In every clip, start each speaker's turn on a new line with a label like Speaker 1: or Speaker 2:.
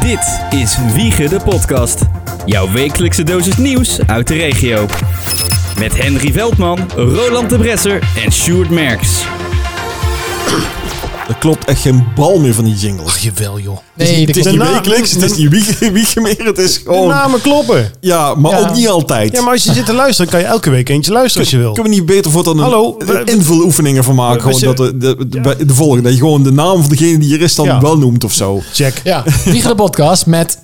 Speaker 1: Dit is Wiegen de Podcast. Jouw wekelijkse dosis nieuws uit de regio. Met Henry Veldman, Roland de Bresser en Sjoerd Merks.
Speaker 2: Er klopt echt geen bal meer van die jingles.
Speaker 3: Ach, jawel joh.
Speaker 4: Nee,
Speaker 2: Het is
Speaker 4: dat
Speaker 2: niet
Speaker 4: klopt.
Speaker 2: wekelijks, het is niet wiegen, wiegen meer, het is
Speaker 4: De
Speaker 2: gewoon...
Speaker 4: namen kloppen.
Speaker 2: Ja, maar
Speaker 4: Ja.
Speaker 2: ook niet altijd.
Speaker 4: Oh. Ja, maar als je zit te luisteren, kan je elke week eentje luisteren als je wil.
Speaker 2: Kunnen we niet beter voor dan een,
Speaker 4: Hallo,
Speaker 2: een
Speaker 4: we-
Speaker 2: invuloefeningen van maken?
Speaker 4: we-
Speaker 2: Gewoon
Speaker 4: we-
Speaker 2: dat de, de, de- bij de volgende, dat je gewoon de naam van degene die er is dan
Speaker 4: Ja.
Speaker 2: wel noemt of zo.
Speaker 4: Check,
Speaker 3: Ja, Wiegen de podcast met...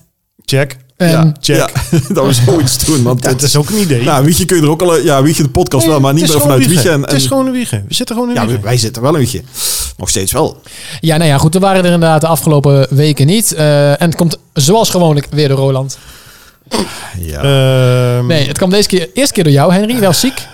Speaker 4: check,
Speaker 3: ehm,
Speaker 4: check.
Speaker 2: Ja, dat was zoiets doen. Want
Speaker 4: Dat
Speaker 2: het,
Speaker 4: is ook een idee.
Speaker 2: nou, Wiegje kun je er ook al... Ja, Wiegje de podcast wel, maar niet meer vanuit Wiegje. En,
Speaker 4: Het is
Speaker 2: en-
Speaker 4: gewoon een wiegen. We zitten gewoon in
Speaker 2: ja,
Speaker 4: wiegen.
Speaker 2: wij, wij zitten wel een Wiegje. Nog steeds wel.
Speaker 3: Ja, nou ja, goed. Er waren er inderdaad de afgelopen weken niet. Eh, en het komt zoals gewoonlijk weer door Roland.
Speaker 4: Hmm.
Speaker 2: Ja.
Speaker 4: Ehm,
Speaker 3: Nee, het kwam deze keer, eerste keer door jou, Henry. Wel ziek.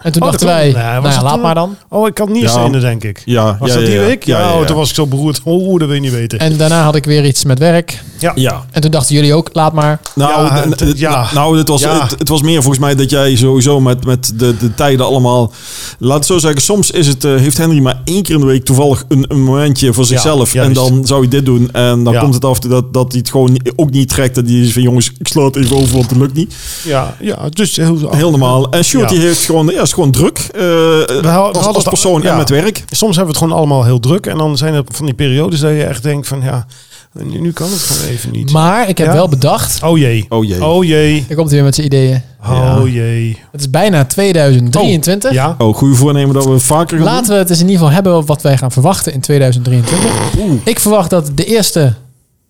Speaker 3: En toen
Speaker 4: Oh, dat
Speaker 3: dachten
Speaker 4: klopt.
Speaker 3: wij,
Speaker 4: Nee, was
Speaker 3: nou ja,
Speaker 4: het
Speaker 3: laat
Speaker 4: toen-
Speaker 3: maar dan.
Speaker 4: Oh, ik had nierstenen, denk ik.
Speaker 2: ja,
Speaker 4: Was
Speaker 2: ja,
Speaker 4: dat
Speaker 2: ja,
Speaker 4: die
Speaker 2: ja.
Speaker 4: week?
Speaker 2: Ja, ja, ja.
Speaker 4: Oh, toen was ik zo beroerd. Oh, dat wil je niet weten.
Speaker 3: En daarna had ik weer iets met werk.
Speaker 2: ja.
Speaker 3: En toen dachten jullie ook, laat maar.
Speaker 2: Nou,
Speaker 4: Ja,
Speaker 2: d- d-
Speaker 4: het- ja.
Speaker 2: n- nou het, was,
Speaker 4: Ja.
Speaker 2: het, het was meer volgens mij dat jij sowieso met, met de, de tijden allemaal... Laat het zo zeggen, soms is het, eh, heeft Henry maar één keer in de week toevallig een, een momentje voor zichzelf. en
Speaker 4: juist.
Speaker 2: dan zou je dit doen. En dan
Speaker 4: Ja.
Speaker 2: komt het af en toe dat, dat hij het gewoon ni- ook niet trekt. Dat hij is van jongens, ik sla het even over, want het lukt niet.
Speaker 4: ja, ja, dus heel,
Speaker 2: Heel normaal. En Sjoerd
Speaker 4: Ja.
Speaker 2: die heeft gewoon, ja, is gewoon druk. eh,
Speaker 4: hadden
Speaker 2: als, als
Speaker 4: het al-
Speaker 2: persoon en
Speaker 4: ja.
Speaker 2: met werk.
Speaker 4: Soms hebben we het gewoon allemaal heel druk. En dan zijn er van die periodes dat je echt denkt van ja, nu nu kan het gewoon even niet.
Speaker 3: Maar ik heb
Speaker 4: Ja.
Speaker 3: wel bedacht.
Speaker 4: Oh jee.
Speaker 2: Oh jee.
Speaker 4: Oh jee.
Speaker 3: Daar komt hij weer met zijn ideeën.
Speaker 4: Oh jee.
Speaker 3: Het is bijna 2023.
Speaker 4: Ja.
Speaker 2: Oh, goede voornemen dat we vaker gaan
Speaker 3: Laten we het eens in ieder geval hebben over wat wij gaan verwachten in 2023. Ik verwacht dat de eerste...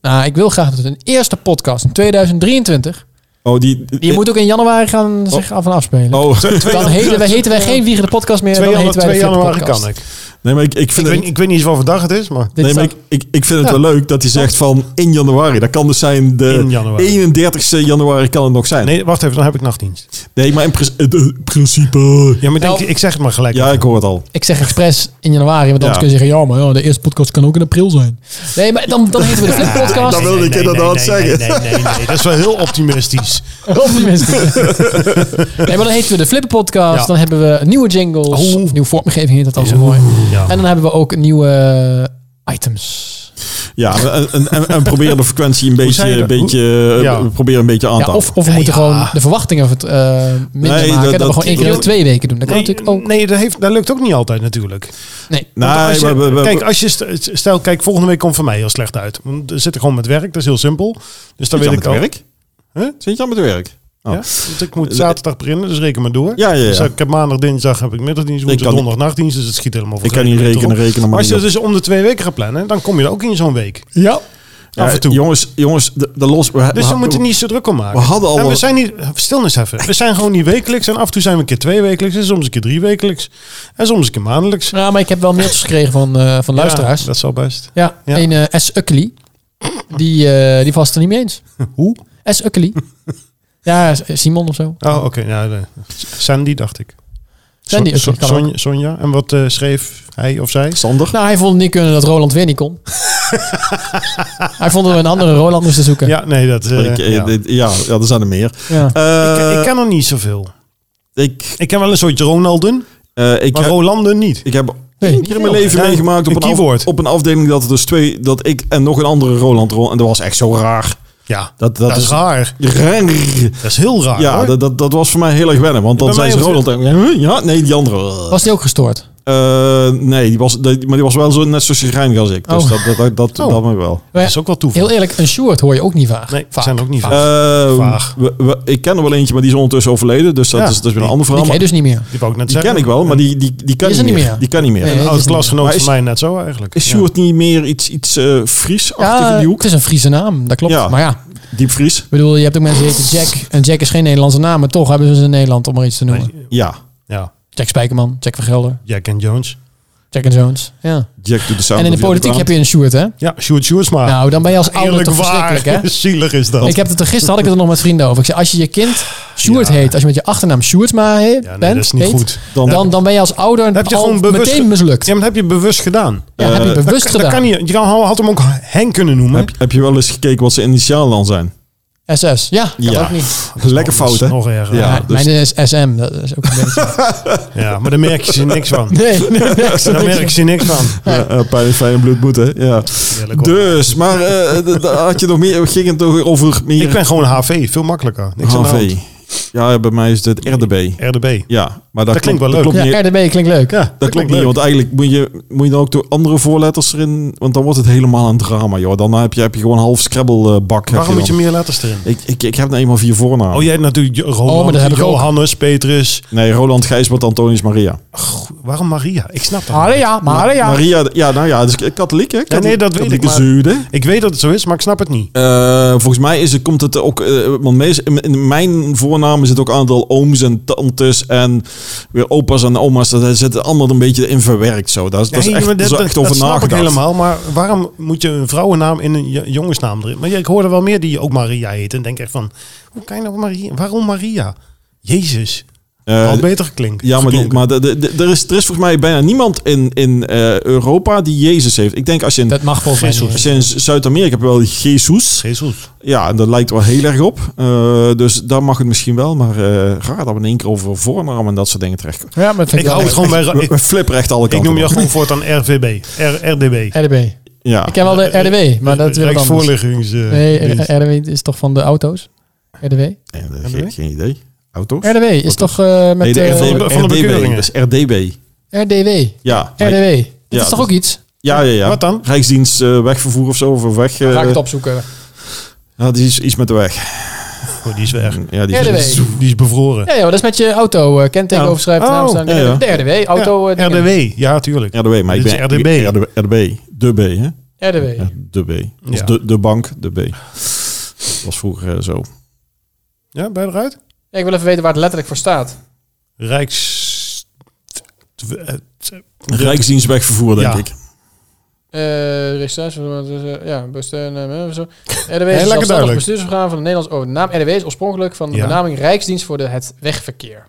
Speaker 3: Nou, ik wil graag dat het een eerste podcast in 2023...
Speaker 2: doen. Oh, die...
Speaker 3: Die moet ook in januari gaan zich af en afspelen.
Speaker 2: Oh,
Speaker 3: Dan heten wij, heten wij geen Wiegen de Podcast meer.
Speaker 4: 2
Speaker 3: dan
Speaker 4: januari,
Speaker 3: heten wij de Flip
Speaker 4: januari
Speaker 3: Podcast.
Speaker 4: kan ik.
Speaker 2: nee, maar ik, ik
Speaker 4: Ik
Speaker 2: vind het...
Speaker 4: weet, ik weet niet eens wat voor dag het is, maar...
Speaker 3: Dit
Speaker 2: nee,
Speaker 3: is
Speaker 2: maar
Speaker 3: dan-
Speaker 2: ik, ik, ik vind het wel leuk dat hij zegt van in januari. Dat kan dus zijn de
Speaker 4: In januari.
Speaker 2: 31ste januari kan het nog zijn. Nee,
Speaker 4: Nee, wacht even, dan heb ik nachtdienst.
Speaker 2: maar in prin- eh, eh, principe...
Speaker 4: Ja, maar ik, denk,
Speaker 3: Nou.
Speaker 4: ik zeg het maar gelijk.
Speaker 2: Ja,
Speaker 4: even.
Speaker 2: ik hoor het al.
Speaker 3: ik zeg expres in januari, want anders
Speaker 2: Ja.
Speaker 3: kun je zeggen... Ja, maar ja, de eerste podcast kan ook in april zijn. Nee, maar dan, dan heten we de Flip Podcast.
Speaker 2: dat wil ik inderdaad zeggen.
Speaker 4: Nee, nee, nee, nee, dat is wel heel optimistisch.
Speaker 3: Optimistisch. nee, maar dan heten we de Flip Podcast.
Speaker 4: Ja.
Speaker 3: Dan hebben we nieuwe jingles.
Speaker 4: Oeh.
Speaker 3: Nieuwe vormgeving heet dat al zo mooi.
Speaker 4: Ja.
Speaker 3: En dan hebben we ook nieuwe eh, items.
Speaker 2: Ja, en, en, en, en probeer de frequentie een beetje,
Speaker 4: zei je
Speaker 2: een
Speaker 4: dat?
Speaker 2: beetje, eh,
Speaker 4: Ja.
Speaker 2: probeer een beetje aan te
Speaker 3: Ja,
Speaker 2: houden.
Speaker 3: of, of we moeten
Speaker 4: Ja.
Speaker 3: gewoon de verwachtingen van het, eh, minder
Speaker 2: Nee,
Speaker 3: maken.
Speaker 2: dat-
Speaker 3: Dat,
Speaker 2: dat-
Speaker 3: we gewoon één keer in de
Speaker 2: dat-
Speaker 3: twee weken doen. Dat kan
Speaker 4: Nee,
Speaker 3: natuurlijk ook.
Speaker 4: nee dat, heeft, dat lukt ook niet altijd natuurlijk.
Speaker 3: Nee.
Speaker 4: Want
Speaker 2: nee,
Speaker 4: als je-
Speaker 2: we- we- we-
Speaker 4: kijk, als je st- stel, kijk, volgende week komt van mij heel slecht uit. Want dan zit ik gewoon met werk, dat is heel simpel. Dus dan
Speaker 2: zit je
Speaker 4: weet
Speaker 2: aan
Speaker 4: ik
Speaker 2: het
Speaker 4: al.
Speaker 2: werk?
Speaker 4: Huh?
Speaker 2: Zit je aan het werk? Oh.
Speaker 4: Ja, want ik moet zaterdag beginnen, dus reken maar door.
Speaker 2: Ja, ja, ja.
Speaker 4: Dus ik heb maandag, dinsdag heb ik middagdienst,
Speaker 2: kan
Speaker 4: woensdag,
Speaker 2: niet-
Speaker 4: donderdag, nachtdienst. Dus het schiet helemaal voor.
Speaker 2: Ik kan niet
Speaker 4: geen meter
Speaker 2: rekenen,
Speaker 4: op.
Speaker 2: rekenen maar
Speaker 4: Als je
Speaker 2: niet
Speaker 4: dus om de twee weken gaat plannen, dan kom je er ook in zo'n week.
Speaker 3: Ja.
Speaker 2: Ja,
Speaker 4: af en toe.
Speaker 2: Jongens, jongens, de, de los... We,
Speaker 4: Dus
Speaker 2: we-
Speaker 4: we moeten er niet zo druk om maken.
Speaker 2: We hadden al
Speaker 4: En we
Speaker 2: wat-
Speaker 4: zijn niet... Stilnis even. We zijn gewoon niet wekelijks. En af en toe zijn we een keer twee wekelijks. En soms een keer drie wekelijks. En soms een keer maandelijks.
Speaker 3: Ja, maar ik heb wel mailtjes gekregen van, eh, van luisteraars.
Speaker 4: Ja,
Speaker 3: Ja,
Speaker 4: dat zal best. Ja.
Speaker 3: een eh, S. Ukkely. Die, eh, die was het er niet mee eens.
Speaker 4: Hoe?
Speaker 3: S. Ukkely. ja, S- Simon of zo.
Speaker 4: Oh, oké. Ja, de- Sandy, dacht ik.
Speaker 3: Sandy
Speaker 4: So-
Speaker 3: Ukkely kan
Speaker 4: So-
Speaker 3: ook.
Speaker 4: Sonja, Sonja. En wat eh, schreef hij of zij?
Speaker 2: Sander?
Speaker 3: Nou, hij vond het niet kunnen dat Roland weer niet kon. hij vond dat we een andere Roland moesten zoeken.
Speaker 4: Ja, nee, dat... eh,
Speaker 2: Ik, eh,
Speaker 4: ja.
Speaker 2: dit- ja. ja, er zijn er meer.
Speaker 3: Ja.
Speaker 2: Eh,
Speaker 4: ik, ik ken er niet zoveel.
Speaker 2: ik,
Speaker 4: Ik ken wel een soort Ronalden,
Speaker 2: eh, ik
Speaker 4: maar
Speaker 2: heb-
Speaker 4: Rolanden niet.
Speaker 2: Ik heb
Speaker 3: Nee,
Speaker 2: één
Speaker 3: niet
Speaker 2: keer in
Speaker 3: veel.
Speaker 2: mijn leven
Speaker 4: Ja,
Speaker 2: meegemaakt op
Speaker 4: een
Speaker 2: een, af,
Speaker 4: keyboard.
Speaker 2: op een afdeling dat er dus twee dat ik en nog een andere Roland rol en dat was echt zo raar.
Speaker 4: Ja, dat,
Speaker 2: Dat, dat,
Speaker 4: is raar.
Speaker 2: raar.
Speaker 4: Dat is heel raar.
Speaker 2: Ja,
Speaker 4: hoor.
Speaker 2: dat, dat, dat was voor mij heel erg wennen, want dan
Speaker 4: Bij
Speaker 2: zei
Speaker 4: mij
Speaker 2: ze
Speaker 4: was
Speaker 2: Roland en "Huh? ja, nee, die andere.
Speaker 3: Was die ook gestoord?
Speaker 2: Eh, nee, die was, die- maar die was wel zo net zo chagrijnig als ik. Dus
Speaker 3: Oh.
Speaker 2: dat, dat, dat, dat,
Speaker 4: Oh.
Speaker 2: dat me wel.
Speaker 4: Dat is ook wel toeval.
Speaker 3: Heel eerlijk, een Sjoerd hoor je ook niet vaak.
Speaker 4: nee,
Speaker 3: vaak.
Speaker 4: zijn ook niet veel.
Speaker 2: Eh,
Speaker 4: Ah, Vaag.
Speaker 2: we- we- ik ken er wel eentje, maar die is ondertussen overleden, dus dat,
Speaker 4: Ja,
Speaker 2: is, dat is weer een
Speaker 4: die-
Speaker 2: ander
Speaker 3: Die
Speaker 2: verhaal.
Speaker 3: ken je
Speaker 2: maar
Speaker 3: dus niet meer.
Speaker 4: die wou ik net
Speaker 2: die
Speaker 4: zeggen.
Speaker 2: ken ik wel, maar die, die, die kan
Speaker 3: is
Speaker 2: niet
Speaker 3: er
Speaker 2: meer.
Speaker 3: niet meer.
Speaker 2: Die kan niet meer.
Speaker 3: Nee,
Speaker 4: Een
Speaker 3: dat
Speaker 4: oud
Speaker 3: is niet meer.
Speaker 4: klasgenoot
Speaker 2: Maar
Speaker 4: van
Speaker 2: is-
Speaker 4: mij net zo eigenlijk.
Speaker 2: Is
Speaker 4: Ja.
Speaker 2: Sjoerd niet meer iets, iets eh Fries-achtig in
Speaker 3: Ja,
Speaker 2: die hoek?
Speaker 3: het is een Friese naam, dat klopt.
Speaker 2: Ja.
Speaker 3: Maar ja,
Speaker 2: Diep Fries?
Speaker 3: ik bedoel, je hebt ook mensen die heten Jack. En Jack is geen Nederlandse naam, maar toch hebben ze ze in Nederland om maar iets te noemen.
Speaker 2: Ja.
Speaker 4: Ja,
Speaker 3: Jack Spijkerman, Jack van Gelder,
Speaker 4: Jack en Jones.
Speaker 3: Jack and Jones. Ja.
Speaker 2: Jack doet de sound
Speaker 3: En in de
Speaker 2: of the
Speaker 3: politiek
Speaker 2: Underground.
Speaker 3: heb je een Sjoerd, hè?
Speaker 4: Ja, Sjoerd Sjoerdsma.
Speaker 3: Nou, dan ben je als ouder
Speaker 4: Ah, Eerlijk
Speaker 3: toch verschrikkelijk, hè?
Speaker 4: waar. Zielig is dat.
Speaker 3: Ik heb het er gisteren had ik het er nog met vrienden over. Ik zei, als je je kind Sjoerd
Speaker 4: Ja.
Speaker 3: heet, als je met je achternaam Sjoerdsma heet,
Speaker 4: ja, nee,
Speaker 3: bent,
Speaker 4: dat is niet
Speaker 3: heet,
Speaker 4: goed.
Speaker 2: Dan,
Speaker 3: Dan, dan ben je als ouder
Speaker 4: Heb je
Speaker 3: al
Speaker 4: gewoon bewust
Speaker 3: meteen
Speaker 4: ge-
Speaker 3: mislukt.
Speaker 4: Ja, maar dat heb je bewust gedaan.
Speaker 3: Ja, heb je
Speaker 2: eh,
Speaker 3: bewust
Speaker 4: dat,
Speaker 3: gedaan.
Speaker 4: Dat kan niet. Je kan- had hem ook Henk kunnen noemen.
Speaker 2: heb, heb je wel eens gekeken wat zijn initialen dan zijn?
Speaker 3: SS. Ja, kan
Speaker 2: Ja.
Speaker 3: ook niet.
Speaker 2: Lekker
Speaker 4: Ah, Dat is
Speaker 2: fout, hè?
Speaker 4: Nog erger.
Speaker 2: Ja.
Speaker 4: Ja.
Speaker 3: Ja,
Speaker 2: dus-
Speaker 3: Mijn is SM, dat is ook een beetje...
Speaker 4: maar daar merk je ze niks van.
Speaker 3: Nee, nee, niks.
Speaker 4: Daar merk je ze niks van.
Speaker 2: Ja, eh, pijn in fijn en bloed moet, hè? Ja.
Speaker 4: Heerlijk, hoor.
Speaker 2: Dus, maar eh, d- d- had je nog meer... Ging het nog over meer...
Speaker 4: Ik ben gewoon HV, veel makkelijker. Niks aan de
Speaker 2: HV. Ja, bij mij is het RDB.
Speaker 4: hand. RDB.
Speaker 2: Ja, maar dat,
Speaker 4: Dat klinkt wel leuk.
Speaker 2: klopt niet-
Speaker 3: Ja, RDB klinkt leuk.
Speaker 4: Ja,
Speaker 2: Dat klopt
Speaker 4: klinkt
Speaker 2: niet,
Speaker 4: leuk.
Speaker 2: want eigenlijk moet je, moet je dan ook door andere voorletters erin... Want dan wordt het helemaal een drama, joh. Dan heb je, heb je gewoon een half scrabble eh, bak. heb
Speaker 4: Waarom moet je
Speaker 2: dan.
Speaker 4: meer letters erin?
Speaker 2: Ik, ik, ik heb nou eenmaal vier voornamen.
Speaker 4: Oh, jij hebt natuurlijk Jo- Roland,
Speaker 3: maar dat heb ik ook.
Speaker 4: Johannes, Petrus.
Speaker 2: Nee, Roland, Gijsbert, Antonius, Maria.
Speaker 4: Goh, waarom Maria? Ik snap dat. niet.
Speaker 3: Maria, Maria.
Speaker 2: Maria, ja, nou ja, het is katholiek, hè? Katholiek-
Speaker 4: nee, dat weet
Speaker 2: katholieke
Speaker 4: ik, maar-
Speaker 2: zuiden.
Speaker 4: Ik weet dat het zo is, maar ik snap het niet.
Speaker 2: Eh, volgens mij is, het- komt het ook... eh, want meest, in, in mijn voornaam zit ook een aantal ooms en tantes en weer opa's en oma's. Daar zitten allemaal een beetje in verwerkt, zo. Daar, is- daar is
Speaker 4: Nee,
Speaker 2: echt,
Speaker 4: maar
Speaker 2: daar is echt over
Speaker 4: snap ik
Speaker 2: nagedacht.
Speaker 4: helemaal. Maar waarom moet je een vrouwennaam in een j- jongensnaam erin? Maar ja, ik hoorde wel meer die ook Maria heet. En denk echt van, hoe kan je nou Maria? Waarom Maria? Jezus.
Speaker 2: Eh,
Speaker 4: Had beter klinkt.
Speaker 2: Ja, maar, die,
Speaker 4: Geklonken.
Speaker 2: maar de, de- de- er, is, er is volgens mij bijna niemand in, in eh, Europa die Jezus heeft. Ik denk als je in,
Speaker 3: Dat mag volgens mij
Speaker 2: als
Speaker 3: niet.
Speaker 2: je in Zuid-Amerika hebt wel Jezus.
Speaker 4: Jezus.
Speaker 2: Ja, en dat lijkt wel heel erg op. Eh, dus daar mag het misschien wel. Maar eh raar dat we in één keer over voornaam en dat soort dingen terecht
Speaker 3: Ja, maar dat vind
Speaker 4: Ik
Speaker 3: ik wel
Speaker 4: hou het
Speaker 3: leuk.
Speaker 4: gewoon bij...
Speaker 2: We,
Speaker 4: Nou, Ik,
Speaker 2: we flipperen echt alle
Speaker 4: ik
Speaker 2: kanten.
Speaker 4: noem je
Speaker 2: op.
Speaker 4: gewoon voortaan RVB. R, RDB.
Speaker 3: RDB.
Speaker 2: Ja.
Speaker 3: Ik ken wel de RDB, maar dat wil ik anders.
Speaker 4: Rijksvoorliggings... eh,
Speaker 3: Nee,
Speaker 4: dienst.
Speaker 3: RDW is toch van de auto's? RDW?
Speaker 2: Eh, geen, geen idee. Auto's?
Speaker 3: RDW is toch eh,
Speaker 2: nee,
Speaker 3: met
Speaker 2: de
Speaker 3: eh,
Speaker 2: RDB.
Speaker 4: van de
Speaker 2: RDB.
Speaker 4: bekeuringen.
Speaker 2: Dat is RDB.
Speaker 3: RDW.
Speaker 2: Ja.
Speaker 3: RDW. Dat
Speaker 2: Ja,
Speaker 3: is toch
Speaker 2: dat-
Speaker 3: ook iets?
Speaker 2: Ja, ja, ja.
Speaker 4: Wat dan?
Speaker 2: Rijksdienst eh, wegvervoer of zo. Of weg... eh,
Speaker 3: Ga ik het opzoeken.
Speaker 2: Ja, die is iets met de weg.
Speaker 4: Oh, die is weg.
Speaker 2: Ja, die is
Speaker 3: RDW.
Speaker 4: Die is bevroren.
Speaker 3: Ja, joh, dat is met je auto. eh kenteken
Speaker 2: Ja.
Speaker 3: overschrijven, naam
Speaker 4: Oh,
Speaker 3: staan.
Speaker 2: ja, ja.
Speaker 3: De RDW. Auto. eh,
Speaker 4: Ja,
Speaker 3: dingen.
Speaker 4: RDW, ja, tuurlijk.
Speaker 2: RDB, maar ik
Speaker 4: Dit
Speaker 2: ben
Speaker 4: is RDB.
Speaker 2: RDB, RDB, de B, hè?
Speaker 3: RDW.
Speaker 2: Ja, de B. Of
Speaker 4: Ja.
Speaker 2: de, de bank, de B. Dat was vroeger eh, zo.
Speaker 4: Ja, ben je eruit?
Speaker 3: Ja, ik wil even weten waar het letterlijk voor staat.
Speaker 4: Rijks... tw- eh, tw-
Speaker 2: Rijksdienstwegvervoer, denk
Speaker 4: Ja.
Speaker 2: ik.
Speaker 3: Eh registratie, eh, ja, bestuur, eh, zo.
Speaker 4: lekker
Speaker 3: RDW is een zelfstandig
Speaker 4: duidelijk.
Speaker 3: bestuursorgaan van de Nederlandse overheid. De naam RDW is oorspronkelijk van de
Speaker 4: Ja.
Speaker 3: benaming Rijksdienst voor de het wegverkeer.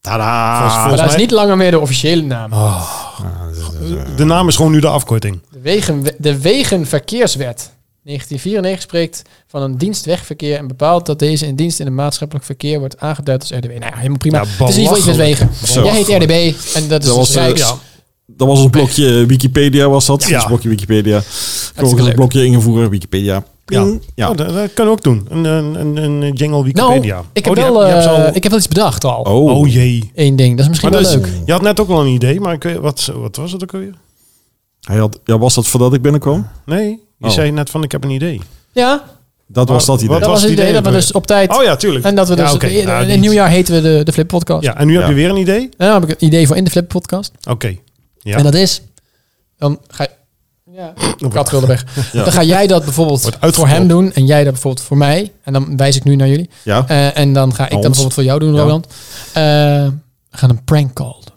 Speaker 2: Tada!
Speaker 4: volgens-
Speaker 3: Maar
Speaker 4: volgens
Speaker 3: Ah, dat is
Speaker 4: mij-
Speaker 3: niet langer meer de officiële naam.
Speaker 4: De naam is gewoon nu de afkorting.
Speaker 3: De, wegen, de Wegenverkeerswet 1994 spreekt van een dienstwegverkeer en bepaalt dat deze in dienst in het maatschappelijk verkeer wordt aangeduid als RDW. Nou ja, helemaal prima.
Speaker 4: Ja,
Speaker 3: het is niet voor iets met wegen.
Speaker 2: Zo.
Speaker 3: Jij heet RDB en dat is
Speaker 2: Dat was,
Speaker 3: dus
Speaker 2: eh,
Speaker 3: Rijks.
Speaker 2: ja. Dat was ons blokje Wikipedia, was dat?
Speaker 4: Ja.
Speaker 2: Dat was een blokje Wikipedia. Gewoon
Speaker 3: leuk.
Speaker 2: een blokje ingevoerd, Wikipedia.
Speaker 4: Ja.
Speaker 2: Ping. Ja.
Speaker 4: Oh, dat, dat kunnen we ook doen. Een, een, een, een jingle
Speaker 3: Nou,
Speaker 4: Wikipedia.
Speaker 3: ik heb,
Speaker 4: Oh, die
Speaker 3: wel,
Speaker 4: heb- je hebt
Speaker 3: eh,
Speaker 4: ze al-
Speaker 3: ik heb wel iets bedacht al.
Speaker 2: Oh.
Speaker 4: Oh jee.
Speaker 3: Eén ding, dat is misschien
Speaker 4: Maar
Speaker 3: wel
Speaker 4: dat
Speaker 3: leuk.
Speaker 4: is- je had net ook wel een idee, maar ik weet, wat, wat was het ook alweer?
Speaker 2: Hij had, ja, was dat voordat ik binnenkwam?
Speaker 4: Nee, je
Speaker 2: Oh.
Speaker 4: zei net van ik heb een idee.
Speaker 3: Ja,
Speaker 2: Dat was dat idee.
Speaker 4: wat
Speaker 3: dat was het idee dat we
Speaker 4: van
Speaker 3: dus op tijd...
Speaker 4: Oh ja, tuurlijk.
Speaker 3: En dat we
Speaker 4: Ja,
Speaker 3: dus...
Speaker 4: oké.
Speaker 3: in,
Speaker 4: Ja,
Speaker 3: in
Speaker 4: die-
Speaker 3: het nieuwjaar heten we de, de Flip Podcast.
Speaker 4: Ja, en nu heb
Speaker 2: Ja.
Speaker 4: je weer een idee?
Speaker 3: En dan heb ik een idee voor in de Flip Podcast.
Speaker 4: Oké. Ja.
Speaker 3: En dat is... Dan ga je... Ja, kat wilde weg. Dan ga jij dat bijvoorbeeld
Speaker 4: Wordt
Speaker 3: voor
Speaker 4: uitgekopt.
Speaker 3: hem doen. En jij dat bijvoorbeeld voor mij. En dan wijs ik nu naar jullie.
Speaker 2: Ja.
Speaker 3: Eh, en dan ga ik dat
Speaker 2: ons.
Speaker 3: bijvoorbeeld voor jou doen,
Speaker 2: Ja.
Speaker 3: Roland. Eh, we gaan een prank call doen.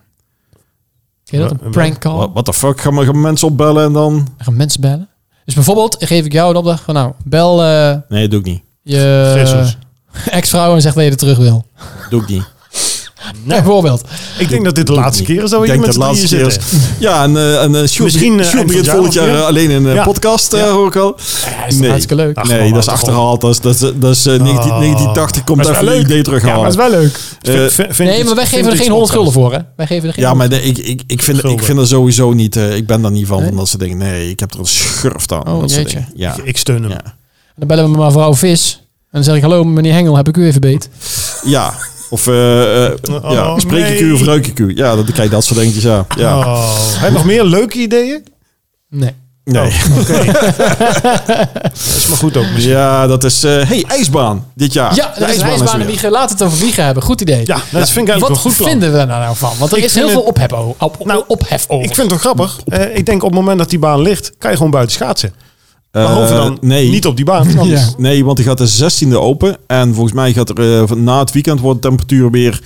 Speaker 3: Ken je dat?
Speaker 4: Wa-
Speaker 3: Een prank call.
Speaker 2: What the fuck? Gaan we gaan we mensen opbellen en dan...
Speaker 3: We gaan mensen bellen. Dus bijvoorbeeld geef ik jou de opdracht van... Nou, bel eh,
Speaker 2: Nee, doe ik niet.
Speaker 3: je
Speaker 4: Jezus.
Speaker 3: ex-vrouw en zeg dat je er terug wil.
Speaker 2: Doe ik niet.
Speaker 3: Bijvoorbeeld.
Speaker 4: Ik denk dat dit de laatste keer is dat we
Speaker 2: Ik
Speaker 4: hier
Speaker 2: denk dat
Speaker 4: met z'n
Speaker 2: laatste
Speaker 4: drieën
Speaker 2: keer
Speaker 4: zitten.
Speaker 2: is. Ja, en, eh en eh, Sjoerd-
Speaker 4: Misschien, eh,
Speaker 2: Sjoerd
Speaker 4: eind
Speaker 2: begint
Speaker 4: van
Speaker 2: volgend
Speaker 4: het jaar
Speaker 2: jaar
Speaker 4: nog,
Speaker 2: eh, alleen een eh,
Speaker 4: Ja.
Speaker 2: podcast, eh, hoor ik al.
Speaker 3: is toch hartstikke leuk?
Speaker 4: Ach,
Speaker 2: nee, Nou,
Speaker 4: man,
Speaker 2: dat is
Speaker 4: houd toch
Speaker 2: achterhaald. Dat is, dat is, dat is eh, 19 1980 komt
Speaker 4: is
Speaker 2: daar
Speaker 4: wel
Speaker 2: een
Speaker 4: leuk.
Speaker 2: idee terughalen.
Speaker 3: wel leuk.
Speaker 2: Eh,
Speaker 4: Vind- vind-
Speaker 3: Nee, maar wij
Speaker 4: vind
Speaker 3: geven er
Speaker 4: iets
Speaker 3: geen 100
Speaker 4: podcast.
Speaker 3: gulden voor, hè? Wij geven er geen
Speaker 2: ja, maar nee, ik, ik, ik, vind, ik
Speaker 4: Schulden.
Speaker 2: vind er sowieso niet... eh, ik ben daar niet van, van dat soort dingen. Nee, ik heb er een schurft aan.
Speaker 3: Oh,
Speaker 2: dat soort
Speaker 3: jeetje.
Speaker 2: dingen. Ja.
Speaker 4: Ik steun hem.
Speaker 2: Ja.
Speaker 3: Dan bellen we mevrouw Vis. En dan zeg ik, hallo meneer Hengel, heb ik u even beet?
Speaker 2: ja. Of eh, eh,
Speaker 4: Oh,
Speaker 2: ja. spreek ik u
Speaker 4: nee.
Speaker 2: of ruik ik u? Ja, dat, dan krijg je dat soort dingetjes, ja. ja.
Speaker 4: Oh. Heb je nog meer leuke ideeën?
Speaker 3: Nee.
Speaker 2: Nee.
Speaker 4: Oh, Dat is maar goed ook misschien.
Speaker 2: Ja, dat is... eh hey, ijsbaan dit
Speaker 4: Ah,
Speaker 2: jaar.
Speaker 3: ja,
Speaker 2: De
Speaker 3: dat is ijsbaan en
Speaker 2: weer.
Speaker 3: wiegen. Laat het over wiegen hebben. Goed idee.
Speaker 4: Ja, dat vind ik eigenlijk wel een
Speaker 3: Wat
Speaker 4: goed plan.
Speaker 3: vinden we daar nou van? Want er
Speaker 4: Ik
Speaker 3: is heel
Speaker 4: vind
Speaker 3: veel ophef o- op,
Speaker 4: Nou,
Speaker 3: ophef over.
Speaker 4: Ik vind het toch grappig. Eh, ik denk op het moment dat die baan ligt, kan je gewoon buiten schaatsen.
Speaker 2: Eh,
Speaker 4: Behalve dan
Speaker 2: nee.
Speaker 4: niet op die baan. want
Speaker 3: Ja.
Speaker 2: Nee, want die gaat de 16e open. En volgens mij gaat er eh, van- na het weekend wordt de temperatuur weer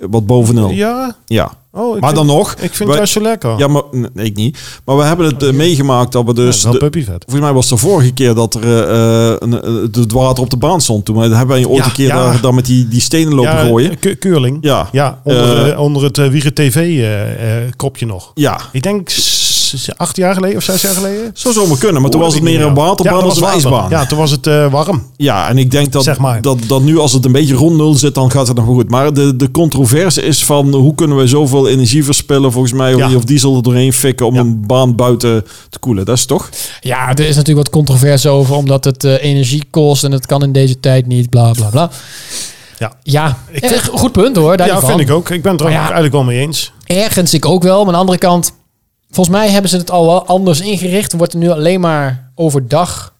Speaker 2: eh, wat boven nul. Ja.
Speaker 4: Ja. Oh, ik
Speaker 2: Maar
Speaker 4: vind,
Speaker 2: dan nog...
Speaker 4: Ik vind het
Speaker 2: we-
Speaker 4: juist zo lekker.
Speaker 2: Ja, maar nee, ik niet. Maar we hebben het eh, meegemaakt dat we dus...
Speaker 4: dat
Speaker 2: de-
Speaker 4: is wel puppyvet.
Speaker 2: Volgens mij was het de vorige keer dat er eh, eh, een- eh, het water op de baan stond. Toen hebben wij ooit
Speaker 4: Ja,
Speaker 2: een keer
Speaker 4: ja. eh,
Speaker 2: daar, daar met die, die stenen lopen gooien.
Speaker 4: Ku- Keurling.
Speaker 2: Ja.
Speaker 4: Ja, onder,
Speaker 2: Eh,
Speaker 4: eh, onder het Wiegen TV-kopje nog.
Speaker 2: ja.
Speaker 4: Ik denk s- is het acht jaar geleden of zes jaar geleden.
Speaker 2: Zou zomaar kunnen, maar toen was het meer een waterbaan
Speaker 4: dan
Speaker 2: als een ijsbaan.
Speaker 4: Ja, toen was het eh, warm.
Speaker 2: Ja, en ik denk dat,
Speaker 4: Zeg maar.
Speaker 2: dat, dat nu als het een beetje rond nul zit, dan gaat het nog wel goed. Maar de, de controverse is van hoe kunnen we zoveel energie verspillen, volgens mij, of,
Speaker 4: Ja.
Speaker 2: die- of diesel er doorheen fikken om
Speaker 4: Ja.
Speaker 2: een baan buiten te koelen. Dat is toch?
Speaker 3: Ja, er is natuurlijk wat controverse over, omdat het eh, energie kost en het kan in deze tijd niet, bla bla bla.
Speaker 4: Ja.
Speaker 3: Ja,
Speaker 4: Ik
Speaker 3: eh,
Speaker 4: vind-
Speaker 3: goed punt hoor. Daar
Speaker 4: ja, vind ik ook. Ik ben het er ook
Speaker 3: Maar ja.
Speaker 4: eigenlijk wel mee eens.
Speaker 3: Ergens ik ook wel, maar aan de andere kant, volgens mij hebben ze het al wel anders ingericht. Wordt er nu alleen maar overdag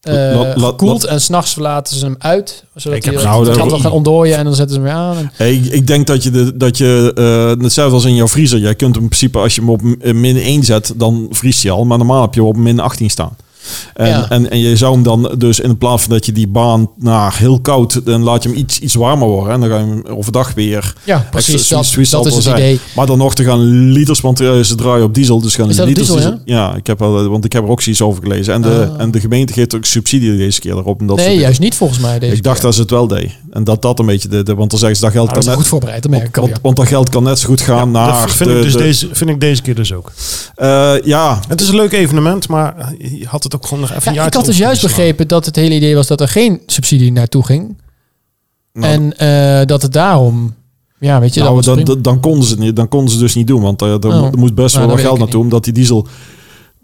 Speaker 3: eh
Speaker 2: La- la- la-
Speaker 3: gekoeld en s'nachts laten ze hem uit, zodat
Speaker 4: Ik
Speaker 3: hij
Speaker 4: heb
Speaker 2: nou
Speaker 3: het
Speaker 2: daar-
Speaker 3: gaat wel gaan ontdooien en dan zetten ze hem weer aan. En-
Speaker 2: Hey, ik, ik denk dat je, de, dat je eh, hetzelfde als in jouw vriezer. Jij kunt hem in principe, als je hem op eh, min 1 zet, dan vriest hij al. Maar normaal heb je hem op min 18 staan. En,
Speaker 3: Ja.
Speaker 2: en, en je zou hem dan dus in plaats van dat je die baan nou, heel koud, dan laat je hem iets, iets warmer worden. En dan ga je hem overdag weer.
Speaker 3: ja, precies.
Speaker 2: Extra-
Speaker 3: Dat,
Speaker 2: zoiets zal
Speaker 3: dat is
Speaker 2: wel
Speaker 3: het
Speaker 2: zijn.
Speaker 3: idee.
Speaker 2: Maar dan nog, er gaan liters, want eh, ze draaien op diesel, dus gaan
Speaker 3: Is dat op
Speaker 2: liters.
Speaker 3: diesel,
Speaker 2: die- ja, ik heb wel, eh, want ik heb er ook zoiets over gelezen. En de,
Speaker 3: Ah.
Speaker 2: en de gemeente geeft ook subsidie deze keer erop. En dat soort
Speaker 3: Nee,
Speaker 2: dingen.
Speaker 3: juist niet volgens mij deze
Speaker 2: Ik dacht
Speaker 3: keer.
Speaker 2: dat ze het wel deed. En dat dat een beetje de, de want dan zeggen ze Nou, dat geld
Speaker 3: Maar
Speaker 2: kan
Speaker 3: Ah, dat is
Speaker 2: net,
Speaker 3: goed voorbereid, dat merk ik al,
Speaker 2: want,
Speaker 3: ja.
Speaker 2: want dat geld kan net zo goed gaan naar
Speaker 4: dat vind,
Speaker 2: Nou, de-
Speaker 4: ik dus
Speaker 2: de-
Speaker 4: deze, vind ik deze keer dus ook.
Speaker 2: eh, ja,
Speaker 4: Het is een leuk evenement, maar je had het ook gewoon nog even een
Speaker 3: Ja, ik
Speaker 4: jaartje
Speaker 3: had dus
Speaker 4: op
Speaker 3: juist
Speaker 4: kunnen slaan.
Speaker 3: begrepen dat het hele idee was dat er geen subsidie naartoe ging.
Speaker 2: Nou,
Speaker 3: en eh, dat het daarom... Ja, weet je,
Speaker 2: nou,
Speaker 3: dat was
Speaker 2: dan,
Speaker 3: prima.
Speaker 2: dan, dan konden ze het niet, dan konden ze het dus niet doen, want eh, er,
Speaker 3: Oh.
Speaker 2: moet- er moet best
Speaker 3: Nou,
Speaker 2: wel
Speaker 3: dat
Speaker 2: wat
Speaker 3: weet
Speaker 2: geld
Speaker 3: ik
Speaker 2: naartoe, omdat die diesel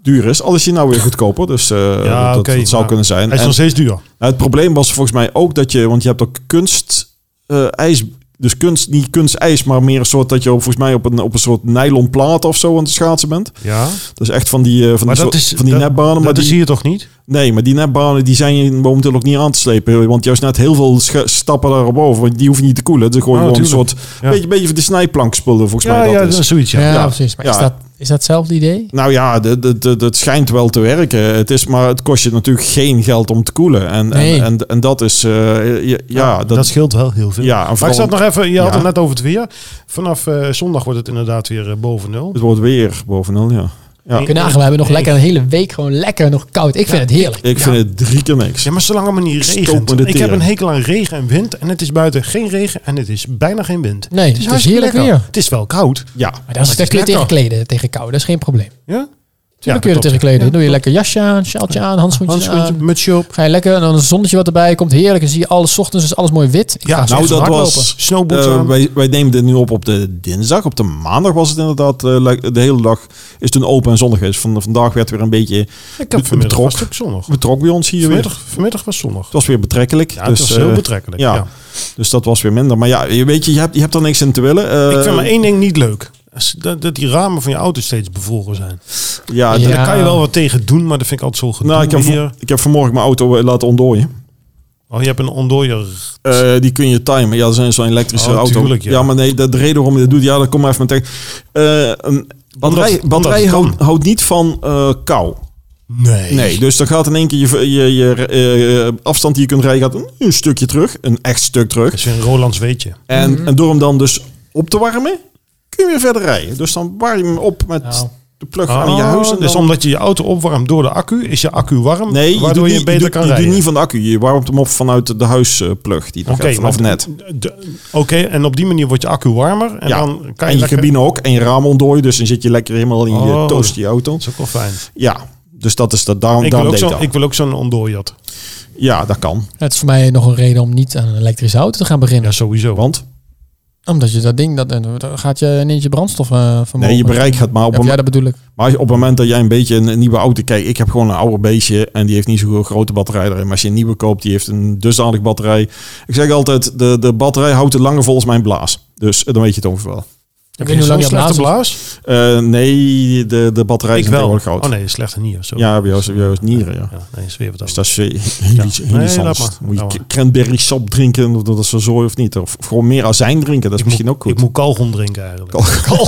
Speaker 2: duur is. Al is die nou weer goedkoper, dus eh,
Speaker 4: Ja,
Speaker 2: dat,
Speaker 4: oké,
Speaker 2: dat zou
Speaker 4: maar
Speaker 2: kunnen zijn.
Speaker 4: Hij is
Speaker 2: En-
Speaker 4: nog steeds duur.
Speaker 2: Nou, het probleem was volgens mij ook dat je, want je hebt ook kunst eh, ijs, dus kunst, niet kunstijs, maar meer een soort dat je op, volgens mij op een, op een soort nylon plaat of zo aan het schaatsen bent.
Speaker 4: Ja.
Speaker 2: Dus echt van die, eh, van die,
Speaker 4: Maar dat
Speaker 2: soort-
Speaker 4: is,
Speaker 2: van die
Speaker 4: dat,
Speaker 2: netbanen. Maar
Speaker 4: dat
Speaker 2: die,
Speaker 4: zie je toch niet?
Speaker 2: Nee, maar die netbanen die zijn momenteel ook niet aan te slepen. Want juist net heel veel sche- stappen daarop over, want die hoeven niet te koelen. Dus gewoon,
Speaker 4: Oh,
Speaker 2: gewoon een
Speaker 4: tuurlijk.
Speaker 2: soort,
Speaker 4: Ja.
Speaker 2: beetje, beetje van de snijplankspullen volgens
Speaker 4: ja,
Speaker 2: mij
Speaker 4: ja,
Speaker 2: dat is.
Speaker 4: zoiets. Ja.
Speaker 3: ja,
Speaker 2: ja.
Speaker 3: precies. Maar is,
Speaker 2: Ja.
Speaker 3: dat, is dat hetzelfde idee?
Speaker 2: Nou ja, de- de- de- dat schijnt wel te werken. Het is, maar het kost je natuurlijk geen geld om te koelen. En,
Speaker 3: Nee.
Speaker 2: en, en, en dat is, eh, ja, ja,
Speaker 4: dat, scheelt wel heel veel.
Speaker 2: Ja, en
Speaker 4: maar
Speaker 2: vooral-
Speaker 4: ik zat nog even, je had
Speaker 2: Ja.
Speaker 4: het net over het weer. Vanaf eh, zondag wordt het inderdaad weer eh, boven nul.
Speaker 2: Het wordt weer boven nul, ja. ja.
Speaker 3: Kun je nagaan, we hebben nog
Speaker 4: Nee.
Speaker 3: lekker een hele week gewoon lekker nog koud. Ik vind het heerlijk.
Speaker 2: Ik vind het drie keer niks.
Speaker 4: Ja, maar zolang het maar niet
Speaker 2: Stoot
Speaker 4: regent.
Speaker 2: me de
Speaker 4: Ik heb
Speaker 2: tering.
Speaker 4: een hekel aan regen en wind. En het is buiten geen regen en het is bijna geen wind.
Speaker 3: Nee, het is
Speaker 4: hartstikke
Speaker 3: heerlijk
Speaker 4: lekker.
Speaker 3: weer.
Speaker 4: Het is wel koud.
Speaker 2: Ja.
Speaker 3: Maar daar
Speaker 4: het
Speaker 3: is
Speaker 4: is
Speaker 3: het kun je tegen
Speaker 4: lekker.
Speaker 3: kleden, tegen kou. Dat is geen probleem.
Speaker 4: Ja?
Speaker 3: Tuurlijk kun je er tegen kleden. Doe eh, je lekker jasje aan, sjaaltje aan, handschoentjes
Speaker 4: Handschoentje,
Speaker 3: aan.
Speaker 4: mutsje op.
Speaker 3: Ga je lekker en dan een zonnetje wat erbij komt. Heerlijk. En zie je alles, 's ochtends is alles mooi wit. Ik
Speaker 4: Ja,
Speaker 3: ga zo
Speaker 4: nou,
Speaker 3: even
Speaker 2: dat
Speaker 3: hardlopen.
Speaker 2: was-
Speaker 4: Snowboots
Speaker 2: Eh,
Speaker 4: aan.
Speaker 2: wij, wij nemen dit nu op op de dinsdag. Op de maandag was het inderdaad. eh, le- de hele dag is toen open en zonnig is. Van, vandaag werd weer een beetje
Speaker 4: Ik heb
Speaker 2: be-
Speaker 4: vanmiddag was
Speaker 2: betrok,
Speaker 4: het ook zonnig.
Speaker 2: betrok bij ons hier weer.
Speaker 4: Vanmiddag, vanmiddag was zonnig.
Speaker 2: Het was weer betrekkelijk.
Speaker 4: Ja,
Speaker 2: dus,
Speaker 4: het was heel
Speaker 2: eh,
Speaker 4: betrekkelijk.
Speaker 2: ja.
Speaker 4: Ja.
Speaker 2: dus dat was weer minder. Maar ja, je weet je, je hebt, je hebt er niks in te willen. Eh,
Speaker 4: ik vind maar één ding niet leuk. Als- Dat, dat die ramen van je auto steeds bevroren zijn.
Speaker 2: Ja,
Speaker 3: Ja.
Speaker 2: d-
Speaker 4: Daar kan je wel wat tegen doen, maar dat vind ik altijd zo gedoe
Speaker 2: nou, ik, heb,
Speaker 4: hier.
Speaker 2: van- ik heb vanmorgen mijn auto eh, laten ontdooien.
Speaker 4: Oh, je hebt een ondooier.
Speaker 2: Eh, die kun je timen. Ja, dat zijn zo'n elektrische
Speaker 4: Oh,
Speaker 2: auto.
Speaker 4: tuurlijk, ja.
Speaker 2: maar nee, dat- de reden waarom je dat doet, ja, dat kom maar even meteen. Eh een batterij,
Speaker 4: omdat
Speaker 2: batterij
Speaker 4: het kan.
Speaker 2: houdt, houdt niet van eh, kou.
Speaker 4: Nee.
Speaker 2: Nee, dus dan gaat in één keer je, je, je eh, afstand die je kunt rijden, gaat een, een stukje terug. Een echt stuk terug.
Speaker 4: Dat is weer een Rolands weetje.
Speaker 2: En,
Speaker 4: Mhm.
Speaker 2: en door hem dan dus op te warmen, kun je weer verder rijden. Dus dan warm je hem op met
Speaker 3: Nou.
Speaker 2: de plug
Speaker 4: Ah,
Speaker 2: aan je huis. En
Speaker 4: dus
Speaker 2: Oh, dan-
Speaker 4: omdat je je auto opwarmt door de accu, is je accu warm,
Speaker 2: nee, je doet
Speaker 4: waardoor je,
Speaker 2: niet,
Speaker 4: beter
Speaker 2: je doet,
Speaker 4: kan
Speaker 2: je doet
Speaker 4: rijden.
Speaker 2: niet van de accu. Je warmt hem op vanuit de huisplug. Die nog
Speaker 4: Oké,
Speaker 2: gaat vanaf
Speaker 4: maar-
Speaker 2: net.
Speaker 4: de- Oké, en op die manier wordt je accu warmer en
Speaker 2: ja,
Speaker 4: dan kan je,
Speaker 2: en je
Speaker 4: lekker-
Speaker 2: cabine ook. En je raam ontdooien. Dus dan zit je lekker helemaal in je
Speaker 4: Oh.
Speaker 2: toast je auto.
Speaker 4: Dat is ook wel fijn.
Speaker 2: Ja, dus dat is dat. Daarom,
Speaker 4: Ik wil,
Speaker 2: daarom
Speaker 4: ook
Speaker 2: deed ik
Speaker 4: zo'n,
Speaker 2: dat.
Speaker 4: ik wil ook zo'n ontdooier.
Speaker 2: Ja, dat kan.
Speaker 3: Het is voor mij nog een reden om niet aan een elektrische auto te gaan beginnen.
Speaker 4: Ja, sowieso.
Speaker 2: Want
Speaker 3: Omdat je dat ding, dat, eh, dan gaat je ineens je brandstof eh vermogen.
Speaker 2: nee, je bereik gaat maar op
Speaker 3: Ja,
Speaker 2: een
Speaker 3: ja, dat bedoel ik.
Speaker 2: Maar op het moment dat jij een beetje een, een nieuwe auto kijkt, ik heb gewoon een oude beestje en die heeft niet zo'n grote batterij erin. Maar als je een nieuwe koopt, die heeft een dusdanig batterij. Ik zeg altijd, de, de batterij houdt te langer volgens mijn blaas. Dus eh, dan weet je het ongeveer wel.
Speaker 4: Heb
Speaker 3: Ik weet niet hoe lang
Speaker 4: zo'n
Speaker 3: je
Speaker 4: slechte
Speaker 3: blaas
Speaker 4: blaas?
Speaker 2: Eh, nee, de, de batterij
Speaker 4: Ik
Speaker 2: is
Speaker 4: wel.
Speaker 2: heel groot.
Speaker 4: Oh nee, slechte nier. Sorry.
Speaker 2: Ja, bij jou is- bij jou is nieren, ja.
Speaker 4: ja. Nee, is weer wat
Speaker 2: Dus
Speaker 4: anders.
Speaker 2: dat is eh, heel iets heel
Speaker 4: Nee,
Speaker 2: iets
Speaker 4: laat
Speaker 2: anders.
Speaker 4: maar.
Speaker 2: Moet je
Speaker 4: Laat
Speaker 2: k-
Speaker 4: maar.
Speaker 2: cranberry sap drinken, of dat is zo zooi of niet. Of, of gewoon meer azijn drinken, dat is
Speaker 4: Ik
Speaker 2: misschien
Speaker 4: moet-
Speaker 2: ook goed.
Speaker 4: Ik moet kalgon drinken eigenlijk.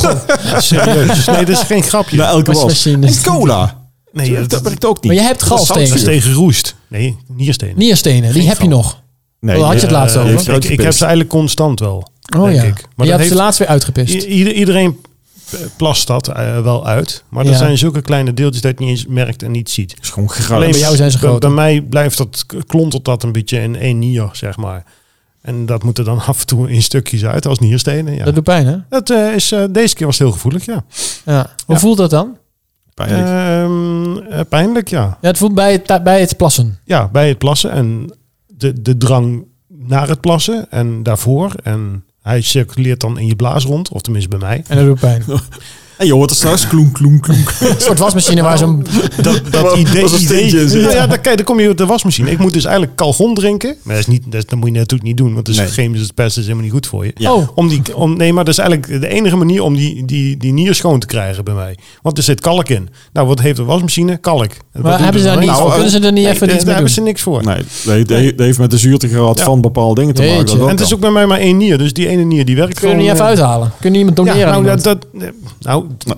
Speaker 4: Serieus. Nee, dat is geen grapje.
Speaker 2: Na elke
Speaker 3: Was-
Speaker 2: was.
Speaker 3: was je in
Speaker 2: En
Speaker 3: de-
Speaker 2: cola.
Speaker 4: nee, dat,
Speaker 2: Nou, Dat
Speaker 4: dat
Speaker 2: werkt ook niet.
Speaker 3: Maar je hebt
Speaker 2: Dat is
Speaker 3: galstenen.
Speaker 4: is
Speaker 2: zoutzuur.
Speaker 4: tegen roest. Nee, nierstenen.
Speaker 3: Nierstenen, die
Speaker 4: Geen
Speaker 3: heb je nog.
Speaker 2: Nee,
Speaker 3: Wel, Oh, had je het
Speaker 2: eh,
Speaker 3: laatst
Speaker 4: Eh,
Speaker 3: over?
Speaker 2: heeft je
Speaker 4: ik, ik heb
Speaker 2: uitgepist.
Speaker 4: ze eigenlijk constant wel.
Speaker 3: Oh
Speaker 4: denk ik.
Speaker 3: ja. Maar je
Speaker 4: dat
Speaker 3: hebt ze
Speaker 4: heeft-
Speaker 3: laatst weer uitgepist.
Speaker 4: i- ieder- iedereen plast dat eh, wel uit. Maar
Speaker 3: Ja.
Speaker 4: dat zijn zulke kleine deeltjes dat je niet eens merkt en niet ziet.
Speaker 2: Het is gewoon
Speaker 4: Alleen
Speaker 2: gruis.
Speaker 3: bij jou zijn ze groter.
Speaker 4: Bij mij blijft dat, k- klontelt dat een beetje in één nier, zeg maar. En dat moet er dan af en toe in stukjes uit als nierstenen. Ja.
Speaker 3: Dat
Speaker 4: Dat,
Speaker 3: doet pijn, hè?
Speaker 4: eh, is, eh, deze keer was het heel gevoelig, ja.
Speaker 3: Ja. Hoe
Speaker 4: Ja.
Speaker 3: voelt dat dan?
Speaker 2: Pijnlijk.
Speaker 4: Ehm, eh, pijnlijk, ja.
Speaker 3: Ja, het voelt bij het, bij het plassen.
Speaker 4: Ja, bij het plassen en de, de drang naar het plassen en daarvoor. En hij circuleert dan in je blaas rond, of tenminste bij mij.
Speaker 3: En dat doet pijn.
Speaker 2: En je hoort het straks, kloen, kloen, kloen.
Speaker 3: Een soort wasmachine waar zo'n...
Speaker 4: Dat, dat
Speaker 2: Was-
Speaker 4: idee.
Speaker 2: was een steentje in
Speaker 4: idee
Speaker 2: zit.
Speaker 4: nou ja, dan, kijk, dan kom je op de wasmachine. Ik moet dus eigenlijk kalgon drinken. Maar dat, is niet, dat, is- dat moet je natuurlijk niet doen, want dat is
Speaker 2: Nee.
Speaker 4: chemisch dus het beste is helemaal niet goed voor je.
Speaker 2: Ja.
Speaker 3: Oh,
Speaker 4: Om die, om, nee, maar dat is eigenlijk de enige manier om die, die, die nier schoon te krijgen bij mij. Want er zit kalk in. Nou, wat heeft de wasmachine? Kalk. En wat
Speaker 3: maar
Speaker 4: doet
Speaker 3: hebben ze
Speaker 4: dat
Speaker 3: daar
Speaker 4: dan?
Speaker 3: niet...
Speaker 4: Nou,
Speaker 3: kunnen ze er niet
Speaker 4: nee,
Speaker 3: even
Speaker 4: daar- Daar
Speaker 3: iets mee
Speaker 4: hebben
Speaker 3: doen?
Speaker 4: ze niks voor.
Speaker 2: Nee, dat heeft- dat heeft met de zuurtegraad
Speaker 4: Ja.
Speaker 2: van bepaalde dingen te maken.
Speaker 3: Jeetje.
Speaker 2: dat wel
Speaker 4: En het is
Speaker 2: kan.
Speaker 4: ook bij mij maar één nier. Dus die ene nier die werkt
Speaker 3: Kun je er
Speaker 4: gewoon,
Speaker 3: niet even oh,
Speaker 4: eh,
Speaker 3: uithalen? Kun je iemand doneren
Speaker 4: Ja,
Speaker 3: aan
Speaker 4: nou,
Speaker 3: iemand?
Speaker 4: dat, dat, eh, nou, dan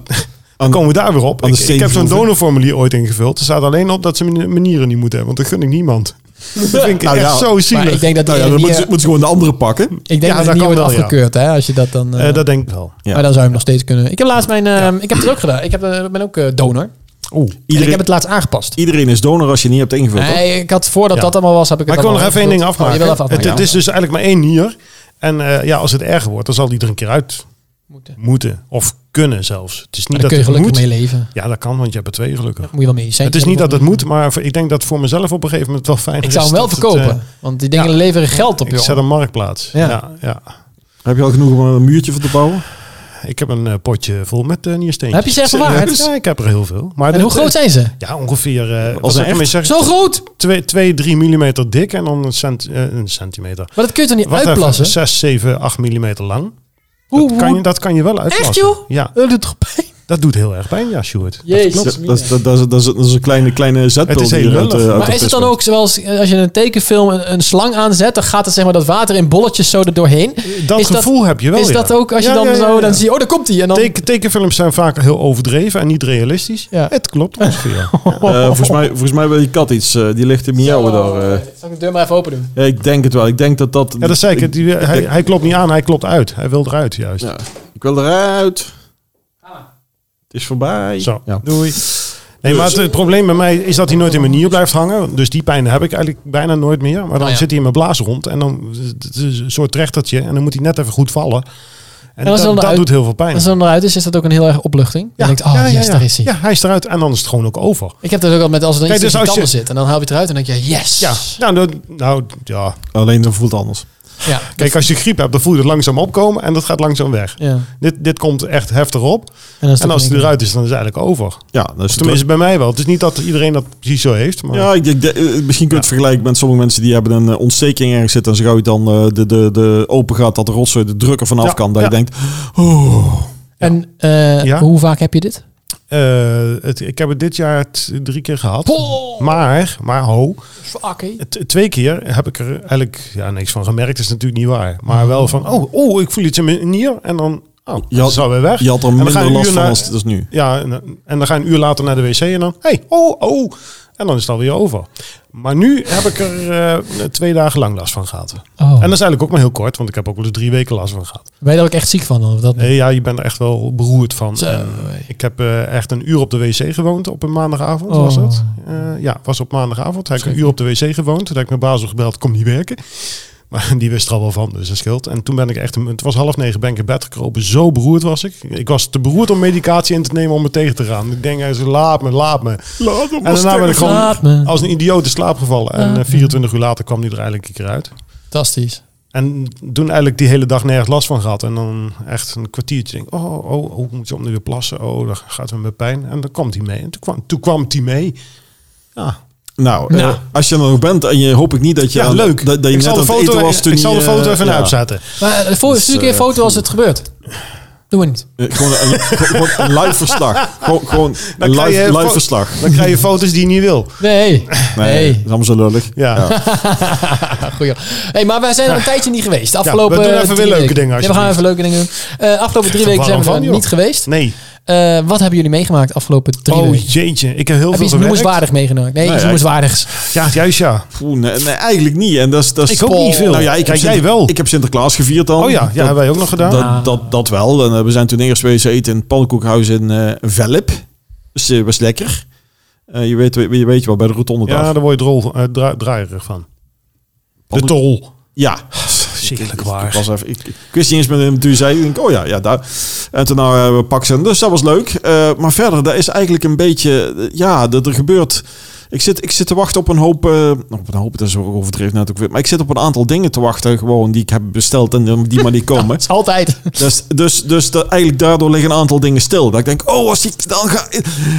Speaker 2: Aan-
Speaker 4: komen we daar weer op.
Speaker 2: aan de
Speaker 4: Ik, ik heb zo'n
Speaker 2: steengroeven.
Speaker 4: donorformulier ooit ingevuld. Er staat alleen op dat ze mijn manieren niet moeten hebben. Want dat gun ik niemand. Dat vind ik
Speaker 2: Nou
Speaker 4: echt
Speaker 2: ja,
Speaker 4: zo
Speaker 3: Maar
Speaker 4: zielig.
Speaker 3: ik denk dat die
Speaker 2: Nou ja, dan
Speaker 3: ene
Speaker 2: moeten ze,
Speaker 3: nier-
Speaker 2: moeten ze gewoon de andere pakken.
Speaker 3: Ik denk
Speaker 4: Ja,
Speaker 3: dat
Speaker 4: dat
Speaker 3: het niet
Speaker 4: kan
Speaker 3: wordt
Speaker 4: wel, ja.
Speaker 3: afgekeurd, hè? Als je dat dan... eh,
Speaker 4: Eh, dat denk ik wel.
Speaker 2: Ja.
Speaker 3: Maar dan zou je hem nog steeds kunnen... Ik heb laatst mijn... eh, Ik heb het ook gedaan. Ik heb, eh, ben ook eh, donor.
Speaker 4: Oeh.
Speaker 3: En ik
Speaker 2: Iedereen,
Speaker 3: heb het laatst aangepast.
Speaker 2: iedereen is donor als je niet hebt ingevuld. toch?
Speaker 3: Nee, ik had voordat
Speaker 4: Ja.
Speaker 3: dat allemaal was, heb ik
Speaker 4: Maar ik
Speaker 3: het
Speaker 4: wil nog
Speaker 3: allemaal
Speaker 4: even één ding
Speaker 3: ingevuld.
Speaker 4: afmaken.
Speaker 3: Oh, je wil
Speaker 4: het,
Speaker 3: even afmaken.
Speaker 4: het is dus eigenlijk maar één nier. En eh, ja, als het erger wordt, dan zal die er een keer uit
Speaker 3: Moeten.
Speaker 4: moeten. Of kunnen zelfs. Het is niet dat
Speaker 3: Maar daar kun je
Speaker 4: het
Speaker 3: gelukkig
Speaker 4: moet.
Speaker 3: mee leven.
Speaker 4: Ja, dat kan, want je hebt er twee gelukkig.
Speaker 3: Daar moet je wel mee zijn.
Speaker 4: Het is niet dat het moet, maar voor- ik denk dat voor mezelf op een gegeven moment wel fijn is.
Speaker 3: Ik zou hem wel
Speaker 4: dat het, eh,
Speaker 3: verkopen. want die dingen
Speaker 4: ja.
Speaker 3: leveren geld op,
Speaker 4: ik zet
Speaker 3: joh.
Speaker 4: een marktplaats.
Speaker 3: Ja.
Speaker 4: Ja. Ja,
Speaker 2: Heb je al genoeg om een muurtje voor te bouwen?
Speaker 4: Ik heb een eh, potje vol met eh niersteentjes.
Speaker 3: Heb je ze echt bewaard?
Speaker 4: waar? Ja, ik heb er heel veel. Maar
Speaker 3: En
Speaker 4: dit,
Speaker 3: hoe groot
Speaker 4: eh,
Speaker 3: zijn ze?
Speaker 4: Ja, ongeveer. eh
Speaker 2: Als
Speaker 4: Als
Speaker 2: een echt?
Speaker 4: ik zeg,
Speaker 3: Zo groot!
Speaker 4: 2, 3 millimeter dik en dan een, cent, eh, een centimeter.
Speaker 3: Maar dat kun je toch niet
Speaker 4: Wacht
Speaker 3: uitplassen?
Speaker 4: even, 6, 7, 8 millimeter lang.
Speaker 3: hoe,
Speaker 4: Dat kan, je,
Speaker 3: hoe?
Speaker 4: dat kan je wel uitplassen.
Speaker 3: joh?
Speaker 4: Ja,
Speaker 3: Dat doet toch pijn?
Speaker 4: dat doet heel erg pijn, ja, Sjoerd.
Speaker 2: Dat,
Speaker 3: Jezus.
Speaker 2: dat, dat, dat, is- dat is, dat is een kleine, kleine zetpil
Speaker 4: Het is
Speaker 2: die
Speaker 4: heel
Speaker 2: eruit,
Speaker 4: lullig.
Speaker 2: eh, uit
Speaker 3: Maar
Speaker 2: de
Speaker 3: is het
Speaker 2: pis
Speaker 3: dan
Speaker 2: komt.
Speaker 3: ook zoals eh, als je in een tekenfilm een, een slang aanzet, dan gaat er zeg maar dat water in bolletjes zo er doorheen?
Speaker 4: Dat
Speaker 3: Is dat-
Speaker 4: gevoel heb je wel.
Speaker 3: is
Speaker 4: ja.
Speaker 3: dat ook als je
Speaker 4: Ja,
Speaker 3: dan
Speaker 4: ja, ja,
Speaker 3: zo,
Speaker 4: ja.
Speaker 3: dan zie je, oh daar komt hij. En dan,
Speaker 4: Teken- tekenfilms zijn vaak heel overdreven en niet realistisch.
Speaker 3: Ja.
Speaker 4: Het klopt ongeveer.
Speaker 2: Eh, volgens, mij, volgens mij wil je kat iets. eh, die ligt te miauwen daar. eh.
Speaker 3: Oh, Zal ik de deur maar even open doen?
Speaker 2: Ja, ik denk het wel. Ik denk dat dat...
Speaker 4: ja, dat zei ik. het, die- hij,
Speaker 2: denk-
Speaker 4: hij klopt niet aan, hij klopt uit. Hij wil eruit juist.
Speaker 2: Ja, ik wil eruit. Het is voorbij.
Speaker 4: Zo,
Speaker 2: Ja.
Speaker 4: doei. Nee, maar het, het probleem bij mij is dat hij nooit in mijn nier blijft hangen. Dus die pijn heb ik eigenlijk bijna nooit meer. Maar dan
Speaker 3: Ah, ja.
Speaker 4: zit hij in mijn blaas rond en dan het is een soort trechtertje. En dan moet hij net even goed vallen. En,
Speaker 3: als
Speaker 4: dat,
Speaker 3: dan de
Speaker 4: dat
Speaker 3: uit-
Speaker 4: doet heel veel pijn.
Speaker 3: Als het dan eruit is, is dat ook een heel erg opluchting. Je denkt, oh
Speaker 4: ja, ja,
Speaker 3: yes,
Speaker 4: ja.
Speaker 3: daar is hij.
Speaker 4: Ja, hij is eruit en dan is het gewoon ook over.
Speaker 3: Ik heb dat ook al met als er dan
Speaker 4: Kijk,
Speaker 3: iets
Speaker 4: dus
Speaker 3: tussen je
Speaker 4: als
Speaker 3: tanden
Speaker 4: je-
Speaker 3: zit. En dan haal je het eruit en dan denk je, yes.
Speaker 4: Ja, nou, dat, nou ja.
Speaker 2: Alleen dan voelt het anders.
Speaker 3: Ja.
Speaker 4: Kijk, als je griep hebt, dan voel je het langzaam opkomen en dat gaat langzaam weg.
Speaker 3: Ja.
Speaker 4: Dit, dit komt echt heftig op.
Speaker 3: dan is
Speaker 4: En
Speaker 3: ook
Speaker 4: als het
Speaker 3: in één
Speaker 4: eruit is, dan is het eigenlijk over.
Speaker 2: Ja, dat is het
Speaker 4: Tenminste, bij mij wel. Het is niet dat iedereen dat precies zo heeft. Maar...
Speaker 2: Ja, ik, denk- eh, misschien kun je het vergelijken met sommige mensen die hebben een eh, ontsteking ergens zitten. En zo gauw je dan eh, de, de, de open gaat, dat de rotzooi de druk er vanaf
Speaker 4: Ja,
Speaker 2: kan. Dat je
Speaker 4: ja.
Speaker 2: denkt,
Speaker 3: En eh,
Speaker 4: Ja.
Speaker 3: hoe vaak heb je dit?
Speaker 4: Eh, het, ik heb het dit jaar t- drie keer gehad. Maar, maar ho, t- twee keer heb ik er eigenlijk ja, niks van gemerkt. is natuurlijk niet waar. Maar wel van, oh, oh ik voel iets in mijn nier. En dan, oh,
Speaker 2: Je
Speaker 4: dat
Speaker 2: had-
Speaker 4: is alweer weg.
Speaker 2: je had er
Speaker 4: dan ga
Speaker 2: minder
Speaker 4: je een
Speaker 2: last
Speaker 4: uur
Speaker 2: van
Speaker 4: naar-
Speaker 2: als het is nu.
Speaker 4: Ja, en, en dan ga je een uur later naar de wc en dan, hey, oh, oh. En dan is het alweer over. Maar nu heb ik er eh, twee dagen lang last van gehad.
Speaker 3: Oh.
Speaker 4: En dat is eigenlijk ook maar heel kort, want ik heb ook wel eens drie weken last van gehad.
Speaker 3: Ben je daar ook echt ziek van? dan? Of dat
Speaker 4: Eh, ja, je bent er echt wel beroerd van.
Speaker 3: Zo,
Speaker 4: En
Speaker 3: hé.
Speaker 4: ik heb eh, echt een uur op de wc gewoond op een maandagavond,
Speaker 3: Oh.
Speaker 4: was dat? Eh, ja, was op maandagavond. Heb ik een uur op de wc gewoond. Toen heb ik mijn baas gebeld, kom niet werken. Maar die wist er al wel van, dus dat scheelt. En toen ben ik echt, het was half negen, ben ik in bed gekropen. Zo beroerd was ik. Ik was te beroerd om medicatie in te nemen om me tegen te gaan. Ik denk, eh, ze laat me, laat me.
Speaker 2: Laat hem
Speaker 4: En daarna ben ik
Speaker 3: Laat
Speaker 4: gewoon
Speaker 3: me.
Speaker 4: als een idioot in slaap gevallen. En eh, 24 uur later kwam die er eigenlijk een keer uit.
Speaker 3: Fantastisch.
Speaker 4: En toen eigenlijk die hele dag nergens last van gehad. En dan echt een kwartiertje denk ik, oh, oh, oh, ik moet je om nu weer plassen? Oh, dan gaat het met pijn. En dan kwam die mee. En toen kwam, toen kwam die mee. Ja,
Speaker 2: Nou, eh,
Speaker 3: Nou.
Speaker 2: als je er nog bent en je hoop ik niet dat je,
Speaker 4: ja,
Speaker 2: aan-
Speaker 4: leuk.
Speaker 2: Dat, dat je
Speaker 4: ik
Speaker 2: net
Speaker 4: zal de
Speaker 2: aan het
Speaker 4: foto, e-
Speaker 2: eten was toen
Speaker 4: ik zal
Speaker 2: je,
Speaker 4: de foto
Speaker 2: eh,
Speaker 4: even
Speaker 2: ja.
Speaker 4: uitzetten.
Speaker 3: Maar eh, voor,
Speaker 2: Dus,
Speaker 3: stuur een keer een
Speaker 2: eh,
Speaker 3: foto als het gebeurt. Doen we niet.
Speaker 2: Eh, Gewoon een, gewoon een live verslag. Gewoon, gewoon een
Speaker 4: Dan krijg
Speaker 2: live,
Speaker 4: je
Speaker 2: live
Speaker 4: fo-
Speaker 2: verslag.
Speaker 4: Dan krijg je foto's die je niet wil.
Speaker 3: Nee.
Speaker 2: Nee,
Speaker 3: Nee.
Speaker 2: dat is allemaal zo lullig.
Speaker 4: Ja.
Speaker 3: Ah, goeie. Hey, maar wij zijn er een tijdje niet geweest. De afgelopen
Speaker 4: we doen
Speaker 3: eh,
Speaker 4: even weer
Speaker 3: drie
Speaker 4: leuke
Speaker 3: weken.
Speaker 4: dingen,
Speaker 3: Ja, we gaan
Speaker 4: alsjeblieft.
Speaker 3: even leuke dingen doen. Eh, afgelopen drie weken zijn we
Speaker 4: warm
Speaker 3: er
Speaker 4: van, joh.
Speaker 3: niet geweest.
Speaker 4: Nee.
Speaker 3: Eh, wat hebben jullie meegemaakt afgelopen drie
Speaker 4: oh,
Speaker 3: weken?
Speaker 4: jeetje. Ik heb heel veel
Speaker 3: Heb je iets
Speaker 4: gewerkt.
Speaker 3: noemenswaardig meegenomen? Nee,
Speaker 2: Nou
Speaker 3: iets
Speaker 2: ja, ik-
Speaker 3: noemenswaardigs.
Speaker 4: Ja, juist ja.
Speaker 2: Oeh, nee, nee, eigenlijk niet. En dat is, dat is
Speaker 4: Ik ook niet veel.
Speaker 2: Nou ja, ik heb
Speaker 4: Kijk, jij
Speaker 2: Sinter-
Speaker 4: wel.
Speaker 2: Ik heb Sinterklaas gevierd dan.
Speaker 4: Oh ja, ja
Speaker 2: Dat-
Speaker 4: hebben wij ook nog gedaan.
Speaker 2: Dat, dat, dat wel. En eh, we zijn toen eerst geweest eten in het pannenkoekhuis in eh Velp. Dus eh, was lekker. Eh, je, weet, je weet wel, bij de rotonde
Speaker 4: ja,
Speaker 2: daar.
Speaker 4: daar word je drol, eh, dra- draaierig van. De
Speaker 2: Pannenkoek-
Speaker 4: tol.
Speaker 2: Ja.
Speaker 4: Verschrikkelijk
Speaker 2: Ik- ik-
Speaker 4: waar.
Speaker 2: Ik, was even, ik, ik wist niet eens met hem. Toen zei ik, denk, oh ja, ja daar. En toen nou we pak ze. Dus dat was leuk. Eh, maar verder, daar is eigenlijk een beetje... eh, Ja, dat er gebeurt... Ik zit, ik zit te wachten op een hoop... eh, op een hoop, dat is ook overdreven net ook weer. Maar ik zit op een aantal dingen te wachten. Gewoon die ik heb besteld en eh, die maar niet komen.
Speaker 3: Het is altijd.
Speaker 2: Dus, dus, dus dat, eigenlijk daardoor liggen een aantal dingen stil. Dat ik denk, oh, als ik dan ga...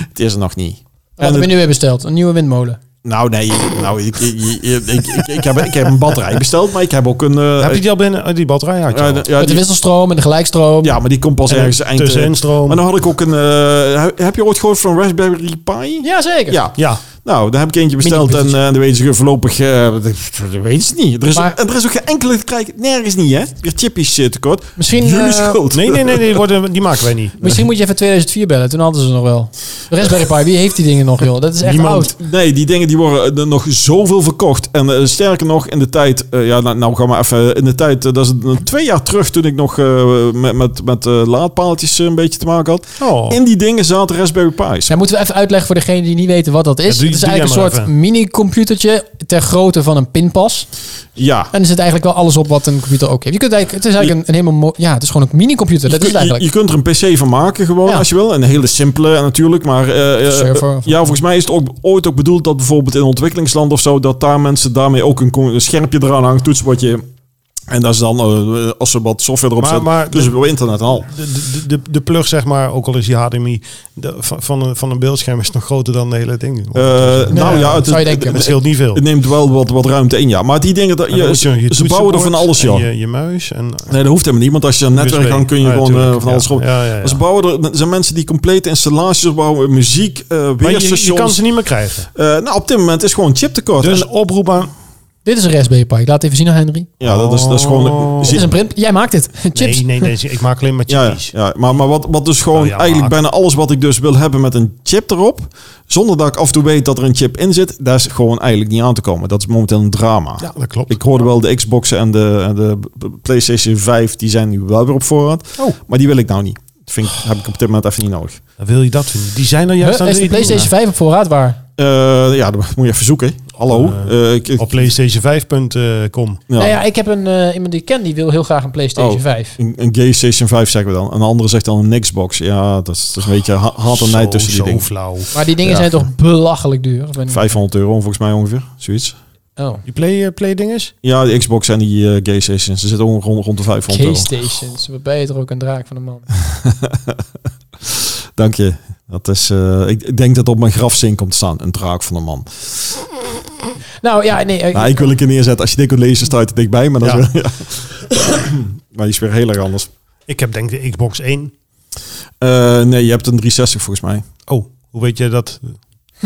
Speaker 2: Het is er nog niet.
Speaker 3: Wat
Speaker 2: het-
Speaker 3: hebben we nu weer besteld? Een nieuwe windmolen.
Speaker 2: nou, nee. Nou, ik, ik, ik, ik, ik heb, ik heb een batterij besteld, maar ik heb ook een... eh,
Speaker 4: Heb je die al binnen? eh, Die batterij had je
Speaker 2: ja,
Speaker 4: al.
Speaker 2: de- ja,
Speaker 3: Met de
Speaker 2: die-
Speaker 3: wisselstroom en de gelijkstroom.
Speaker 2: ja, maar die komt pas
Speaker 4: En
Speaker 2: ergens eind... eh,
Speaker 4: tusseninstroom.
Speaker 2: Maar dan had ik ook een... eh, he- heb je ooit gehoord van Raspberry Pi?
Speaker 3: Ja, zeker.
Speaker 2: Ja.
Speaker 4: Ja,
Speaker 2: Nou, daar heb ik eentje besteld en
Speaker 3: Mini-computertje.
Speaker 2: eh dan weten ze voorlopig... eh dat- dat weten ze niet. Er is,
Speaker 3: Maar-
Speaker 2: en er is ook geen enkele te krijgen. Nergens niet, hè? Weer chippies eh, tekort.
Speaker 3: Misschien,
Speaker 2: Jullie
Speaker 3: eh,
Speaker 2: schuld.
Speaker 4: nee, nee, nee, die, worden, die maken wij niet.
Speaker 3: Misschien moet je even 2004 bellen. Toen hadden ze nog wel. De Raspberry Pi, wie heeft die dingen nog, joh? Dat is echt
Speaker 4: Niemand.
Speaker 3: oud.
Speaker 2: Nee, die dingen die worden er nog zoveel verkocht. En eh, sterker nog, in de tijd... eh, ja, nou, nou gaan we even... In de tijd, eh, dat is een- twee jaar terug toen ik nog eh, met, met, met eh, laadpaaltjes eh, een beetje te maken had.
Speaker 4: Oh.
Speaker 2: In die dingen zaten Raspberry Pi's.
Speaker 3: Dan moeten we even uitleggen voor degenen die niet weten wat dat is.
Speaker 4: Ja, doe-
Speaker 3: het is
Speaker 4: doe
Speaker 3: eigenlijk
Speaker 4: jij
Speaker 3: een
Speaker 4: maar
Speaker 3: soort mini-computertje ter grootte van een pinpas.
Speaker 2: Ja.
Speaker 3: En er zit eigenlijk wel alles op wat een computer ook heeft. Je kunt eigenlijk, het is eigenlijk een, een helemaal... mo- Ja, het is gewoon een mini-computer. Dat is het
Speaker 2: Je- je,
Speaker 3: eigenlijk.
Speaker 2: je kunt er een PC van maken, gewoon
Speaker 3: Ja.
Speaker 2: als je wil. Een hele simpele eh, natuurlijk. Maar eh, eh,
Speaker 3: server of-
Speaker 2: ja, volgens mij is het ook, ooit ook bedoeld dat bijvoorbeeld in ontwikkelingsland of zo, dat daar mensen daarmee ook een, con- een schermpje eraan hangen, toetsenbordje. En dat is dan, eh, als ze wat software erop
Speaker 4: Maar-
Speaker 2: zetten,
Speaker 4: maar-
Speaker 2: dus op internet al.
Speaker 4: De, de, de, de plug, zeg maar, ook al is die HDMI de- van, van, een, van een beeldscherm, is nog groter dan de hele ding.
Speaker 2: Eh, nou ja, het,
Speaker 3: zou je
Speaker 2: het-
Speaker 3: denken.
Speaker 4: dat
Speaker 2: het-
Speaker 4: scheelt niet veel.
Speaker 2: het neemt wel wat, wat ruimte in, ja. Maar die dingen, dat,
Speaker 4: En dan
Speaker 2: je,
Speaker 4: moet je je
Speaker 2: ze bouwen er van
Speaker 4: toetsenbord
Speaker 2: alles,
Speaker 4: en
Speaker 2: joh.
Speaker 4: Je, je muis en...
Speaker 2: Nee, dat hoeft helemaal niet, want als je een netwerk
Speaker 4: USB.
Speaker 2: hangt, kun je
Speaker 4: Ja,
Speaker 2: gewoon eh,
Speaker 4: tuurlijk.
Speaker 2: van alles
Speaker 4: Ja,
Speaker 2: gewoon...
Speaker 4: ja, ja, ja.
Speaker 2: Ze bouwen er, er zijn mensen die complete installaties bouwen, muziek, eh
Speaker 4: Maar je- je,
Speaker 2: weerstations.
Speaker 4: kan ze niet meer krijgen.
Speaker 2: Eh, nou, op dit moment is gewoon chiptekort.
Speaker 4: Dus
Speaker 2: En-
Speaker 4: oproep aan...
Speaker 3: Dit is een Raspberry Pi. Ik laat het even zien aan Henry.
Speaker 2: ja, dat is, dat is gewoon...
Speaker 4: Oh.
Speaker 3: Dit is een print. Jij maakt dit. Chips.
Speaker 4: Nee, nee, nee, ik maak alleen maar
Speaker 2: ja,
Speaker 4: chippies.
Speaker 2: ja, maar, maar wat, wat dus gewoon
Speaker 4: Nou ja,
Speaker 2: eigenlijk
Speaker 4: maar-
Speaker 2: bijna alles wat ik dus wil hebben met een chip erop, zonder dat ik af en toe weet dat er een chip in zit, daar is gewoon eigenlijk niet aan te komen. Dat is momenteel een drama.
Speaker 4: Ja, dat klopt.
Speaker 2: Ik hoorde wel de Xboxen en de, en de PlayStation 5, die zijn nu wel weer op voorraad.
Speaker 4: Oh.
Speaker 2: Maar die wil ik nou niet. Dat vind ik, heb ik op dit moment even niet nodig.
Speaker 4: Dan wil je dat vinden. Die zijn er
Speaker 3: Huh?
Speaker 4: juist aan
Speaker 3: Is de
Speaker 4: het
Speaker 3: PlayStation 5 op voorraad waar?
Speaker 2: Eh, ja, dat moet je even zoeken. Hallo. Eh, ik, ik-
Speaker 4: Op playstation5.com.
Speaker 2: ja.
Speaker 3: Nou ja, ik heb een, eh, iemand die ik ken, die wil heel graag een PlayStation
Speaker 2: Oh.
Speaker 3: 5.
Speaker 2: Een, een gay Station 5 zeggen we dan. Een andere zegt dan een Xbox. Ja, dat is, dat is een beetje ha- haat en nijd tussen die
Speaker 4: zo
Speaker 2: dingen.
Speaker 4: flauw.
Speaker 3: Maar die dingen
Speaker 2: Ja.
Speaker 3: zijn toch belachelijk duur? Of ben ik-
Speaker 2: 500 euro volgens mij ongeveer, zoiets.
Speaker 3: Oh.
Speaker 4: Die play, eh, play dinges?
Speaker 2: Ja, de Xbox en die eh, gay stations, ze zitten ongeveer rond, rond de 500 euro.
Speaker 3: K-stations. Wat ben je er ook een draak van een man?
Speaker 2: Dank je. Dat is, eh, ik, ik denk dat op mijn grafzin komt te staan, een draak van een man.
Speaker 3: Nou ja, nee. eh,
Speaker 2: Nou, ik wil een keer neerzetten. Als je dit kunt lezen, staat het dichtbij, maar dat
Speaker 4: Ja.
Speaker 2: is wel- ja. Maar die is weer heel erg anders.
Speaker 4: Ik heb denk ik de Xbox 1.
Speaker 2: Eh, nee, je hebt een 360 volgens mij.
Speaker 4: Oh, hoe weet jij dat?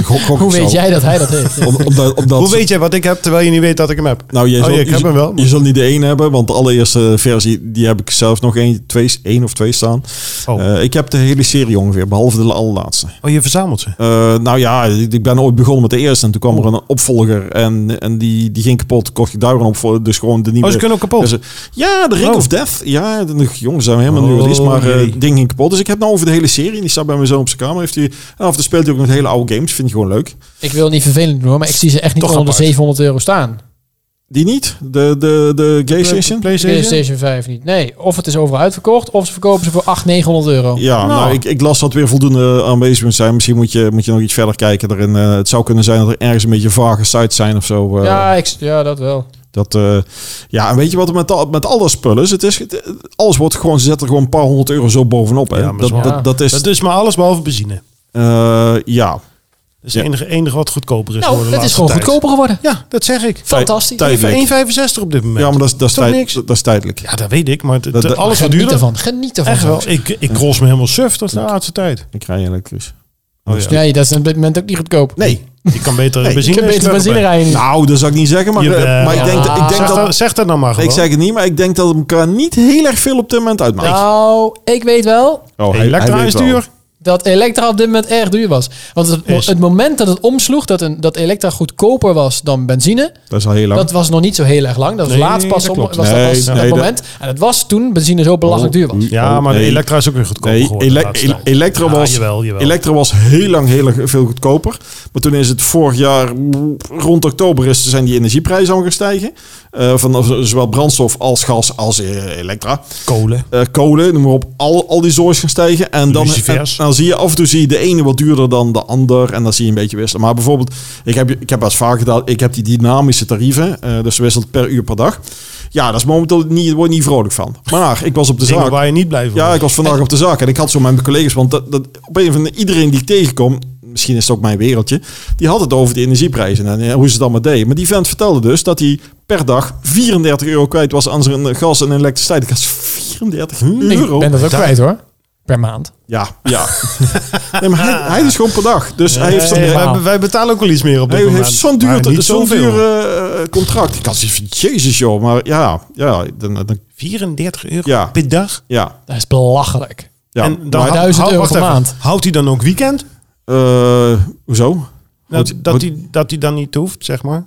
Speaker 2: Gok- gok
Speaker 3: Hoe
Speaker 2: ik zo.
Speaker 3: weet jij dat hij dat heeft? Ja.
Speaker 2: Om- omdat- omdat-
Speaker 4: Hoe weet jij wat ik heb, terwijl je niet weet dat ik hem heb?
Speaker 2: Nou, jij
Speaker 4: Oh,
Speaker 2: zal,
Speaker 4: ja, ik heb
Speaker 2: je,
Speaker 4: hem wel, maar-
Speaker 2: je zal niet de één hebben, want de allereerste versie die heb ik zelf nog één, twee, één of twee staan.
Speaker 4: Oh.
Speaker 2: Eh, ik heb de hele serie ongeveer, behalve de allerlaatste.
Speaker 4: Oh, je verzamelt ze.
Speaker 2: Eh, nou ja, ik ben ooit begonnen met de eerste en toen kwam er
Speaker 4: Oh.
Speaker 2: een opvolger en, en die, die ging kapot. Kocht ik daar een opvolger, dus gewoon de nieuwe.
Speaker 4: Oh, ze kunnen ook kapot.
Speaker 2: Dus, eh, ja, de Ring
Speaker 4: Oh.
Speaker 2: of Death. Ja, de, jongens zijn we helemaal nieuw. Het is
Speaker 4: Oh,
Speaker 2: maar eh,
Speaker 4: jee.
Speaker 2: het ding ging kapot. Dus ik heb nou over de hele serie. En die staat bij mijn zoon op zijn kamer. Heeft hij, en af en toe speelt hij ook met hele oude games. Vind ik gewoon leuk.
Speaker 3: Ik wil niet vervelend doen, hoor, maar ik zie ze echt niet
Speaker 4: Toch
Speaker 3: onder de
Speaker 4: apart.
Speaker 3: 700 euro staan.
Speaker 2: Die niet? De, de, de Gaystation?
Speaker 4: PlayStation?
Speaker 3: PlayStation 5 niet. Nee, of het is overal uitverkocht, of ze verkopen ze voor 800, 900
Speaker 4: oh.
Speaker 3: euro.
Speaker 2: Ja, nou, ik, ik las dat weer voldoende aanwezig moet zijn. Misschien moet je, moet je nog iets verder kijken erin. Eh, het zou kunnen zijn dat er ergens een beetje vage sites zijn of zo. eh,
Speaker 3: Ja, ik, ja dat wel.
Speaker 2: Dat, eh, ja, en weet je wat er met, al- met al dat spul is? Het is het- alles wordt gewoon, ze zetten er gewoon een paar honderd euro zo bovenop. Hè?
Speaker 4: Ja, maar
Speaker 2: dat,
Speaker 4: zwaar.
Speaker 2: dat, dat is,
Speaker 4: Dat is maar alles behalve benzine.
Speaker 2: eh, ja,
Speaker 4: Dat is
Speaker 2: Ja.
Speaker 4: het enige, enige wat goedkoper is
Speaker 3: Nou,
Speaker 4: geworden de
Speaker 3: dat
Speaker 4: laatste
Speaker 3: is gewoon
Speaker 4: tijd.
Speaker 3: goedkoper geworden.
Speaker 4: Ja, dat zeg ik.
Speaker 3: Fantastisch.
Speaker 2: tijd- Tijdelijk.
Speaker 4: 1,65 op dit moment.
Speaker 2: ja, maar dat is, dat is,
Speaker 4: Toch
Speaker 2: tijd-
Speaker 4: niks?
Speaker 2: dat is tijdelijk.
Speaker 4: Ja, dat weet ik, maar het-
Speaker 2: Dat-
Speaker 4: het-
Speaker 2: dat-
Speaker 4: alles wat
Speaker 3: Geniet
Speaker 4: duurder.
Speaker 3: ervan. Geniet ervan.
Speaker 4: Echt wel.
Speaker 3: jongens.
Speaker 4: Ik, ik cross me helemaal suf, dat is de laatste tijd.
Speaker 2: Ik rij elektrisch.
Speaker 4: Oh, ja.
Speaker 3: Nee, dat is op dit moment ook niet goedkoop.
Speaker 2: Nee,
Speaker 4: Je kan beter
Speaker 2: Nee,
Speaker 4: benzine
Speaker 3: Je kunt beter
Speaker 4: slurpen.
Speaker 3: benzine rijden.
Speaker 2: nou, dat zou ik niet zeggen. Maar, eh,
Speaker 4: Jawel.
Speaker 2: maar ik denk, dat- ik
Speaker 4: Zeg,
Speaker 2: denk dat...
Speaker 4: dat, zeg dat nou maar gewoon.
Speaker 2: Ik zeg het niet, maar ik denk dat het elkaar niet heel erg veel op dit moment uitmaakt.
Speaker 3: Nou, ik weet wel
Speaker 2: Oh, hij- hij
Speaker 4: Elektra
Speaker 2: weet
Speaker 4: is
Speaker 2: wel.
Speaker 4: duur.
Speaker 3: dat Elektra op dit moment erg duur was. Want het,
Speaker 4: Is.
Speaker 3: het moment dat het omsloeg, dat, een, dat Elektra goedkoper was dan benzine,
Speaker 2: Dat is al heel lang.
Speaker 3: dat was nog niet zo heel erg lang. Dat was
Speaker 4: Nee,
Speaker 3: laatst pas
Speaker 4: dat
Speaker 3: om, was
Speaker 4: klopt.
Speaker 3: dat,
Speaker 2: Nee,
Speaker 3: was
Speaker 2: nee,
Speaker 3: dat
Speaker 2: dat-
Speaker 3: moment. En dat was toen benzine zo belachelijk duur was.
Speaker 4: Ja,
Speaker 2: Oh,
Speaker 4: maar de
Speaker 2: nee.
Speaker 4: Elektra is ook weer goedkoper
Speaker 2: Nee,
Speaker 4: geworden.
Speaker 2: ele-
Speaker 4: de laatste
Speaker 2: ele-
Speaker 4: tijd.
Speaker 2: Elektra
Speaker 4: Ja,
Speaker 2: was,
Speaker 4: jawel, jawel.
Speaker 2: Elektra was heel lang heel erg veel goedkoper. Maar toen is het vorig jaar mm, rond oktober is, zijn die energieprijzen allemaal gaan stijgen. eh, van z- zowel brandstof als gas als eh, elektra.
Speaker 4: Kolen.
Speaker 2: Eh, kolen, noem maar op, al, al die zorgs gaan stijgen. En dan, en,
Speaker 4: Lucifers.
Speaker 2: dan zie je af en toe zie je de ene wat duurder dan de ander. En dan zie je een beetje wisselen. Maar bijvoorbeeld, ik heb, ik heb wel eens vaak gedaan, ik heb die dynamische tarieven. eh, dus wisselt per uur per dag. Ja, dat is momenteel niet, daar word je niet vrolijk van. Maar ik was op de
Speaker 4: Dingen
Speaker 2: zaak.
Speaker 4: waar je niet blij van
Speaker 2: Ja,
Speaker 4: wordt.
Speaker 2: ik was vandaag op de zaak en ik had zo met mijn collega's, want dat, dat, op een van de, iedereen die ik tegenkom, misschien is het ook mijn wereldje, die had het over de energieprijzen en eh, hoe ze het allemaal deden. Maar die vent vertelde dus dat hij per dag 34 euro kwijt was aan zijn gas en elektriciteit. Ik dacht, 34
Speaker 4: Hm?
Speaker 2: euro?
Speaker 3: Ik ben dat ook
Speaker 4: Dat-
Speaker 3: kwijt hoor. Per maand.
Speaker 2: Ja, ja. nee, maar hij, hij is gewoon per dag. Dus hij heeft,
Speaker 4: Nee,
Speaker 2: hij
Speaker 4: wij, wij betalen ook wel iets meer op dit
Speaker 2: heeft
Speaker 4: moment.
Speaker 2: zo'n
Speaker 4: Maar
Speaker 2: duur,
Speaker 4: niet
Speaker 2: zo'n
Speaker 4: zoveel.
Speaker 2: duur eh, contract. Ik had zoiets van, jezus joh, maar ja, ja, dan, dan,
Speaker 4: 34 euro
Speaker 2: Ja.
Speaker 4: per dag.
Speaker 2: ja.
Speaker 3: Dat is belachelijk.
Speaker 2: ja.
Speaker 4: en dan
Speaker 2: Maar,
Speaker 4: hou-
Speaker 3: 1000
Speaker 4: hou-
Speaker 3: euro
Speaker 4: wacht
Speaker 3: per
Speaker 4: even.
Speaker 3: maand.
Speaker 4: Houdt hij dan ook weekend?
Speaker 2: eh, hoezo?
Speaker 4: Dat,
Speaker 2: Houdt-
Speaker 4: dat,
Speaker 2: houdt-
Speaker 4: hij, dat hij dan niet hoeft, zeg maar.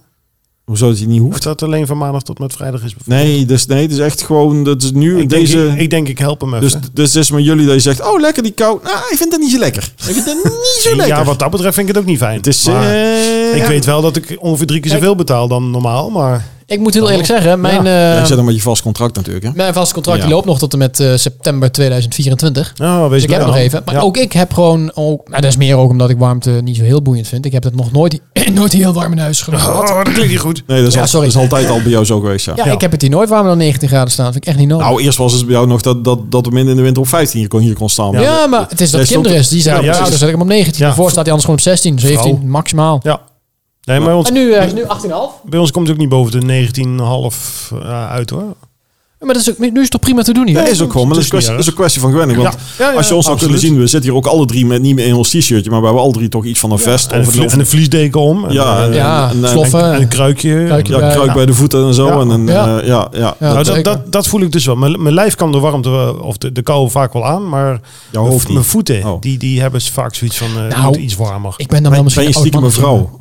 Speaker 2: Hoezo dat hij niet hoeft?
Speaker 4: Of dat alleen van maandag tot met vrijdag is. bijvoorbeeld.
Speaker 2: Nee, dus nee, dus echt gewoon dat is nu
Speaker 4: ik,
Speaker 2: deze.
Speaker 4: denk, ik, ik denk, ik help hem even.
Speaker 2: dus, dus het is met jullie dat je zegt, oh lekker die kou. Nou, ik vind dat niet zo lekker. Ik vind dat niet zo lekker.
Speaker 4: ja, wat dat betreft vind ik het ook niet fijn.
Speaker 2: het is.
Speaker 4: Maar
Speaker 2: eh,
Speaker 4: ik
Speaker 2: ja.
Speaker 4: weet wel dat ik ongeveer drie keer zoveel betaal dan normaal, maar...
Speaker 3: Ik moet heel eerlijk zeggen, mijn,
Speaker 2: Ja,
Speaker 3: eh,
Speaker 4: Ehm,
Speaker 2: je zit dan met je vast contract natuurlijk. Hè?
Speaker 3: mijn vaste contract die
Speaker 2: Ja.
Speaker 3: loopt nog tot en met eh, september 2024.
Speaker 4: Oh, wees
Speaker 3: Dus ik heb
Speaker 4: blij
Speaker 3: nog
Speaker 4: dan.
Speaker 3: even. Maar
Speaker 4: Ja.
Speaker 3: ook ik heb gewoon... Ook, nou, dat is meer ook omdat ik warmte niet zo heel boeiend vind. Ik heb dat nog nooit, nooit heel warm in huis gehad.
Speaker 4: Oh, dat klinkt niet goed.
Speaker 2: Nee, dat is,
Speaker 3: Ja,
Speaker 2: al-
Speaker 3: sorry.
Speaker 2: dat is altijd al bij jou zo geweest. Ja.
Speaker 3: Ja,
Speaker 4: Ja.
Speaker 3: ik heb het hier nooit warmer dan 19 graden staan. vind ik echt niet nodig.
Speaker 2: Nou, eerst was het bij jou nog dat, dat, dat we minder in de winter op 15 hier kon, hier kon staan.
Speaker 3: ja, maar het is dat
Speaker 2: Jij stond-
Speaker 3: kinderen is. Die zijn
Speaker 4: Ja,
Speaker 3: ja,
Speaker 4: juist.
Speaker 3: zet ik hem op 19.
Speaker 4: Ja.
Speaker 3: Daarvoor staat hij anders gewoon op 16, 17
Speaker 4: Vrouw.
Speaker 3: maximaal.
Speaker 4: Ja. Nee, maar bij ons,
Speaker 3: En nu, eh, hij is nu 18,5.
Speaker 4: bij ons komt het ook niet boven de 19,5 eh, uit hoor.
Speaker 3: Maar dat is ook, nu is het toch prima te doen hier?
Speaker 2: Dat is ook gewoon, maar dat is,
Speaker 4: Het is
Speaker 2: kwestie-
Speaker 4: niet
Speaker 2: dat is een kwestie van gewenning. Want
Speaker 4: Ja. Ja, ja,
Speaker 2: als je ons zou
Speaker 4: absoluut.
Speaker 2: kunnen zien, we zitten hier ook alle drie met niet meer in ons t-shirtje, maar we hebben alle drie toch iets van een vest.
Speaker 4: En een,
Speaker 2: of een,
Speaker 4: vlie-
Speaker 2: of
Speaker 4: en
Speaker 2: een,
Speaker 4: een vliesdeken om. En,
Speaker 2: Ja,
Speaker 4: eh,
Speaker 3: ja,
Speaker 2: en- en-
Speaker 3: sloffen.
Speaker 4: en een kruikje.
Speaker 3: Kruikje.
Speaker 2: ja, kruik
Speaker 3: Ja.
Speaker 2: bij de voeten en zo.
Speaker 4: Ja.
Speaker 2: En, een,
Speaker 3: Ja.
Speaker 2: eh, ja, ja.
Speaker 3: Ja.
Speaker 4: Nou, dat,
Speaker 3: zeker.
Speaker 4: dat, dat voel ik dus wel. Mijn, mijn lijf kan de warmte wel- of de, de kou vaak wel aan, maar
Speaker 2: Jouw
Speaker 4: mijn-
Speaker 2: hoofd niet.
Speaker 4: mijn voeten,
Speaker 2: Oh.
Speaker 4: die, die hebben vaak zoiets van eh, die
Speaker 3: Nou,
Speaker 4: moeten iets warmer.
Speaker 3: ik ben dan wel misschien
Speaker 2: Ben je
Speaker 3: een oud
Speaker 2: stiekem een
Speaker 3: mannetje.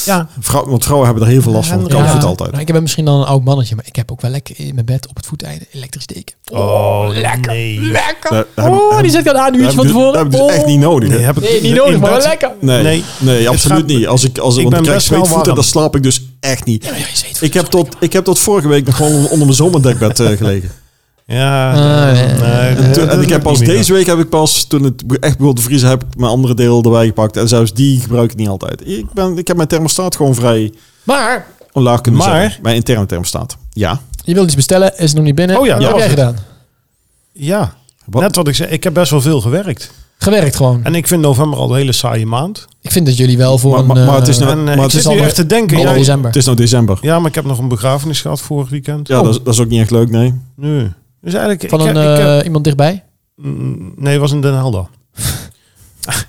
Speaker 2: vrouw? Oh.
Speaker 4: ja,
Speaker 2: Vrouw, want vrouwen hebben er heel veel last van.
Speaker 4: Ja,
Speaker 2: Kan
Speaker 4: ja.
Speaker 2: voet altijd.
Speaker 3: Nou, ik ben misschien dan een oud mannetje, maar ik heb ook wel lekker in mijn bed op het voeteinde elektrisch deken.
Speaker 4: Oh, nee.
Speaker 3: Lekker.
Speaker 2: Daar- daar heb ik-
Speaker 3: oh, die zit dan aan een uurtje van
Speaker 2: Dat
Speaker 3: tevoren. Oh.
Speaker 2: heb ik dus echt niet nodig. hè?
Speaker 4: Nee, heb ik
Speaker 3: Nee, niet
Speaker 4: in
Speaker 3: nodig, maar wel
Speaker 4: bed-
Speaker 3: lekker.
Speaker 2: Nee, nee,
Speaker 4: Nee. Het
Speaker 2: absoluut
Speaker 4: gaat-
Speaker 2: niet. Als ik, als,
Speaker 4: Ik
Speaker 2: want
Speaker 4: ben
Speaker 2: ik krijg
Speaker 4: best wel
Speaker 2: zweetvoeten,
Speaker 4: warm.
Speaker 2: dan slaap ik dus echt niet.
Speaker 3: Ja, je zweet.
Speaker 2: Ik heb, tot, ik heb tot vorige week nog gewoon onder mijn zomerdekbed eh, gelegen.
Speaker 4: Ja,
Speaker 3: Ah, nee.
Speaker 4: nee,
Speaker 2: En, toen,
Speaker 4: dat- dat
Speaker 2: en ik
Speaker 4: lukt
Speaker 2: heb pas
Speaker 4: niet meer.
Speaker 2: deze week, heb ik pas, toen het echt begon te vriezen, heb ik mijn andere deel erbij gepakt. En zelfs die gebruik ik niet altijd. Ik, ben, ik heb mijn thermostaat gewoon vrij
Speaker 3: Maar
Speaker 2: omlaag kunnen
Speaker 4: Maar-
Speaker 2: zetten. Mijn interne thermostaat. Ja.
Speaker 3: je wilde iets bestellen, is nog niet binnen.
Speaker 4: Oh ja,
Speaker 3: wat
Speaker 4: dat
Speaker 3: heb jij
Speaker 4: was
Speaker 3: gedaan?
Speaker 4: Ja,
Speaker 2: Wat?
Speaker 4: net wat ik zei. Ik heb best wel veel gewerkt.
Speaker 3: Gewerkt gewoon.
Speaker 4: En ik vind november al een hele saaie maand.
Speaker 3: Ik vind dat jullie wel voor
Speaker 2: Maar- maar-
Speaker 3: een,
Speaker 2: maar het is
Speaker 3: eh,
Speaker 2: nou-
Speaker 4: En eh,
Speaker 2: maar
Speaker 4: ik
Speaker 2: het
Speaker 4: zit
Speaker 2: is
Speaker 4: nu
Speaker 3: alweer-
Speaker 4: echt te denken.
Speaker 3: half
Speaker 4: Ja,
Speaker 3: december.
Speaker 2: Het is nou december.
Speaker 4: ja, maar ik heb nog een begrafenis gehad vorig weekend.
Speaker 2: Ja, dat, is- dat is ook niet echt leuk, nee.
Speaker 4: Nee. Dus eigenlijk...
Speaker 3: van
Speaker 4: ik
Speaker 3: een,
Speaker 4: heb- ik heb-
Speaker 3: eh, iemand dichtbij.
Speaker 4: Mm, Nee, het was in Den Helder.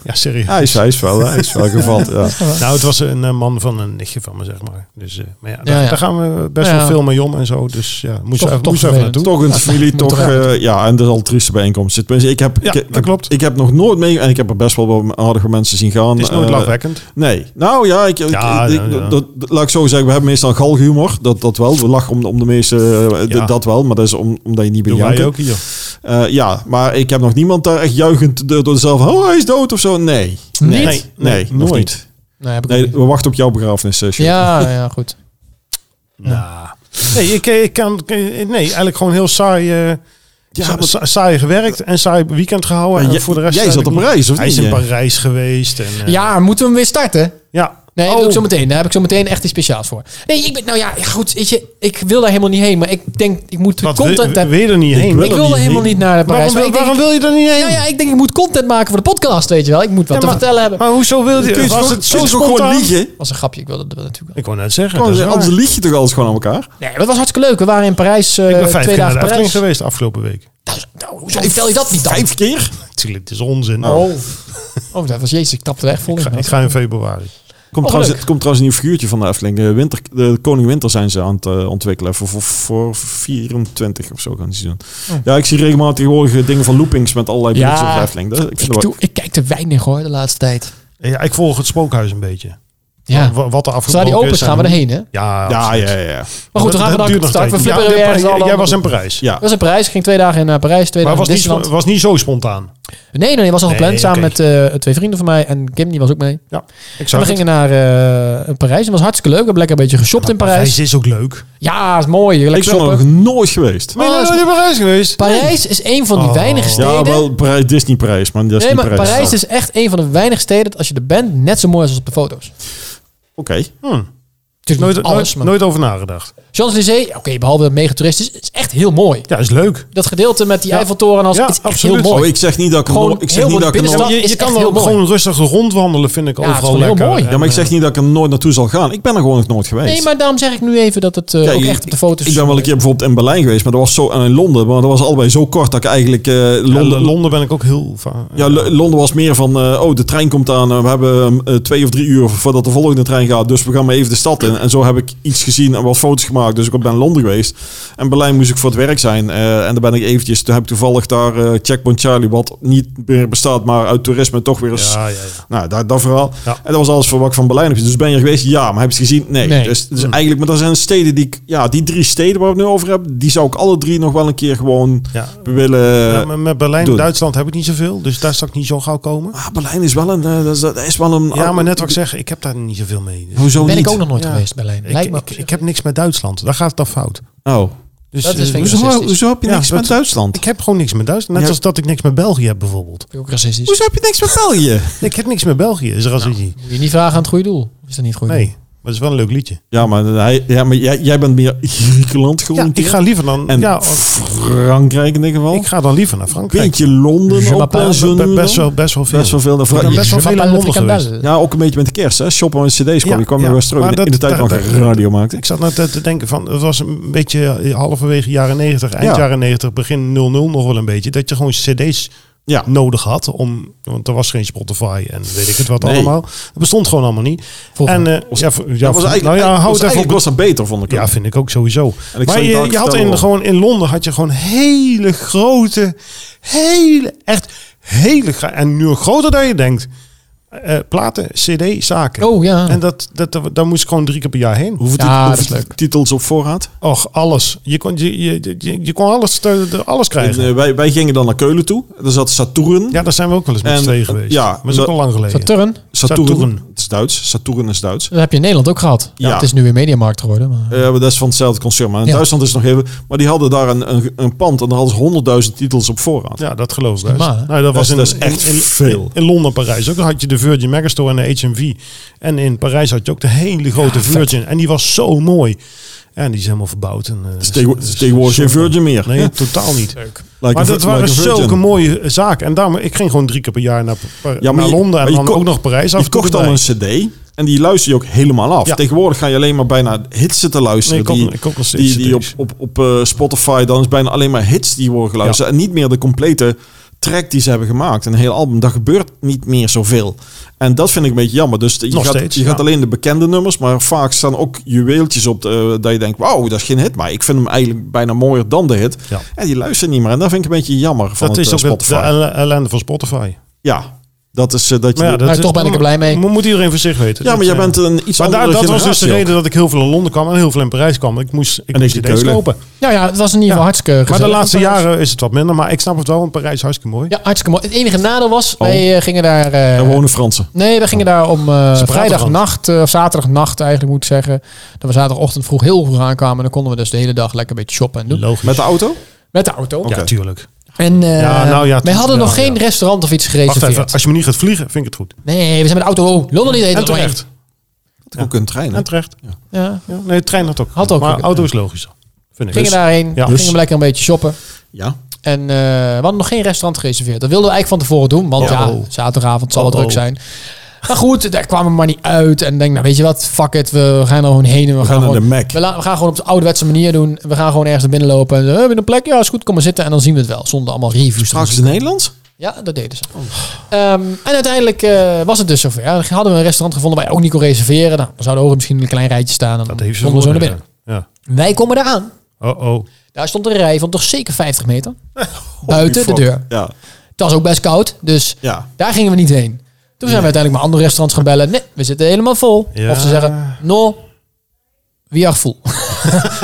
Speaker 4: ja, serieus.
Speaker 2: Hij Ah, is, hij is wel, hij is wel gevat. Ja.
Speaker 4: Nou, het was een eh, man van een nichtje van me, zeg maar. Dus, eh, maar ja, daar,
Speaker 3: Ja, ja.
Speaker 4: daar gaan we best
Speaker 3: Ja.
Speaker 4: wel veel mee om en zo. Dus ja, moest
Speaker 3: Toch-
Speaker 4: even,
Speaker 3: toch
Speaker 4: moest even
Speaker 3: vervelend.
Speaker 4: naartoe.
Speaker 2: Toch een familie,
Speaker 3: moet
Speaker 2: toch...
Speaker 3: eruit.
Speaker 2: eh, ja, en dat is al een trieste bijeenkomst. Tenminste, Ik heb,
Speaker 4: Ja,
Speaker 2: ik,
Speaker 4: dat
Speaker 2: ik-
Speaker 4: klopt.
Speaker 2: Ik heb nog nooit mee... En ik heb er best wel wat aardige mensen zien gaan.
Speaker 4: Het is nooit
Speaker 2: Eh,
Speaker 4: lachwekkend.
Speaker 2: Nee. Nou ja, ik, ik-
Speaker 4: Ja,
Speaker 2: ik-
Speaker 4: ja, ja.
Speaker 2: Dat, dat- laat ik zo zeggen. We hebben meestal galgenhumor. Dat, dat wel. We lachen om, de- om de meeste... eh, d-
Speaker 4: Ja.
Speaker 2: Dat wel. Maar dat is om, omdat je niet
Speaker 4: Doen
Speaker 2: bent
Speaker 4: wij ook hier.
Speaker 2: Eh, ja, maar ik heb nog niemand daar echt juichend door dezelfde... Oh, hij is dood of zo. Nee.
Speaker 3: Niet?
Speaker 2: Nee, nee,
Speaker 4: Nee,
Speaker 2: nog
Speaker 4: nooit.
Speaker 2: niet.
Speaker 3: Nee, heb ik ook
Speaker 2: Nee, oh,
Speaker 3: niet.
Speaker 2: we wachten op jouw begrafenis, eh, Sjoerd.
Speaker 3: ja, ja, goed.
Speaker 4: Nou. Nee, ik, ik kan, ik- nee, eigenlijk gewoon heel saai, eh,
Speaker 2: Ja,
Speaker 4: sa-
Speaker 2: maar-
Speaker 4: sa- saai gewerkt en saai weekend gehouden.
Speaker 2: En
Speaker 4: En
Speaker 2: jij-
Speaker 4: voor de rest
Speaker 2: jij
Speaker 4: heb
Speaker 2: zat
Speaker 4: ik
Speaker 2: op
Speaker 4: niet-
Speaker 2: reis, of
Speaker 4: Hij
Speaker 2: niet,
Speaker 4: is in
Speaker 2: eh?
Speaker 4: Parijs geweest. En, eh,
Speaker 3: Ja, moeten we hem weer starten?
Speaker 4: ja.
Speaker 3: Nee, dat
Speaker 4: Oh.
Speaker 3: doe ik zo meteen. Daar heb ik zo meteen echt iets speciaals voor. Nee, ik ben, nou ja, ja, goed, weet je, ik wil daar helemaal niet heen, maar ik denk, ik moet
Speaker 4: Wat,
Speaker 3: content
Speaker 4: wil,
Speaker 3: hebben.
Speaker 4: wil je er niet heen?
Speaker 3: Ik wil er helemaal niet naar
Speaker 4: Waarom,
Speaker 3: Parijs. maar
Speaker 4: wil-
Speaker 3: ik denk,
Speaker 4: waarom wil je er niet heen?
Speaker 3: nou ja, ik denk, ik moet content maken voor de podcast, weet je wel. Ik moet wat
Speaker 4: Ja,
Speaker 3: te vertellen hebben.
Speaker 4: Maar hoezo wil
Speaker 2: Kun
Speaker 4: je...
Speaker 2: je
Speaker 4: Was
Speaker 2: toch- kun
Speaker 4: het zo
Speaker 2: je toch gewoon
Speaker 4: spontaan?
Speaker 2: liegen?
Speaker 3: was een grapje, ik wilde dat natuurlijk.
Speaker 4: Ik wou net zeggen.
Speaker 2: Gewoon,
Speaker 4: dat is waar.
Speaker 2: anders lieg je toch alles gewoon aan elkaar?
Speaker 3: Nee, maar dat was hartstikke leuk. We waren in Parijs, eh,
Speaker 4: Ik ben vijf
Speaker 3: twee
Speaker 4: keer naar
Speaker 3: dagen
Speaker 4: de Efteling
Speaker 3: Parijs.
Speaker 4: geweest afgelopen week.
Speaker 3: Dat is- nou, hoezo vertel je dat niet dan?
Speaker 2: Vijf keer?
Speaker 4: Natuurlijk, het is onzin.
Speaker 3: Oh. oh, dat was jezus, ik tapte er echt vol
Speaker 4: Ik,
Speaker 3: in.
Speaker 4: ga, ik ga in februari.
Speaker 2: Komt
Speaker 3: Oh,
Speaker 2: trouwens,
Speaker 3: leuk.
Speaker 2: het komt trouwens een nieuw figuurtje van de Efteling. De, winter, de Koning Winter zijn ze aan het eh, ontwikkelen. Voor, voor, voor 24 of zo gaan ze doen. Ja, ik zie regelmatig tegenwoordig dingen van loopings met allerlei
Speaker 3: Oh. Ja.
Speaker 2: berichten op de Efteling. Dat, ik vind
Speaker 3: Ik,
Speaker 2: het wel-
Speaker 3: doe, ik kijk te weinig hoor, de laatste tijd.
Speaker 4: Ja, ik volg het spookhuis een beetje.
Speaker 3: Ja.
Speaker 4: Wa- Oh, Wat de
Speaker 3: Zodra
Speaker 4: afgebroken
Speaker 3: die open
Speaker 4: is en
Speaker 3: gaan we
Speaker 4: hoe-
Speaker 3: erheen, hè?
Speaker 4: Ja,
Speaker 2: Ja,
Speaker 4: absoluut.
Speaker 2: ja, ja. ja.
Speaker 3: Maar goed, dan gaan
Speaker 4: Dat
Speaker 3: we dan
Speaker 4: duurt nog
Speaker 3: starten. We
Speaker 4: steeds.
Speaker 3: flipperen
Speaker 4: Ja,
Speaker 3: weer
Speaker 4: jij-
Speaker 3: ergens
Speaker 4: jij-
Speaker 3: al
Speaker 4: Jij
Speaker 3: over.
Speaker 4: was in Parijs.
Speaker 2: ja.
Speaker 3: Dat was in Parijs. Ik ging twee dagen naar Parijs, twee
Speaker 4: Maar was
Speaker 3: dagen in
Speaker 4: niet,
Speaker 3: Disneyland.
Speaker 4: was niet zo spontaan.
Speaker 3: Nee, nee, nee, was al
Speaker 4: Nee,
Speaker 3: gepland. samen
Speaker 4: oké.
Speaker 3: met eh, twee vrienden van mij. En Kim, die was ook mee.
Speaker 4: Ik
Speaker 3: En
Speaker 4: zou
Speaker 3: we gingen naar eh, Parijs. Het was hartstikke leuk. We hebben lekker een beetje geshopt in Parijs.
Speaker 4: Parijs is ook leuk.
Speaker 3: Ja, is mooi. Lekker
Speaker 2: Ik ben
Speaker 3: shoppen.
Speaker 2: nog nooit geweest.
Speaker 4: Ben je
Speaker 3: is-
Speaker 4: nooit in Parijs geweest?
Speaker 3: Parijs is een van die
Speaker 4: Oh.
Speaker 3: weinige steden.
Speaker 2: Ja, wel Parijs, Disney Parijs, maar dat is
Speaker 3: nee,
Speaker 2: niet
Speaker 3: maar
Speaker 2: Parijs.
Speaker 3: Parijs is echt een van de weinige steden dat als je er bent, net zo mooi is als op de foto's.
Speaker 2: Oké.
Speaker 4: Hm.
Speaker 3: Natuurlijk
Speaker 4: Nooit,
Speaker 3: niet
Speaker 4: nooit,
Speaker 3: alles, maar...
Speaker 4: nooit over nagedacht.
Speaker 3: Champs-Élysées, oké, behalve dat het mega toeristisch, is echt heel mooi.
Speaker 4: Ja, is leuk.
Speaker 3: Dat gedeelte met die Eiffeltoren als,
Speaker 4: Ja,
Speaker 3: is echt
Speaker 4: absoluut.
Speaker 3: heel mooi.
Speaker 2: Oh, ik zeg niet dat ik er
Speaker 3: Gewoon
Speaker 2: nooit- ik zeg
Speaker 3: heel
Speaker 2: niet
Speaker 3: veel
Speaker 2: dat ik er
Speaker 3: binnen-
Speaker 2: nooit-
Speaker 3: Dat
Speaker 4: je,
Speaker 3: is
Speaker 4: je
Speaker 3: echt
Speaker 4: kan
Speaker 3: heel
Speaker 4: er ook
Speaker 3: mooi.
Speaker 4: gewoon rustig rondwandelen, vind ik
Speaker 3: het is
Speaker 4: overal
Speaker 3: gewoon heel
Speaker 4: lekker.
Speaker 3: mooi.
Speaker 4: En,
Speaker 2: Ja, maar ik zeg
Speaker 4: eh,
Speaker 2: niet dat ik er nooit naartoe zal gaan. Ik ben er gewoon nog nooit geweest.
Speaker 3: nee, maar daarom zeg ik nu even dat het eh,
Speaker 2: Ja,
Speaker 3: ook
Speaker 2: ik-
Speaker 3: echt op de foto's
Speaker 2: Ik ben wel een keer bijvoorbeeld in Berlijn geweest, maar dat was zo en in Londen, maar dat was allebei zo kort dat ik eigenlijk eh,
Speaker 4: ja,
Speaker 2: Londen,
Speaker 4: Londen, ben ik ook heel vaak.
Speaker 2: ja, Lo- Londen was meer van, eh, oh, de trein komt aan, eh, we hebben eh, twee of drie uur voordat de volgende trein gaat, dus we gaan maar even de stad in. En zo heb ik iets gezien en wat foto's gemaakt, dus ik ben in Londen geweest. En Berlijn moest ik voor het werk zijn eh, en dan ben ik eventjes, toen heb ik toevallig daar eh, Checkpoint Charlie, wat niet meer bestaat, maar uit toerisme toch weer eens...
Speaker 4: ja, ja, ja.
Speaker 2: Nou, dat, dat verhaal.
Speaker 4: Ja.
Speaker 2: En dat was alles voor wat ik van Berlijn heb gezien. Dus ben je er geweest? Ja. Maar heb je het gezien? Nee.
Speaker 3: Nee.
Speaker 2: Dus,
Speaker 4: Mm.
Speaker 2: dus eigenlijk, maar dat zijn steden die ik... Ja, die drie steden waar we het nu over hebben... die zou ik alle drie nog wel een keer gewoon
Speaker 4: Ja.
Speaker 2: willen...
Speaker 4: Ja, maar met Berlijn en
Speaker 2: Eh, doen.
Speaker 4: Duitsland heb ik niet zoveel, dus daar zou ik niet zo gauw komen.
Speaker 2: Ah, Berlijn is wel een... eh, dat is, dat is wel een
Speaker 4: Ja, maar net wat ik zeg, ik heb daar niet zoveel mee. Dus
Speaker 2: Hoezo
Speaker 3: ben
Speaker 2: niet?
Speaker 3: ik ook nog nooit
Speaker 4: Ja.
Speaker 3: geweest, Berlijn.
Speaker 4: ik,
Speaker 3: Lijkt me
Speaker 4: ik, ik heb niks met Duitsland, daar gaat het dan fout.
Speaker 2: Oh.
Speaker 4: Dus,
Speaker 3: Dat is
Speaker 4: eh,
Speaker 3: vind ik
Speaker 2: Hoezo,
Speaker 3: racistisch.
Speaker 2: hoezo heb je
Speaker 4: Ja,
Speaker 2: niks
Speaker 4: dat-
Speaker 2: met Duitsland?
Speaker 4: ik heb gewoon niks met Duitsland. Net
Speaker 2: Ja.
Speaker 4: als dat ik niks met België heb bijvoorbeeld.
Speaker 3: ook racistisch.
Speaker 2: Hoezo heb je niks met België?
Speaker 4: Ik heb niks met België, is racisme.
Speaker 3: Moet je niet vragen aan het goede doel. Is dat niet het goede
Speaker 4: Nee,
Speaker 3: doel?
Speaker 4: maar het is wel een leuk liedje.
Speaker 2: ja, maar, hij, ja, maar jij, jij bent meer Griekenland
Speaker 4: Ja,
Speaker 2: georiënteerd.
Speaker 4: ik ga liever dan,
Speaker 2: En
Speaker 4: ja, oh,
Speaker 2: Frankrijk in dit geval.
Speaker 4: ik ga dan liever naar Frankrijk.
Speaker 2: Beetje Londen
Speaker 3: Je
Speaker 2: op
Speaker 3: m'appelle-
Speaker 2: en zo.
Speaker 4: Be- Best wel, best wel veel.
Speaker 2: Best wel veel.
Speaker 4: Ik ben best wel
Speaker 3: Je
Speaker 4: veel
Speaker 3: m'appelle
Speaker 4: in Londen
Speaker 3: frikandel.
Speaker 4: geweest.
Speaker 2: Ja, ook een beetje met de kerst, hè? Shoppen met cd's kwam.
Speaker 4: Ja,
Speaker 2: je kwam er
Speaker 4: ja.
Speaker 2: wel eens terug
Speaker 4: Maar
Speaker 2: in,
Speaker 4: dat-
Speaker 2: in de tijd
Speaker 4: dat-
Speaker 2: dat ik radio maakte.
Speaker 4: Ik zat net eh, te denken van, het was een beetje eh, halverwege jaren 90, eind
Speaker 2: Ja.
Speaker 4: jaren 90, begin 00 nog wel een beetje. Dat je gewoon cd's
Speaker 2: Ja.
Speaker 4: nodig had, om, want er was geen Spotify en weet ik het wat
Speaker 2: Nee.
Speaker 4: allemaal. Dat bestond gewoon allemaal niet.
Speaker 3: Volgens
Speaker 4: en
Speaker 3: mij.
Speaker 4: eh, ja, voor- ja,
Speaker 2: Ja,
Speaker 4: voor-
Speaker 2: was eigenlijk,
Speaker 4: nou ja,
Speaker 2: was,
Speaker 4: houd het even
Speaker 2: eigenlijk
Speaker 4: op.
Speaker 2: was dat beter, vond ik.
Speaker 4: Ja,
Speaker 2: ook.
Speaker 4: vind ik ook sowieso.
Speaker 2: En ik
Speaker 4: maar
Speaker 2: zal je
Speaker 4: je,
Speaker 2: dadelijk
Speaker 4: je had
Speaker 2: vertellen
Speaker 4: in,
Speaker 2: waarom.
Speaker 4: gewoon, in Londen had je gewoon hele grote, hele, echt hele, gra- en nu groter dan je denkt, eh, platen, cd-zaken.
Speaker 3: Oh ja.
Speaker 4: En dat, dat, dat, daar moest ik gewoon drie keer per jaar heen.
Speaker 2: Hoeveel,
Speaker 3: Ja,
Speaker 2: tit-
Speaker 3: dat is
Speaker 2: hoeveel
Speaker 3: leuk.
Speaker 2: titels op voorraad?
Speaker 4: Och, alles. Je kon, je, je, je, je kon alles, te- te- alles krijgen.
Speaker 2: En, eh, wij, wij gingen dan naar Keulen toe. Daar zat Saturn.
Speaker 4: ja, daar zijn we ook wel eens
Speaker 2: En,
Speaker 4: met twee
Speaker 2: eh,
Speaker 4: geweest.
Speaker 2: ja,
Speaker 4: maar dat is ook
Speaker 2: dat-
Speaker 4: al lang geleden.
Speaker 3: Saturn,
Speaker 2: Saturn.
Speaker 4: Saturn.
Speaker 2: Het is Duits. Saturn is Duits.
Speaker 3: dat heb je in Nederland ook gehad. Ja.
Speaker 2: Ja.
Speaker 3: Het is nu weer Mediamarkt geworden. Maar...
Speaker 2: Eh, maar dat is van hetzelfde concern. Maar in
Speaker 3: Ja.
Speaker 2: Duitsland is het nog even... Maar die hadden daar een, een, een pand en daar hadden ze 100.000 titels op voorraad.
Speaker 4: Ja, dat geloof ik.
Speaker 3: Dat is normaal, hè?
Speaker 4: nou, dat, was
Speaker 2: is-
Speaker 4: in,
Speaker 2: dat is echt
Speaker 4: in, in-
Speaker 2: veel.
Speaker 4: In Londen, Parijs ook. Dan had je de Virgin Megastore en de HMV. En in Parijs had je ook de hele grote Virgin. En die was zo mooi. Ja, en die is helemaal verbouwd. En, eh,
Speaker 2: Het is tegenwo- het is tegenwoordig geen Virgin meer.
Speaker 4: Nee,
Speaker 2: Ja.
Speaker 4: totaal niet.
Speaker 3: Leuk.
Speaker 2: Like
Speaker 4: Maar
Speaker 2: a-
Speaker 4: dat
Speaker 2: like
Speaker 4: waren
Speaker 2: a Virgin.
Speaker 4: zulke mooie eh, zaken. En daarom, ik ging gewoon drie keer per jaar naar, Par-
Speaker 2: Ja, maar
Speaker 4: naar
Speaker 2: je-
Speaker 4: Londen.
Speaker 2: maar
Speaker 4: En
Speaker 2: je
Speaker 4: dan
Speaker 2: ko-
Speaker 4: ook nog Parijs af.
Speaker 2: Je kocht al een cd en die luister je ook helemaal af.
Speaker 4: Ja.
Speaker 2: Tegenwoordig ga je alleen maar bijna hits zitten luisteren.
Speaker 4: Nee, ik koop-
Speaker 2: die,
Speaker 4: ik koop nog steeds
Speaker 2: die, die op,
Speaker 4: CD's.
Speaker 2: op, op eh, Spotify, dan is bijna alleen maar hits die worden geluisterd. En niet meer de complete track die ze hebben gemaakt. Een heel album, dat gebeurt niet meer zoveel. En dat vind ik een beetje jammer. Dus je,
Speaker 4: Nog
Speaker 2: gaat,
Speaker 4: steeds,
Speaker 2: je gaat
Speaker 4: ja.
Speaker 2: alleen de bekende nummers, maar vaak staan ook juweeltjes op de, dat je denkt, wauw, dat is geen hit. Maar ik vind hem eigenlijk bijna mooier dan de hit.
Speaker 4: Ja.
Speaker 2: En die luisteren niet meer. En dat vind ik een beetje jammer van
Speaker 4: Dat
Speaker 2: het,
Speaker 4: is
Speaker 2: eh,
Speaker 4: ook de-
Speaker 2: Spotify.
Speaker 4: de elle- ellende van Spotify.
Speaker 2: ja, dat is eh, dat je...
Speaker 4: Maar ja,
Speaker 2: de-
Speaker 4: dat
Speaker 3: Maar
Speaker 4: is-
Speaker 3: toch ben ik er blij mee.
Speaker 4: Mo- Moet iedereen voor zich weten.
Speaker 2: ja,
Speaker 4: Dat,
Speaker 2: maar jij
Speaker 4: eh,
Speaker 2: bent een iets
Speaker 4: Maar daar,
Speaker 2: andere
Speaker 4: dat was dus de
Speaker 2: generatie ook.
Speaker 4: reden dat ik heel veel in Londen kwam en heel veel in Parijs kwam. Ik moest, ik
Speaker 2: En
Speaker 4: moest
Speaker 2: ik in
Speaker 4: cd's
Speaker 2: Keulen.
Speaker 4: kopen.
Speaker 3: Ja, ja, het was in ieder geval
Speaker 4: Ja.
Speaker 3: hartstikke
Speaker 4: Maar de
Speaker 3: gezellig.
Speaker 4: laatste jaren is het wat minder. Maar ik snap het wel, want Parijs is hartstikke mooi.
Speaker 3: Ja, hartstikke mooi. Het enige nadeel was,
Speaker 4: Oh.
Speaker 3: wij eh, gingen daar... eh,
Speaker 2: Er wonen Fransen.
Speaker 3: Nee, we gingen daar om eh
Speaker 4: praten
Speaker 3: vrijdagnacht, eh, of zaterdagnacht eigenlijk moet ik zeggen. Dat we zaterdagochtend vroeg heel vroeg aankwamen. En dan konden we dus de hele dag lekker een beetje shoppen en doen.
Speaker 4: Logisch.
Speaker 2: Met de auto?
Speaker 3: Met de auto.
Speaker 4: Ja, tuurlijk.
Speaker 3: En eh,
Speaker 4: Ja, nou ja,
Speaker 3: wij hadden
Speaker 4: ja,
Speaker 3: nog geen
Speaker 4: ja.
Speaker 3: restaurant of iets
Speaker 4: Wacht
Speaker 3: gereserveerd.
Speaker 4: even, als je me niet gaat vliegen, vind ik het goed.
Speaker 3: Nee, we zijn met de auto. Oh, Londen niet de hele
Speaker 4: En
Speaker 3: dag doorheen.
Speaker 4: terecht. Dus-
Speaker 2: Dat ook een trein. hè?
Speaker 4: En terecht.
Speaker 3: Ja.
Speaker 4: Ja, nee, de trein had ook.
Speaker 3: Had ook
Speaker 4: maar
Speaker 3: een-
Speaker 4: auto is logischer. Vind ik.
Speaker 3: Gingen daarheen,
Speaker 4: Ja.
Speaker 3: gingen
Speaker 4: Dus-
Speaker 3: we lekker een beetje shoppen.
Speaker 2: Ja.
Speaker 3: En eh, we hadden nog geen restaurant gereserveerd. Dat wilden we eigenlijk van tevoren doen. Want
Speaker 4: Oh.
Speaker 3: ja, zaterdagavond zal wel
Speaker 4: Oh.
Speaker 3: druk zijn. Maar goed, daar kwamen we maar niet uit. En denk, nou weet je wat, fuck it. We gaan er gewoon heen. En we,
Speaker 2: We gaan
Speaker 3: gewoon,
Speaker 2: naar de Mac.
Speaker 3: We, la- we gaan gewoon op de ouderwetse manier doen. We gaan gewoon ergens naar binnen lopen. En eh, hebben we een plek? Ja, is goed. Kom maar zitten. En dan zien we het wel. Zonder allemaal reviews. te
Speaker 2: Straks in Nederland?
Speaker 3: Ja, dat deden ze. Ehm, en uiteindelijk eh, was het dus zover. Dan hadden we een restaurant gevonden waar je ook niet kon reserveren. Nou, dan zouden we misschien in een klein rijtje staan. En
Speaker 4: Dat
Speaker 3: dan
Speaker 4: heeft ze
Speaker 3: konden we zo naar
Speaker 4: voordelen.
Speaker 3: binnen. Wij komen eraan.
Speaker 4: Ja. Oh, oh.
Speaker 3: Daar stond een rij van toch zeker 50 meter. buiten de
Speaker 2: Fuck.
Speaker 3: deur.
Speaker 2: Ja.
Speaker 3: Het was ook best koud, dus
Speaker 2: Ja.
Speaker 3: daar gingen we niet heen. Toen zijn we uiteindelijk maar andere restaurants gaan bellen. Nee, we zitten helemaal vol.
Speaker 4: Ja.
Speaker 3: Of ze zeggen, no, we are full.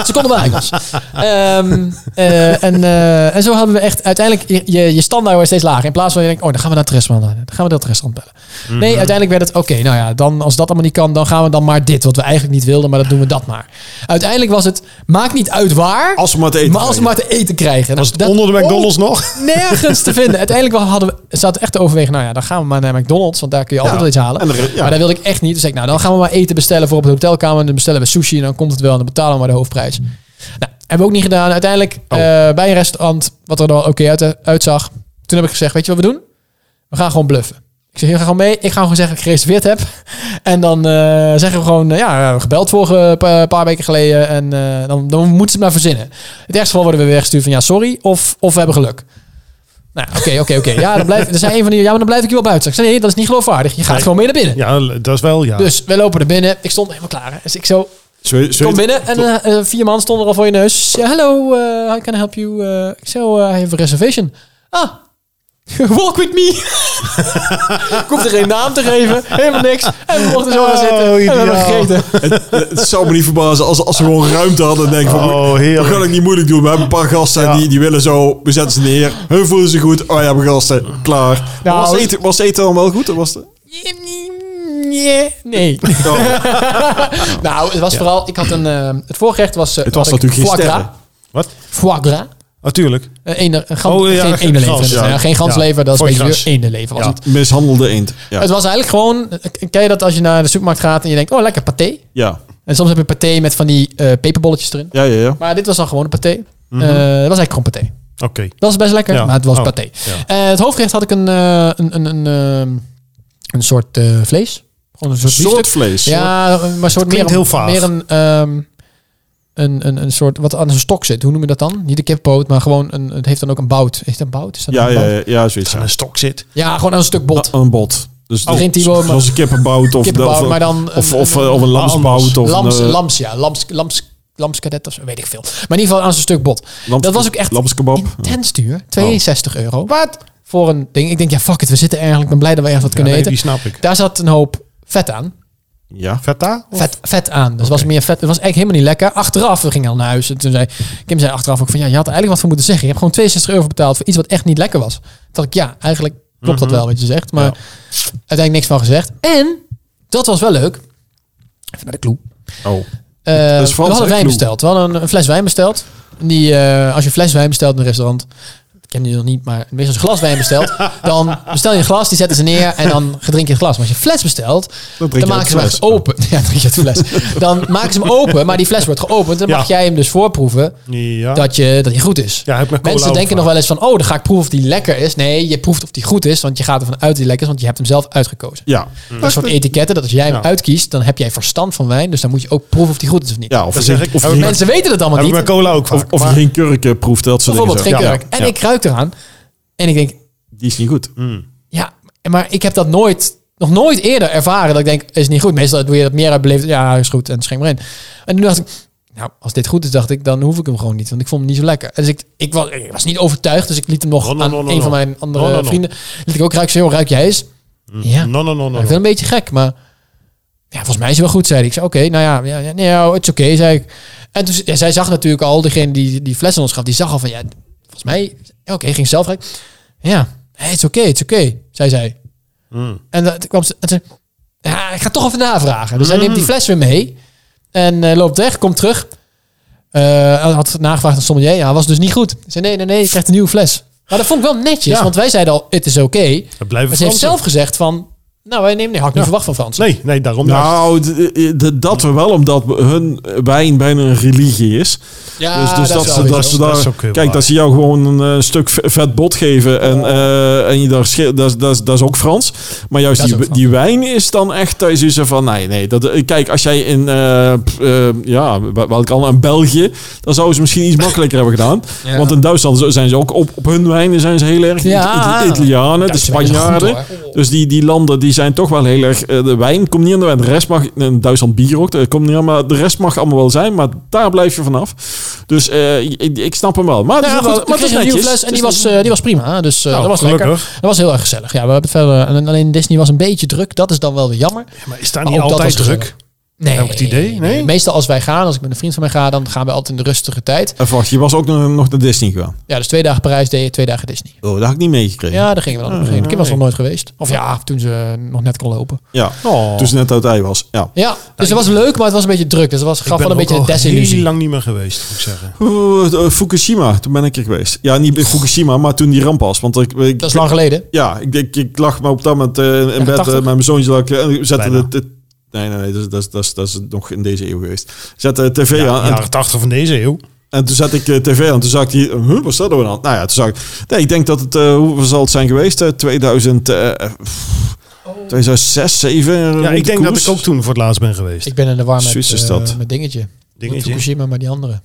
Speaker 3: ze konden wel Engels. Ehm, eh, en, eh, en zo hadden we echt uiteindelijk je, je, je standaard werd steeds lager. In plaats van je denkt, oh, dan gaan we naar het restaurant. Dan gaan we dat restaurant bellen.
Speaker 4: Mhm.
Speaker 3: Nee, uiteindelijk werd het, oké, nou ja, dan, als dat allemaal niet kan, dan gaan we dan maar dit. Wat we eigenlijk niet wilden, maar dat doen we dat maar. Uiteindelijk was het, maakt niet uit waar,
Speaker 2: Als we maar te eten
Speaker 3: maar als we
Speaker 2: krijgen.
Speaker 3: maar te eten krijgen.
Speaker 4: Was het
Speaker 3: Dat-
Speaker 4: onder de
Speaker 3: Oh,
Speaker 4: McDonald's nog?
Speaker 3: nergens te vinden. Uiteindelijk hadden we, zaten echt te overwegen, nou ja, dan gaan we maar naar McDonald's, want daar kun je altijd wel iets halen.
Speaker 2: En er- ja.
Speaker 3: Maar dat wilde ik echt niet. Dus zei ik, nou, dan gaan we maar eten bestellen voor op de hotelkamer. En dan bestellen we sushi en dan komt het wel en dan betalen we maar de hoofdprijs.
Speaker 2: Hmm.
Speaker 3: Nou, hebben we ook niet gedaan. Uiteindelijk
Speaker 4: Oh.
Speaker 3: eh, bij een restaurant, wat er dan oké uit, eh, uitzag. Toen heb ik gezegd, weet je wat we doen? We gaan gewoon bluffen. Ik zeg, jullie gaan gewoon mee. Ik ga gewoon zeggen dat ik gereserveerd heb. En dan eh, zeggen we gewoon, eh, ja, we hebben gebeld vorige pa- paar weken geleden. En eh, dan, dan moeten ze het maar verzinnen. Het ergste geval worden we weer weggestuurd van, ja, sorry. Of, of we hebben geluk. Nou, oké, oké, oké. Ja, dan blijf, er zei een van die, ja, maar dan blijf ik je wel buiten. Ik zei, nee, dat is niet geloofwaardig. Je gaat
Speaker 4: Nee.
Speaker 3: gewoon mee naar binnen.
Speaker 4: Ja, dat is wel ja.
Speaker 3: Dus we lopen er binnen. Ik stond helemaal klaar. hè. Dus ik zo,
Speaker 2: Zul je- zul je-
Speaker 3: kom binnen en eh, eh, vier man stonden er al voor je neus. Ja, hallo, eh how can I help you? Eh, ik zo, eh, I have a reservation. Ah, walk with me. ik hoefde geen naam te geven, helemaal niks. En we mochten zo gaan
Speaker 4: Oh,
Speaker 3: zitten en we hebben
Speaker 4: ideaal.
Speaker 3: gegeten.
Speaker 2: Het zou me niet verbazen als, als ze gewoon ruimte hadden. En denken van,
Speaker 4: Oh,
Speaker 2: we
Speaker 4: heerlijk.
Speaker 2: gaan het niet moeilijk doen. We hebben een paar gasten
Speaker 4: Ja.
Speaker 2: die, die willen zo. We zetten ze neer. Hun voelen zich goed. Oh ja, we hebben gasten. Klaar. Maar was,
Speaker 3: Nou,
Speaker 2: eten, was eten dan wel goed? Of was het...
Speaker 3: Nee. nee.
Speaker 2: Oh,
Speaker 3: nou, het was vooral, ik had een, eh, het voorgerecht was, eh,
Speaker 2: Het was
Speaker 3: had ik
Speaker 2: natuurlijk geen
Speaker 3: foie
Speaker 2: sterren.
Speaker 3: gras.
Speaker 4: Wat?
Speaker 3: Foie gras.
Speaker 4: Natuurlijk.
Speaker 3: Eh, ene- een gan-
Speaker 4: Oh, ja,
Speaker 3: geen
Speaker 4: geen
Speaker 3: eendenlever.
Speaker 4: gans,
Speaker 3: dat is-
Speaker 2: ja.
Speaker 3: ja, geen ganslever, dat is
Speaker 4: Foie
Speaker 3: een beetje
Speaker 4: gras.
Speaker 3: eendenlever. Was
Speaker 4: Ja.
Speaker 3: het.
Speaker 2: mishandelde eend. Ja.
Speaker 3: Het was eigenlijk gewoon, ken je dat als je naar de supermarkt gaat en je denkt, oh lekker paté.
Speaker 2: Ja.
Speaker 3: En soms heb je paté met van die eh, peperbolletjes erin.
Speaker 2: Ja, ja, ja.
Speaker 3: Maar dit was dan gewoon een paté. Eh, het was eigenlijk gewoon paté.
Speaker 4: Oké.
Speaker 3: Dat was best lekker,
Speaker 4: Ja.
Speaker 3: maar het was
Speaker 4: Oh,
Speaker 3: paté.
Speaker 4: ja.
Speaker 3: Eh, het hoofdgerecht had ik een, eh, een, een, een, ehm, een soort eh, vlees. Gewoon een soort
Speaker 2: Soort
Speaker 3: biefstuk.
Speaker 2: vlees.
Speaker 3: Ja, maar een soort meer,
Speaker 4: klinkt
Speaker 3: een-
Speaker 4: heel vaag.
Speaker 3: meer een, ehm, een, een, een soort, wat aan een stok zit. Hoe noem je dat dan? Niet een kippoot, maar gewoon, een, het heeft dan ook een bout. Is dat een bout? Is dat
Speaker 2: Ja,
Speaker 3: een
Speaker 2: ja,
Speaker 3: bout?
Speaker 2: ja, ja, zoiets.
Speaker 4: Aan
Speaker 2: Ja.
Speaker 4: een stok zit.
Speaker 3: Ja, gewoon aan een stuk bot.
Speaker 2: Ah, Een bot. Dus
Speaker 3: Oh, geen Timo, maar-
Speaker 2: Zoals een kippenbout of,
Speaker 3: Kippenbout,
Speaker 2: of,
Speaker 3: maar dan
Speaker 2: of,
Speaker 3: een-
Speaker 2: of, eh,
Speaker 3: een-
Speaker 2: of een lamsbout. Of
Speaker 3: lams,
Speaker 2: een, eh,
Speaker 3: lams, ja. Lams, lams, lamskadet of zo, weet ik veel. Maar in ieder geval aan zo'n stuk bot.
Speaker 2: lams-
Speaker 3: dat was ook echt
Speaker 2: Lamskebab. Oh.
Speaker 3: intens duur. 62 euro. Wat? Voor een ding. Ik denk, ja, fuck it. We zitten eigenlijk. Ik ben blij dat we ergens wat
Speaker 4: Ja,
Speaker 3: kunnen
Speaker 4: nee,
Speaker 3: eten.
Speaker 4: die snap ik.
Speaker 3: Daar zat een hoop vet aan.
Speaker 2: Ja.
Speaker 4: Feta? Of-
Speaker 3: Vet, vet aan. Dus het was meer vet. Het was eigenlijk helemaal niet lekker. Achteraf, we gingen al naar huis. En toen zei Kim zei achteraf ook van ja, je had er eigenlijk wat voor moeten zeggen. Je hebt gewoon 62 euro betaald voor iets wat echt niet lekker was. Toen dacht ik, ja, eigenlijk klopt dat wel wat je zegt. Maar
Speaker 4: Ja.
Speaker 3: uiteindelijk niks van gezegd. En dat was wel leuk. Even naar de clue.
Speaker 2: Oh.
Speaker 3: Eh,
Speaker 2: is
Speaker 3: we
Speaker 2: Frans,
Speaker 3: hadden
Speaker 2: hè,
Speaker 3: wijn
Speaker 2: Kloe?
Speaker 3: besteld. We hadden een, een fles wijn besteld. Die, eh, als je een fles wijn bestelt in een restaurant, dat kennen jullie nog niet, maar meestal als je glas wijn bestelt, dan bestel je een glas, die zetten ze neer en dan drink je het glas. Maar als je een fles bestelt, dan,
Speaker 2: drink je
Speaker 3: maken
Speaker 2: uit
Speaker 3: ze hem
Speaker 2: fles.
Speaker 3: echt open. Ja, dan drink je uit de fles. Dan maken ze hem open, maar die fles wordt geopend. Dan
Speaker 4: Ja.
Speaker 3: mag jij hem dus voorproeven
Speaker 4: Ja.
Speaker 3: dat, je, dat hij goed is.
Speaker 4: Ja, heb ik met cola
Speaker 3: Mensen
Speaker 4: ook
Speaker 3: denken nog
Speaker 4: vaak.
Speaker 3: wel eens van, oh, dan ga ik proeven of die lekker is. Nee, je proeft of die goed is, want je gaat ervan uit dat die lekker is, want je hebt hem zelf uitgekozen.
Speaker 2: Ja.
Speaker 3: Dat is een soort etiketten, dat als jij hem
Speaker 4: Ja.
Speaker 3: uitkiest, dan heb jij verstand van wijn. Dus dan moet je ook proeven of die goed is of niet.
Speaker 2: Ja, of
Speaker 4: Dat
Speaker 2: je
Speaker 4: zeg
Speaker 2: geen-
Speaker 4: ik.
Speaker 2: of je
Speaker 4: Oh,
Speaker 2: geen-
Speaker 4: maar-
Speaker 3: Mensen weten dat allemaal
Speaker 4: Heb ik
Speaker 3: niet.
Speaker 4: met cola ook
Speaker 2: of-
Speaker 4: vaak.
Speaker 2: of je
Speaker 4: Maar-
Speaker 2: geen kurken proeft, dat soort dingen.
Speaker 3: Bijvoorbeeld
Speaker 2: zo.
Speaker 3: geen
Speaker 4: Ja,
Speaker 3: kurk.
Speaker 2: ja.
Speaker 3: En ik ruik eraan. En ik denk,
Speaker 2: Die is niet goed.
Speaker 3: ja, maar ik heb dat nooit, nog nooit eerder ervaren. Dat ik denk, is niet goed. Meestal doe je dat meer uitbeleefd. Ja, is goed. En schenk maar in. En toen dacht ik, nou, als dit goed is, dacht ik, dan hoef ik hem gewoon niet. Want ik vond hem niet zo lekker. Dus ik, ik, was, ik was niet overtuigd. Dus ik liet hem nog
Speaker 4: No, no,
Speaker 3: aan
Speaker 4: no, no,
Speaker 3: een
Speaker 4: no.
Speaker 3: van mijn andere
Speaker 4: No, no, no.
Speaker 3: vrienden. Liet ik ook ruiken. Ik zei, joh, ruik jij eens? Ja.
Speaker 4: No, no, no, no.
Speaker 3: Ik vind
Speaker 4: no.
Speaker 3: het een beetje gek, maar ja, volgens mij is hij wel goed, zei hij. Ik zei, oké, nou ja, ja, ja, nee, ja, het is oké, zei ik. En toen, ja, zij zag natuurlijk al, degene die die fles aan ons gaf, die zag al van, ja, volgens mij, ja, oké, ging zelf rijden. Ja, hey, het is oké, het is oké, zei zij.
Speaker 4: Mm.
Speaker 3: En dat- toen kwam ze, en toen, ja, ik ga toch even navragen. Dus hij neemt die fles weer mee en eh, loopt weg, komt terug. Eh, Hij had nagevraagd aan sommelier, ja, was dus niet goed. Ik zei, nee, nee, nee, je krijgt een nieuwe fles. Maar dat vond ik wel netjes,
Speaker 4: Ja.
Speaker 3: want wij zeiden al, het is oké.
Speaker 4: We blijven
Speaker 3: Maar ze heeft
Speaker 4: Fransen.
Speaker 3: zelf gezegd van... Nou, wij nemen... Nee, had ik niet verwacht van Frans.
Speaker 4: Nee, nee, daarom niet.
Speaker 2: Nou, d- d- dat wel, omdat hun wijn bijna een religie is.
Speaker 3: Ja,
Speaker 2: dus dus dat,
Speaker 3: is
Speaker 2: ze,
Speaker 3: wel
Speaker 2: dat,
Speaker 3: weer
Speaker 2: ze
Speaker 3: zo.
Speaker 2: daar,
Speaker 4: Dat is ook heel
Speaker 2: kijk,
Speaker 4: waar.
Speaker 2: dat ze jou gewoon een eh, stuk v- vet bot geven en, eh, en je daar sche- dat, is- dat, is- dat is ook Frans. Maar juist
Speaker 3: Dat is
Speaker 2: die,
Speaker 3: ook Frans.
Speaker 2: die wijn is dan echt thuis is er van, nee, nee. Dat, eh, kijk, als jij in, eh, pff, eh, ja, wel- welk ander, in België, dan zouden ze misschien iets makkelijker hebben gedaan.
Speaker 3: Ja.
Speaker 2: Want in Duitsland zijn ze ook op, op hun wijnen zijn ze heel erg.
Speaker 3: Ja.
Speaker 2: De Italianen, de Dus
Speaker 3: Duitse wijn is goed,
Speaker 2: Spanjaarden.
Speaker 3: hoor.
Speaker 2: Dus die, die landen die die zijn toch wel heel erg... eh, de wijn komt niet aan de wijn. De rest mag... In Duitsland bier ook. Dat komt niet aan, maar de rest mag allemaal wel zijn. Maar daar blijf je vanaf. Dus eh, ik, ik snap hem wel. Maar, het is
Speaker 3: Nou,
Speaker 2: wel-
Speaker 3: goed,
Speaker 2: maar het
Speaker 3: ik
Speaker 2: is
Speaker 3: kreeg een nieuwe
Speaker 2: netjes.
Speaker 3: fles en
Speaker 2: Het
Speaker 3: die
Speaker 2: is
Speaker 3: was, eh, die was prima. hè. Dus eh,
Speaker 4: Nou,
Speaker 3: dat was
Speaker 4: gelukkig.
Speaker 3: lekker. Dat was heel erg gezellig. Ja, we hebben het verder. En alleen Disney was een beetje druk. Dat is dan wel weer jammer.
Speaker 4: Maar is daar
Speaker 3: Maar
Speaker 4: niet
Speaker 3: ook dat
Speaker 4: altijd
Speaker 3: was
Speaker 4: druk?
Speaker 3: gezellig. Nee.
Speaker 4: Heb ik het idee? Nee?
Speaker 3: Meestal als wij gaan, als ik met een vriend van mij ga, dan gaan we altijd in de rustige tijd.
Speaker 2: Even Eh, wacht, je was ook nog nog naar Disney gegaan.
Speaker 3: Ja, dus twee dagen Parijs deed je, twee dagen Disney.
Speaker 2: Oh, dat had ik niet meegekregen.
Speaker 3: Ja, daar gingen we dan op een gegeven moment. Kim was nog nooit geweest. Of ja, toen ze nog net kon lopen.
Speaker 2: Ja,
Speaker 4: Oh.
Speaker 2: toen ze net uit ei was. Ja.
Speaker 3: Ja, dus het was leuk, maar het was een beetje druk. Dus het was,
Speaker 4: Ik
Speaker 3: gaf
Speaker 4: ben
Speaker 3: wel een
Speaker 4: er ook
Speaker 3: beetje een
Speaker 4: al heel
Speaker 3: desillusie.
Speaker 4: lang niet meer geweest, moet ik zeggen.
Speaker 2: Oeh, eh, Fukushima, toen ben ik er geweest. Ja, niet bij Fukushima, maar toen die ramp was. Want ik, ik-
Speaker 3: Dat is lang geleden.
Speaker 2: ja, ik, ik, ik lag maar op dat moment eh, in bed
Speaker 3: 80.
Speaker 2: eh, met mijn zoontje. lag ik, eh, en ik zette
Speaker 4: Bijna.
Speaker 2: de, de- nee, nee, nee, dat is, dat, is, dat, is, dat is nog in deze eeuw geweest. Zette de tv
Speaker 4: Ja,
Speaker 2: aan en,
Speaker 4: jaren 80 van deze eeuw.
Speaker 2: en toen zette ik eh, tv aan. Toen zag ik die, huh, wat is dat nou dan? Nou ja, toen zag ik, nee, ik denk dat het, eh hoe zal het zijn geweest? Eh, 2000, eh, pff, 2006, 2007?
Speaker 4: Ja, ik denk dat ik ook toen voor het laatst ben geweest.
Speaker 3: Ik ben in de war met,
Speaker 2: Zwitserse
Speaker 3: eh,
Speaker 2: stad.
Speaker 3: met dingetje. Met
Speaker 4: Dingetje.
Speaker 3: Fukushima, maar die andere.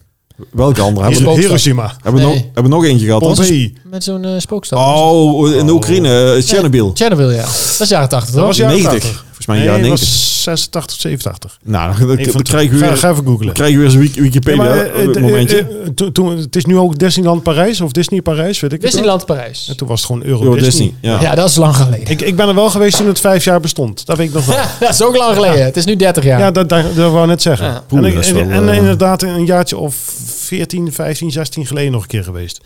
Speaker 2: Welke andere? Hebben
Speaker 4: Hier-
Speaker 2: we,
Speaker 3: Spookstad.
Speaker 4: Hiroshima.
Speaker 2: hebben we nog,
Speaker 3: Nee.
Speaker 2: hebben we nog eentje gehad? Dat was-
Speaker 4: Pompeii.
Speaker 3: Met zo'n eh, spookstad.
Speaker 2: Oh, in de Oekraïne, eh, Tsjernobyl.
Speaker 3: Chernobyl, ja. Dat is jaren 80,
Speaker 4: Dat
Speaker 3: hoor.
Speaker 4: was jaren
Speaker 2: 90.
Speaker 4: 80.
Speaker 2: Volgens mij
Speaker 4: Nee,
Speaker 2: ja,
Speaker 4: het
Speaker 2: 90.
Speaker 4: was 86 of 87.
Speaker 2: Nou, dan,
Speaker 4: Een van
Speaker 2: dan
Speaker 4: de-
Speaker 2: krijg je
Speaker 4: ga,
Speaker 2: weer,
Speaker 4: ga even googlen.
Speaker 2: krijg je weer zo'n Wik- Wikipedia
Speaker 4: Ja, maar, eh, eh,
Speaker 2: momentje.
Speaker 4: eh, eh, toen- toen- het is nu ook Disneyland Parijs of Disney Parijs, weet ik het wel.
Speaker 3: Disneyland Parijs.
Speaker 4: En toen was het gewoon Euro,
Speaker 2: Door
Speaker 4: Disney.
Speaker 2: Disney. Ja.
Speaker 3: Ja, dat is lang geleden.
Speaker 4: Ik, ik ben er wel geweest toen het vijf jaar bestond. Dat weet ik nog wel.
Speaker 3: dat is ook lang geleden. Het is nu 30 jaar.
Speaker 4: Ja, dat, dat, dat wou ik net zeggen.
Speaker 3: Ja.
Speaker 2: Oeh,
Speaker 4: en ik-
Speaker 2: dat is
Speaker 4: en,
Speaker 2: wel,
Speaker 4: en
Speaker 2: eh,
Speaker 4: inderdaad een jaartje of 14, 15, 16 geleden nog een keer geweest.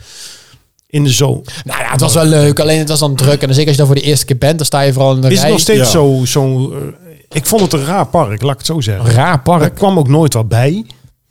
Speaker 4: In de zo.
Speaker 3: Nou ja, het was wel leuk. Alleen het was dan druk. En dan zeker als je dan voor de eerste keer bent, dan sta je vooral in de
Speaker 4: Is het
Speaker 3: rij.
Speaker 4: nog steeds
Speaker 2: Ja.
Speaker 4: zo... zo eh, ik vond het een raar park, laat ik het zo zeggen.
Speaker 3: Een raar
Speaker 4: Er
Speaker 3: park.
Speaker 4: kwam ook nooit wat bij.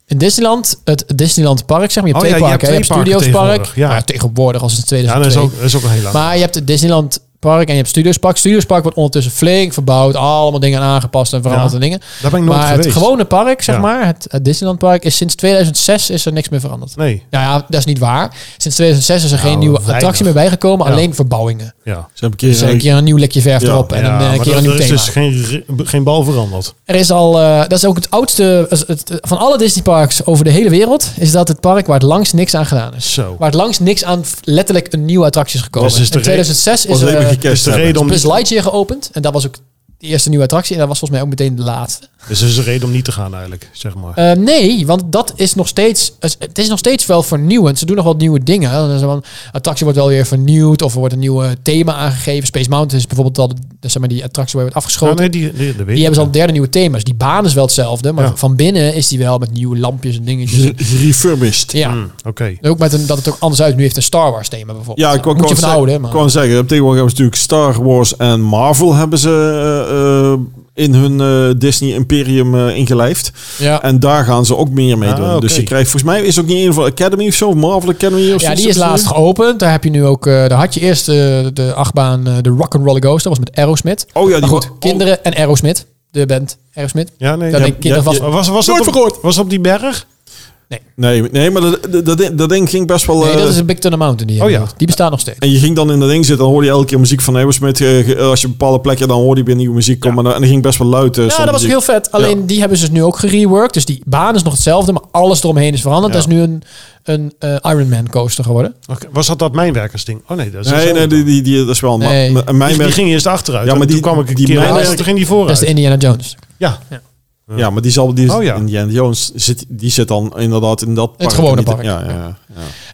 Speaker 3: In Disneyland, het Disneyland Park, zeg maar. Je hebt
Speaker 4: Oh
Speaker 3: twee
Speaker 4: ja, je
Speaker 3: parken. hè. Je
Speaker 4: hebt
Speaker 3: hebt,
Speaker 4: twee
Speaker 3: Studios
Speaker 4: parken
Speaker 3: Park.
Speaker 4: tegenwoordig, ja.
Speaker 3: Nou, tegenwoordig als het
Speaker 4: Ja, dat
Speaker 3: 2002.
Speaker 4: is ook, dat is ook al heel lang.
Speaker 3: Maar je hebt het Disneyland Park en je hebt Studios Park. Studios Park wordt ondertussen flink verbouwd. Allemaal dingen aangepast en veranderd
Speaker 4: Ja.
Speaker 3: en dingen.
Speaker 4: Daar ben ik nooit
Speaker 3: Maar
Speaker 4: geweest.
Speaker 3: het gewone park, zeg
Speaker 4: Ja.
Speaker 3: maar, het, het Disneyland Park, is sinds 2006 is er niks meer veranderd.
Speaker 4: Nee,
Speaker 3: Nou ja, dat is niet waar. Sinds 2006 is er geen
Speaker 4: Nou,
Speaker 3: nieuwe
Speaker 4: weinig.
Speaker 3: attractie meer bijgekomen.
Speaker 4: Ja.
Speaker 3: Alleen verbouwingen.
Speaker 4: ja.
Speaker 2: Ze hebben een
Speaker 3: Dus een
Speaker 2: keer... eh,
Speaker 3: keer een nieuw lekje verf
Speaker 2: Ja.
Speaker 3: erop en
Speaker 4: Ja,
Speaker 3: een, eh,
Speaker 4: maar
Speaker 3: keer
Speaker 4: dat-
Speaker 3: een nieuw
Speaker 4: er is
Speaker 3: thema.
Speaker 4: dus geen, re- geen bal veranderd.
Speaker 3: Er is al, eh, dat is ook het oudste het- het- van alle Disneyparks over de hele wereld, is dat het park waar het langst niks aan gedaan is.
Speaker 4: Zo.
Speaker 3: Waar het langst niks aan f- letterlijk een nieuwe attractie is gekomen.
Speaker 4: Dus is de
Speaker 3: In 2006 is
Speaker 2: was
Speaker 3: er
Speaker 2: even
Speaker 3: eh,
Speaker 4: Dus
Speaker 2: gecast
Speaker 4: de
Speaker 2: hebben.
Speaker 4: reden om
Speaker 3: Buzz
Speaker 4: niet,
Speaker 3: Lightyear geopend. En dat was ook de eerste nieuwe attractie. En dat was volgens mij ook meteen de laatste.
Speaker 4: dus er is een reden om niet te gaan eigenlijk, zeg maar.
Speaker 3: Eh, nee, want dat is nog steeds. Het is nog steeds wel vernieuwend. Ze doen nog wat nieuwe dingen. Dan is er wel Een attractie wordt wel weer vernieuwd. Of er wordt een nieuw eh, thema aangegeven. Space Mountain is bijvoorbeeld al de, zeg maar die attractie waar je wordt
Speaker 4: Ja,
Speaker 3: afgeschoten.
Speaker 4: nee, die, die, dat weet
Speaker 3: Die
Speaker 4: ik.
Speaker 3: hebben ze al derde nieuwe thema's. Die baan is wel hetzelfde, maar
Speaker 4: Ja.
Speaker 3: van binnen is die wel met nieuwe lampjes en dingetjes.
Speaker 2: Refurbished.
Speaker 3: ja.
Speaker 4: Hm, Oké.
Speaker 3: En Ook met een, dat het ook anders uit. Nu heeft een Star Wars thema bijvoorbeeld.
Speaker 2: Ja, ik
Speaker 3: Nou,
Speaker 2: kwam
Speaker 3: moet je van de oude, hè,
Speaker 2: zeggen, kwam
Speaker 3: maar-
Speaker 2: zeggen. Tegenwoordig hebben ze natuurlijk Star Wars en Marvel hebben ze eh, eh, in hun eh, Disney Imperium eh, ingelijfd.
Speaker 3: ja.
Speaker 2: En daar gaan ze ook meer mee
Speaker 4: Ah,
Speaker 2: doen. Dus
Speaker 4: oké.
Speaker 2: je krijgt volgens mij is ook niet een van Academy of zo, of Marvel Academy of
Speaker 3: Ja,
Speaker 2: zo.
Speaker 3: die is laatst geopend. Daar heb je nu ook. eh, daar had je eerst eh, de achtbaan eh, de Rock'n'Roller Ghost. Dat was met Aerosmith.
Speaker 2: Oh ja,
Speaker 3: Maar
Speaker 2: die
Speaker 3: goed,
Speaker 2: wordt-
Speaker 3: kinderen en Aerosmith. De band Aerosmith.
Speaker 4: Ja, nee.
Speaker 3: Daar
Speaker 4: ja.
Speaker 3: denk ik kinderen
Speaker 2: ja,
Speaker 3: vast.
Speaker 4: Maar was, was,
Speaker 2: Nooit
Speaker 4: dat op, was dat op die berg?
Speaker 2: oh, Nee, nee maar dat, dat- dat, dat ding ging best wel...
Speaker 3: Nee,
Speaker 2: eh,
Speaker 3: dat is een Big Thunder Mountain. Die, je
Speaker 4: Oh ja.
Speaker 3: bedoelt. die bestaat nog steeds.
Speaker 2: En je ging dan in dat ding zitten, dan hoorde je elke keer muziek van Aerosmith. Eh, ge- Als je op bepaalde plekken, dan hoorde je weer nieuwe muziek komen. En dan ging best wel luid. eh,
Speaker 3: Ja,
Speaker 2: stond
Speaker 3: dat was ook
Speaker 2: muziek.
Speaker 3: heel vet. Alleen die hebben ze dus nu ook gereworked. Dus die baan is nog hetzelfde, maar alles eromheen is veranderd.
Speaker 2: Ja.
Speaker 3: Dat is nu een, een eh, Iron Man coaster geworden.
Speaker 4: Oké, Was dat dat mijnwerkersding? Oh nee, dat is
Speaker 2: Nee, nee, die, die, die, dat is wel...
Speaker 3: Nee.
Speaker 2: Nee. Maar, mijn
Speaker 4: die, die
Speaker 2: merk-
Speaker 4: ging eerst achteruit.
Speaker 2: Ja, maar
Speaker 4: Ja, maar
Speaker 2: die-
Speaker 4: toen kwam ik een
Speaker 2: die
Speaker 4: keer
Speaker 2: mijnwerker-
Speaker 4: aan, en toen ging die
Speaker 3: Dat is
Speaker 4: vooruit.
Speaker 3: de Eh, Indiana Jones.
Speaker 4: ja.
Speaker 2: ja, maar die, zal, die,
Speaker 4: Oh, ja.
Speaker 2: die Indiana Jones zit, die zit dan inderdaad in dat park. En
Speaker 3: gewone
Speaker 2: die-
Speaker 3: park.
Speaker 2: Ja, ja, ja.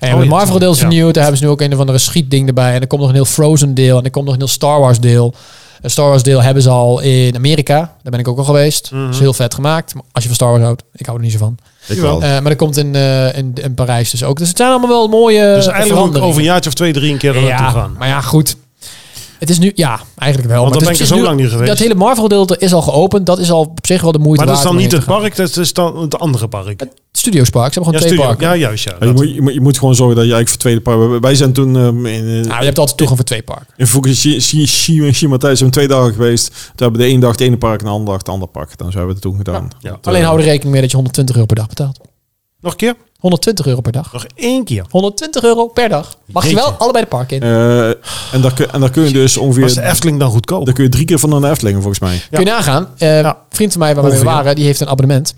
Speaker 3: En
Speaker 4: Oh,
Speaker 3: het
Speaker 4: ja.
Speaker 3: Marvel deel is
Speaker 4: Ja.
Speaker 3: vernieuwd. Daar hebben ze nu ook een of andere schietding erbij. En er komt nog een heel Frozen deel. En er komt nog een heel Star Wars deel. Een Star Wars deel hebben ze al in Amerika. Daar ben ik ook al geweest.
Speaker 4: Mhm.
Speaker 3: Dat is heel vet gemaakt. Maar Als je van Star Wars houdt. Ik hou er niet zo van.
Speaker 2: Ik
Speaker 4: Jawel.
Speaker 2: wel.
Speaker 3: Eh, maar dat komt in, eh, in, in Parijs dus ook. Dus het zijn allemaal wel mooie
Speaker 4: Dus eigenlijk moet ik
Speaker 3: veranderingen.
Speaker 4: over een jaartje of twee, drie een keer er naartoe
Speaker 3: ja,
Speaker 4: gaan.
Speaker 3: maar ja, goed. Het is nu, ja, eigenlijk wel.
Speaker 4: Want dan
Speaker 3: maar het is
Speaker 4: ben ik er zo
Speaker 3: precies
Speaker 4: lang niet geweest.
Speaker 3: Dat hele Marvel-deel is al geopend. Dat is al op zich wel de moeite
Speaker 4: Maar dat is
Speaker 3: waard
Speaker 4: dan niet
Speaker 3: om heen
Speaker 4: het
Speaker 3: te gaan.
Speaker 4: park, dat is dan het andere park.
Speaker 3: Studios Park. Ze
Speaker 4: ja,
Speaker 3: hebben gewoon
Speaker 4: studio.
Speaker 3: twee parken.
Speaker 4: ja, juist ja.
Speaker 2: je,
Speaker 4: dat.
Speaker 2: moet, je, moet, je moet gewoon zorgen dat je eigenlijk voor het tweede park... Wij zijn toen ehm, in, eh,
Speaker 3: Nou, je hebt altijd toegang voor twee parken.
Speaker 2: in Fukushima thuis zijn we twee dagen geweest. Toen hebben we de ene dag het ene park en de andere dag het andere park. Dan hebben we het toen gedaan.
Speaker 4: Ja.
Speaker 3: Alleen hou er rekening mee dat je 120 euro per dag betaalt.
Speaker 4: Nog een keer?
Speaker 3: 120 euro per dag.
Speaker 4: Nog één keer.
Speaker 3: 120 euro per dag. Mag je wel
Speaker 4: Jeetje.
Speaker 3: allebei de park in.
Speaker 2: Eh, en, daar, kun- en daar kun je dus
Speaker 4: Was de
Speaker 2: ongeveer...
Speaker 4: Efteling dan goedkoop?
Speaker 2: Daar kun je drie keer van naar de Efteling, volgens mij.
Speaker 3: Kun je nagaan. Eh,
Speaker 4: Ja.
Speaker 3: Vriend van mij waar we mee
Speaker 4: Ongeveer.
Speaker 3: waren, die heeft een abonnement.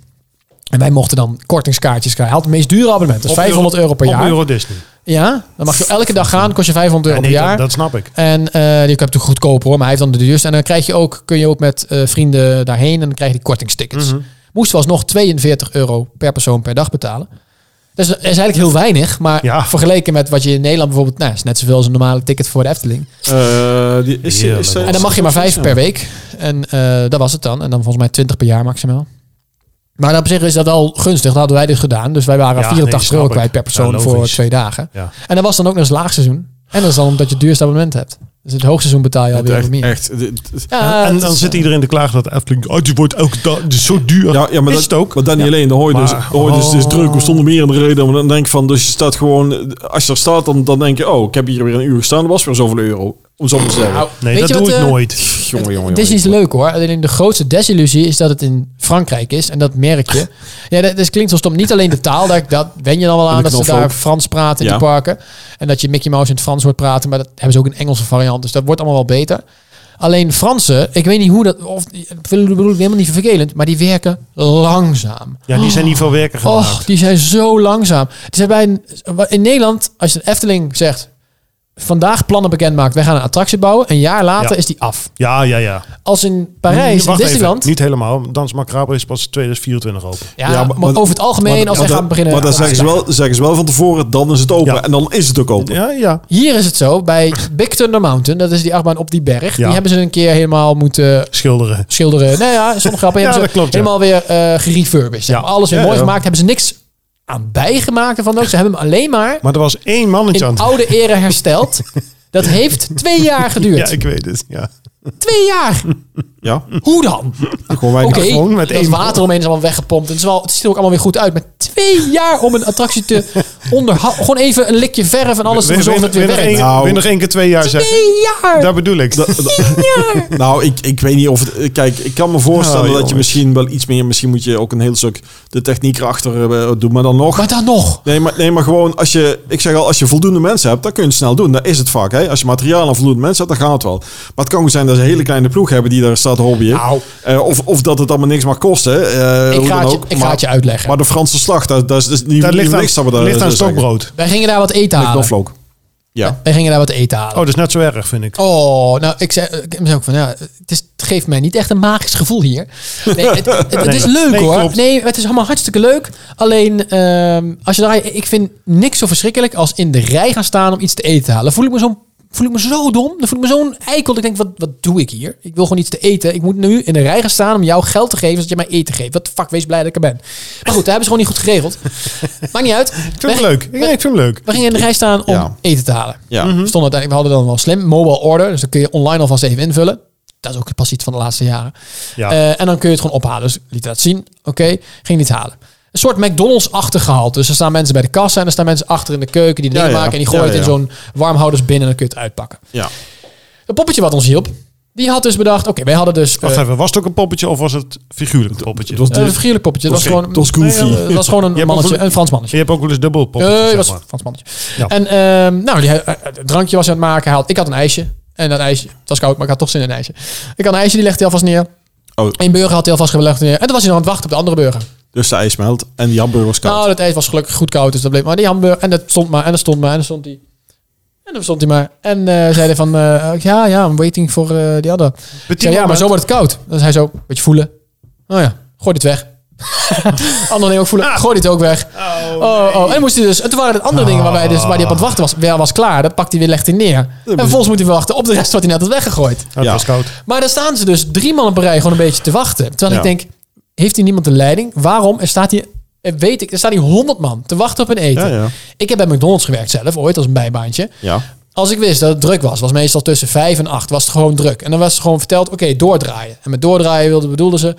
Speaker 3: En wij mochten dan kortingskaartjes krijgen. Hij had het meest dure abonnement. Dat is
Speaker 4: Op
Speaker 3: 500 euro per
Speaker 4: op
Speaker 3: jaar.
Speaker 4: Euro Disney.
Speaker 3: Ja, dan mag je elke dag gaan, kost je 500 euro
Speaker 4: Ja, nee,
Speaker 3: per jaar.
Speaker 4: dat, dat snap ik.
Speaker 3: En eh die heb je goedkoper hoor, maar hij heeft dan de duurste. En dan krijg je ook, kun je ook met eh, vrienden daarheen en dan krijg je die kortingstickets. Moesten we alsnog 42 euro per persoon per dag betalen. Dus dat is eigenlijk heel weinig, maar
Speaker 4: Ja.
Speaker 3: vergeleken met wat je in Nederland bijvoorbeeld... Nou, is net zoveel als een normale ticket voor de Efteling.
Speaker 2: Eh, die is,
Speaker 4: Heerlijk.
Speaker 2: is,
Speaker 3: En dan mag je maar vijf per week. En eh, dat was het dan. En dan volgens mij 20 per jaar maximaal. Maar op zich is dat al gunstig. Dat hadden wij dus gedaan. Dus wij waren
Speaker 4: Ja, nee,
Speaker 3: 84 euro
Speaker 4: snap
Speaker 3: kwijt
Speaker 4: ik.
Speaker 3: per persoon
Speaker 4: Ja,
Speaker 3: voor
Speaker 4: logisch.
Speaker 3: twee dagen.
Speaker 4: Ja.
Speaker 3: En dat was dan ook nog eens laagseizoen. En dat is dan omdat je het duurste abonnement hebt. Dus in het hoogseizoen betaal je alweer wat
Speaker 2: Echt,
Speaker 3: meer.
Speaker 2: echt. Dit- dit-
Speaker 3: Ja,
Speaker 4: en
Speaker 3: het
Speaker 4: dan
Speaker 3: is,
Speaker 4: zit
Speaker 3: eh,
Speaker 4: iedereen te klagen dat Efteling... Oh, die wordt elke dag dus zo duur.
Speaker 2: Ja, ja, maar
Speaker 4: is
Speaker 2: dat,
Speaker 4: het ook.
Speaker 2: Maar dan niet alleen, dan hoor je dus,
Speaker 4: Maar-
Speaker 2: dan hoor je dus, het is
Speaker 4: Oh.
Speaker 2: druk, we stonden meer in de reden. Maar dan denk ik van, dus je staat gewoon, als je er staat, dan, dan denk je, oh, ik heb hier weer een uur gestaan, dat was weer zoveel euro. Om zo maar te zeggen.
Speaker 3: nou,
Speaker 4: nee,
Speaker 3: weet
Speaker 4: dat
Speaker 3: je
Speaker 4: doe
Speaker 3: wat,
Speaker 4: ik
Speaker 3: eh,
Speaker 4: nooit.
Speaker 2: jongen, jongen,
Speaker 3: Het is
Speaker 2: jongen.
Speaker 3: iets leuk hoor. Alleen de grootste desillusie is dat het in Frankrijk is. En dat merk je. Ja, dat, dat klinkt zo stom. Niet alleen de taal, daar, dat wen je dan wel aan.
Speaker 2: En de
Speaker 3: Dat ze daar
Speaker 2: knoflook.
Speaker 3: Frans praten in
Speaker 2: Ja.
Speaker 3: die parken. En dat je Mickey Mouse in het Frans hoort praten. Maar dat hebben ze ook in Engelse variant. Dus dat wordt allemaal wel beter. Alleen Fransen, ik weet niet hoe dat... Of, ik bedoel ik helemaal niet vervelend. Maar die werken langzaam.
Speaker 4: Ja, die zijn niet van werken gemaakt.
Speaker 3: Och, Oh, die zijn zo langzaam. Het is bij een, in Nederland, als je een Efteling zegt... Vandaag plannen bekend maakt. Wij gaan een attractie bouwen. Een jaar later
Speaker 4: Ja.
Speaker 3: is die af.
Speaker 4: Ja, ja, ja.
Speaker 3: Als in Parijs, in
Speaker 4: Wacht even,
Speaker 3: Disneyland...
Speaker 4: Niet helemaal. Dans Macabre is pas 2024 open.
Speaker 3: Ja,
Speaker 2: Ja,
Speaker 3: maar,
Speaker 2: maar-
Speaker 3: over het algemeen,
Speaker 2: Maar- maar
Speaker 3: als wij
Speaker 2: dan-
Speaker 3: gaan beginnen...
Speaker 2: Maar dan zeggen ze, wel, zeggen ze wel van tevoren, dan is het open.
Speaker 4: Ja.
Speaker 2: En dan is het ook open.
Speaker 4: Ja, ja.
Speaker 3: Hier is het zo, bij Big Thunder Mountain, dat is die achtbaan op die berg.
Speaker 4: Ja.
Speaker 3: Die hebben ze een keer helemaal moeten
Speaker 4: Schilderen.
Speaker 3: schilderen. Nou ja, sommige grappen
Speaker 4: Ja,
Speaker 3: hebben ze
Speaker 4: dat klopt, ja.
Speaker 3: helemaal weer eh gerefurbished. Ze
Speaker 4: Ja.
Speaker 3: hebben Alles weer
Speaker 4: Ja,
Speaker 3: mooi
Speaker 4: ja.
Speaker 3: gemaakt. Hebben ze niks aan bijgemaakt ervan ook. Ze hebben hem alleen maar
Speaker 4: Maar er was één mannetje aan
Speaker 3: in
Speaker 4: het-
Speaker 3: oude ere hersteld. Dat heeft twee jaar geduurd.
Speaker 4: Ja, ik weet het. Ja.
Speaker 3: Twee jaar!
Speaker 2: Ja,
Speaker 3: Hoe dan?
Speaker 2: gewoon weinig.
Speaker 3: Oké,
Speaker 4: gewoon met
Speaker 3: dat
Speaker 4: één-
Speaker 3: water omheen is allemaal weggepompt. En het, is wel, het ziet er ook allemaal weer goed uit. Maar twee jaar om een attractie te onderhouden. Gewoon even een likje verf en alles
Speaker 4: Wil-
Speaker 3: ervoor
Speaker 4: wil-
Speaker 3: zorgen dat het
Speaker 4: wil
Speaker 3: weer
Speaker 4: nog
Speaker 3: werkt.
Speaker 4: één-
Speaker 2: Nou.
Speaker 4: wil nog één keer twee jaar zeggen.
Speaker 3: Twee jaar!
Speaker 4: Daar bedoel ik.
Speaker 2: Dat- dat- nou, ik, ik weet niet of het... Kijk, ik kan me
Speaker 4: Nou,
Speaker 2: voorstellen dat
Speaker 4: jongens.
Speaker 2: je misschien wel iets meer... Misschien moet je ook een heel stuk de techniek erachter eh, doen. Maar dan nog...
Speaker 3: Maar dan nog.
Speaker 2: Nee maar, nee, maar gewoon als je, ik zeg al, als je voldoende mensen hebt, dan kun je het snel doen. Dat is het vaak. Hè? Als je materiaal en voldoende mensen hebt, dan gaat het wel. Maar het kan ook zijn dat ze een hele kleine ploeg hebben die daar staat hobbyen.
Speaker 3: Nou.
Speaker 2: Eh, of, of dat het allemaal niks mag kosten. eh,
Speaker 3: Ik
Speaker 2: hoe
Speaker 3: ga,
Speaker 2: dan
Speaker 3: het je,
Speaker 2: ook.
Speaker 3: ik
Speaker 2: maar,
Speaker 3: ga het je uitleggen.
Speaker 2: maar de Franse slag, dat, dat is dus niet,
Speaker 4: Daar ligt
Speaker 2: niks dat we
Speaker 4: aan,
Speaker 2: daar eh,
Speaker 4: ligt aan
Speaker 2: zeggen.
Speaker 4: stokbrood.
Speaker 3: Wij gingen daar wat eten
Speaker 2: Met
Speaker 3: halen.
Speaker 2: knoflook. Ja.
Speaker 3: Wij gingen daar wat eten
Speaker 4: Oh,
Speaker 3: halen.
Speaker 4: dat is net zo erg, vind ik.
Speaker 3: Oh, nou, ik zei, ik zei ook van, ja, het, is, het geeft mij niet echt een magisch gevoel hier. Nee, het, het, het is
Speaker 4: Nee.
Speaker 3: leuk
Speaker 4: Nee,
Speaker 3: hoor.
Speaker 4: klopt.
Speaker 3: Nee, het is allemaal hartstikke leuk. Alleen, ehm, als je daar, ik vind niks zo verschrikkelijk als in de rij gaan staan om iets te eten te halen. Voel ik me zo'n voel ik me zo dom. Dan voel ik me zo'n eikel. Dat ik denk, wat, wat doe ik hier? Ik wil gewoon iets te eten. Ik moet nu in de rij gaan staan om jou geld te geven, zodat je mij eten geeft. Wat de fuck, wees blij dat ik er ben. Maar goed, daar hebben ze gewoon niet goed geregeld. Maakt niet uit.
Speaker 4: Ik vind hem leuk. Ja, ik vind hem leuk.
Speaker 3: We gingen in de rij staan om
Speaker 2: Ja.
Speaker 3: eten te halen. Mhm.
Speaker 2: Ja.
Speaker 3: We Stonden uiteindelijk, we hadden dan wel slim, mobile order. Dus dan kun je online alvast even invullen. Dat is ook pas iets van de laatste jaren.
Speaker 4: Ja.
Speaker 3: Eh, en dan kun je het gewoon ophalen. Dus liet dat zien. Oké, ging niet halen. Een soort McDonald's-achtig gehaald. Dus er staan mensen bij de kassa en er staan mensen achter in de keuken die dingen
Speaker 2: Ja, ja.
Speaker 3: maken. En die gooien
Speaker 2: Ja,
Speaker 3: het in
Speaker 2: ja.
Speaker 3: zo'n warmhouders binnen en dan kun je het uitpakken.
Speaker 2: ja.
Speaker 3: Het poppetje wat ons hielp, die had dus bedacht... Oké, wij hadden dus... eh,
Speaker 4: Wacht even, was het ook een poppetje of was het figuurlijk poppetje?
Speaker 2: Het was-
Speaker 3: een Eh, figuurlijk poppetje. Dat was
Speaker 4: Oké,
Speaker 3: gewoon,
Speaker 2: dat is goofy.
Speaker 3: Nee, dat was gewoon
Speaker 4: Je
Speaker 3: een,
Speaker 4: hebt al
Speaker 3: mannetje,
Speaker 4: van-
Speaker 3: een Frans mannetje.
Speaker 4: je hebt ook wel eens dubbel poppetje,
Speaker 3: Nee,
Speaker 4: zeg
Speaker 3: Eh, was
Speaker 4: maar.
Speaker 3: Frans mannetje.
Speaker 4: Ja.
Speaker 3: En ehm, nou, die, eh, het drankje was hij aan het maken. Hij had, ik had een ijsje. En dat ijsje, het was koud, maar ik had toch zin in een ijsje. Ik had een ijsje, die legde hij alvast neer.
Speaker 2: Oh.
Speaker 3: Eén burger had hij alvast gelegd neer. En dan was hij nog aan het wachten op de andere burger.
Speaker 2: Dus de ijs smelt en die hamburger was koud.
Speaker 3: Nou, dat ijs was gelukkig goed koud, dus dat bleef maar. Die hamburger, en dat stond maar, en dat stond maar, en dat stond die. En dan stond hij maar. En eh, zeiden van, eh, ja, ja, I'm waiting voor eh, die andere. Ik zei, ja, maar zo wordt het koud. Dan zei hij zo, beetje voelen. Nou ja, gooi dit weg. Ander ding ook voelen, gooi dit ook weg.
Speaker 4: Oh,
Speaker 3: Oh, oh, en dan moest hij dus. En toen waren het andere dingen waar, wij dus, waar hij op aan het wachten was. Wel was klaar, dat pakt hij weer, legt hij neer. En vervolgens moet hij weer wachten op de rest wat hij net had weggegooid.
Speaker 4: het
Speaker 2: Ja.
Speaker 4: was koud.
Speaker 3: Maar daar staan ze dus drie man op een rij gewoon een beetje te wachten. Terwijl ik
Speaker 2: Ja.
Speaker 3: denk, heeft hij niemand de leiding? Waarom? Er staat hier, eh, weet ik, er staan hier honderd man te wachten op een eten.
Speaker 2: Ja, ja.
Speaker 3: Ik heb bij McDonald's gewerkt zelf, ooit als een bijbaantje.
Speaker 2: ja.
Speaker 3: Als ik wist dat het druk was, was meestal tussen 5 en 8, was het gewoon druk. En dan was er gewoon verteld, oké, doordraaien. En met doordraaien wilden, bedoelden ze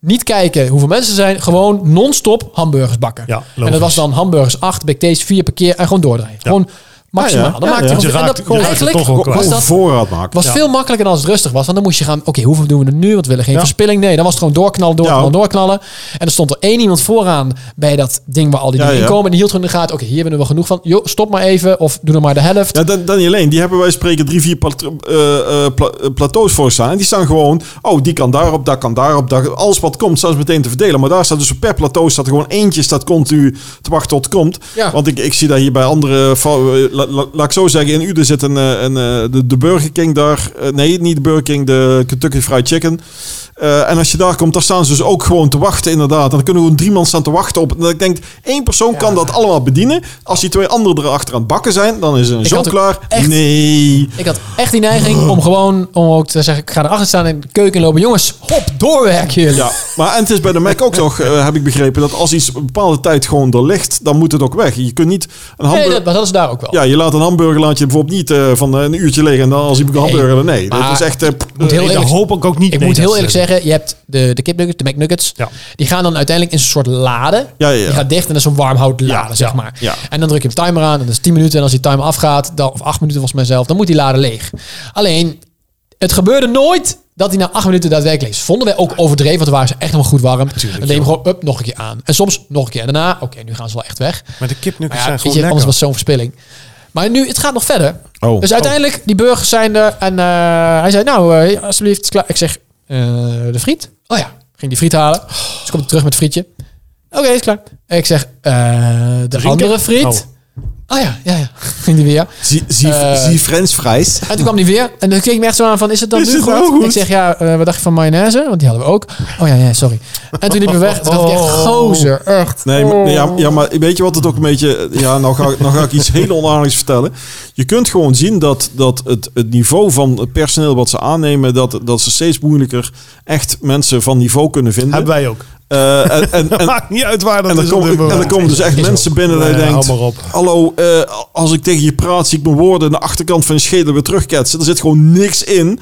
Speaker 3: niet kijken hoeveel mensen er zijn, gewoon non-stop hamburgers bakken.
Speaker 4: Ja,
Speaker 3: en dat
Speaker 4: logisch.
Speaker 3: was dan hamburgers 8, big taste 4 per keer en gewoon doordraaien. Gewoon Maximaal.
Speaker 2: Ah, ja.
Speaker 3: Dan
Speaker 2: Ja,
Speaker 3: maakt
Speaker 2: ja.
Speaker 3: hij
Speaker 4: Je
Speaker 3: gewoon... en
Speaker 4: raakt,
Speaker 3: dat-
Speaker 4: je raakt het
Speaker 3: eigenlijk
Speaker 4: toch wel kwijt.
Speaker 3: was
Speaker 2: Gewoon
Speaker 3: dat-
Speaker 2: voorraad maken.
Speaker 3: was
Speaker 4: Ja.
Speaker 3: veel makkelijker dan als het rustig was. Want dan moest je gaan... Oké, hoeveel doen we er nu? Want we willen geen
Speaker 4: Ja.
Speaker 3: verspilling. Nee, dan was het gewoon doorknallen, doorknallen,
Speaker 2: Ja.
Speaker 3: doorknallen. En er stond er één iemand vooraan bij dat ding waar al die
Speaker 2: Ja,
Speaker 3: dingen in
Speaker 2: ja.
Speaker 3: komen. En die hield gewoon in de gaten. Oké, hier hebben we wel genoeg van. Jo, stop maar even. Of doe er maar de helft.
Speaker 2: Ja, dan, dan niet alleen. Die hebben wij spreken drie, vier plat- eh, eh, pla- eh, plateaus voor staan. En die staan gewoon, oh, die kan daarop, dat kan daarop. Dat, alles wat komt, staat meteen te verdelen. Maar daar staat dus per plateau staat er gewoon eentje staat continu te wachten tot het komt.
Speaker 3: Ja.
Speaker 2: Want ik, ik zie dat hier bij andere... vou- eh, la- la- laat ik zo zeggen, in Uden zit een, eh, een, eh, de, de Burger King daar. eh, nee, niet de Burger King, de Kentucky Fried Chicken. Eh, en als je daar komt, daar staan ze dus ook gewoon te wachten, inderdaad. En dan kunnen gewoon drie man staan te wachten op. En dat ik denk, één persoon kan dat allemaal bedienen. Als die twee anderen erachter aan het bakken zijn, dan is een
Speaker 3: Ik
Speaker 2: zo
Speaker 3: had ook
Speaker 2: klaar.
Speaker 3: echt-
Speaker 2: Nee.
Speaker 3: Ik had echt die neiging om gewoon... Om ook te zeggen, ik ga erachter staan in de keuken lopen. Jongens, hop, doorwerken jullie.
Speaker 2: Ja, maar en het is bij de Mac ook nog, eh, heb ik begrepen, dat als iets een bepaalde tijd gewoon er ligt, dan moet het ook weg. Je kunt niet een
Speaker 3: Nee,
Speaker 2: hamburger...
Speaker 3: dat, maar dat is daar ook wel.
Speaker 2: Ja, je laat een hamburger laat je bijvoorbeeld niet eh, van eh, een uurtje liggen en dan als ik een hamburger... Nee, dat
Speaker 3: maar
Speaker 2: is echt... eh,
Speaker 3: moet heel
Speaker 4: Nee, dat
Speaker 3: eerlijk-
Speaker 4: hoop ik ook niet.
Speaker 3: Ik
Speaker 4: Nee,
Speaker 3: moet
Speaker 4: dat
Speaker 3: heel
Speaker 4: is-
Speaker 3: eerlijk zeggen, je hebt de, de kipnuggets, de McNuggets.
Speaker 4: Ja.
Speaker 3: Die gaan dan uiteindelijk in zo'n soort lade.
Speaker 2: Ja, ja, ja.
Speaker 3: Die gaat dicht en dat is een warmhoutlade,
Speaker 4: Ja,
Speaker 3: zeg
Speaker 4: ja,
Speaker 3: maar.
Speaker 2: ja.
Speaker 3: En dan druk je op timer aan en dat is 10 minuten. En als die timer afgaat, dan, of 8 minuten volgens mij zelf, dan moet die lade leeg. Alleen, het gebeurde nooit dat hij na 8 minuten daadwerkelijk leeg is. Vonden wij ook overdreven, want dan waren ze echt helemaal goed warm. dan neem je gewoon up, nog een keer aan. En soms nog een keer. En daarna, oké, nu gaan ze wel echt weg.
Speaker 4: Maar de
Speaker 3: Maar
Speaker 4: kipnuggets
Speaker 3: ja,
Speaker 4: zijn
Speaker 3: weet je,
Speaker 4: gewoon
Speaker 3: anders
Speaker 4: lekker.
Speaker 3: was het zo'n verspilling. Maar nu, het gaat nog verder.
Speaker 2: Oh.
Speaker 3: dus uiteindelijk, die burgers zijn er. En eh, hij zei, nou, eh, alsjeblieft, het is klaar. Ik zeg, eh, de friet? Oh ja, ging die friet halen. Dus komt terug met frietje. Oké, is klaar. Ik zeg, eh, de andere friet? Oh. ja, ja, ja. Ging die weer.
Speaker 2: Zie, zie,
Speaker 3: Eh,
Speaker 2: zie French fries.
Speaker 3: En toen kwam die weer. En dan keek ik me echt zo aan van, is het dan
Speaker 2: Is
Speaker 3: nu
Speaker 2: het
Speaker 3: goed?
Speaker 2: nou goed?
Speaker 3: Ik zeg, ja, eh, wat dacht je van mayonaise? Want die hadden we ook. Oh ja, ja, sorry. En toen liep we weg. Toen dacht
Speaker 2: Oh.
Speaker 3: ik echt, gozer, echt.
Speaker 2: Nee, maar, nee, ja, ja, maar weet je wat het ook een beetje... Ja, nou ga, ik- nou ga ik iets heel onaardigs vertellen. Je kunt gewoon zien dat, dat het, het niveau van het personeel wat ze aannemen... Dat, dat ze steeds moeilijker echt mensen van niveau kunnen vinden.
Speaker 4: Hebben wij ook.
Speaker 2: Eh, en, en, en,
Speaker 4: Maakt niet uit waar dat
Speaker 2: en dan
Speaker 4: is. op
Speaker 2: komen-
Speaker 4: dit
Speaker 2: en
Speaker 4: moment.
Speaker 2: dan komen dus echt
Speaker 3: Is
Speaker 2: mensen binnen dat je
Speaker 4: Nee,
Speaker 2: denkt...
Speaker 4: hou maar op.
Speaker 2: Hallo, eh, als ik tegen je praat, zie ik mijn woorden... aan de achterkant van je schedel weer terugketsen. Er zit gewoon niks in.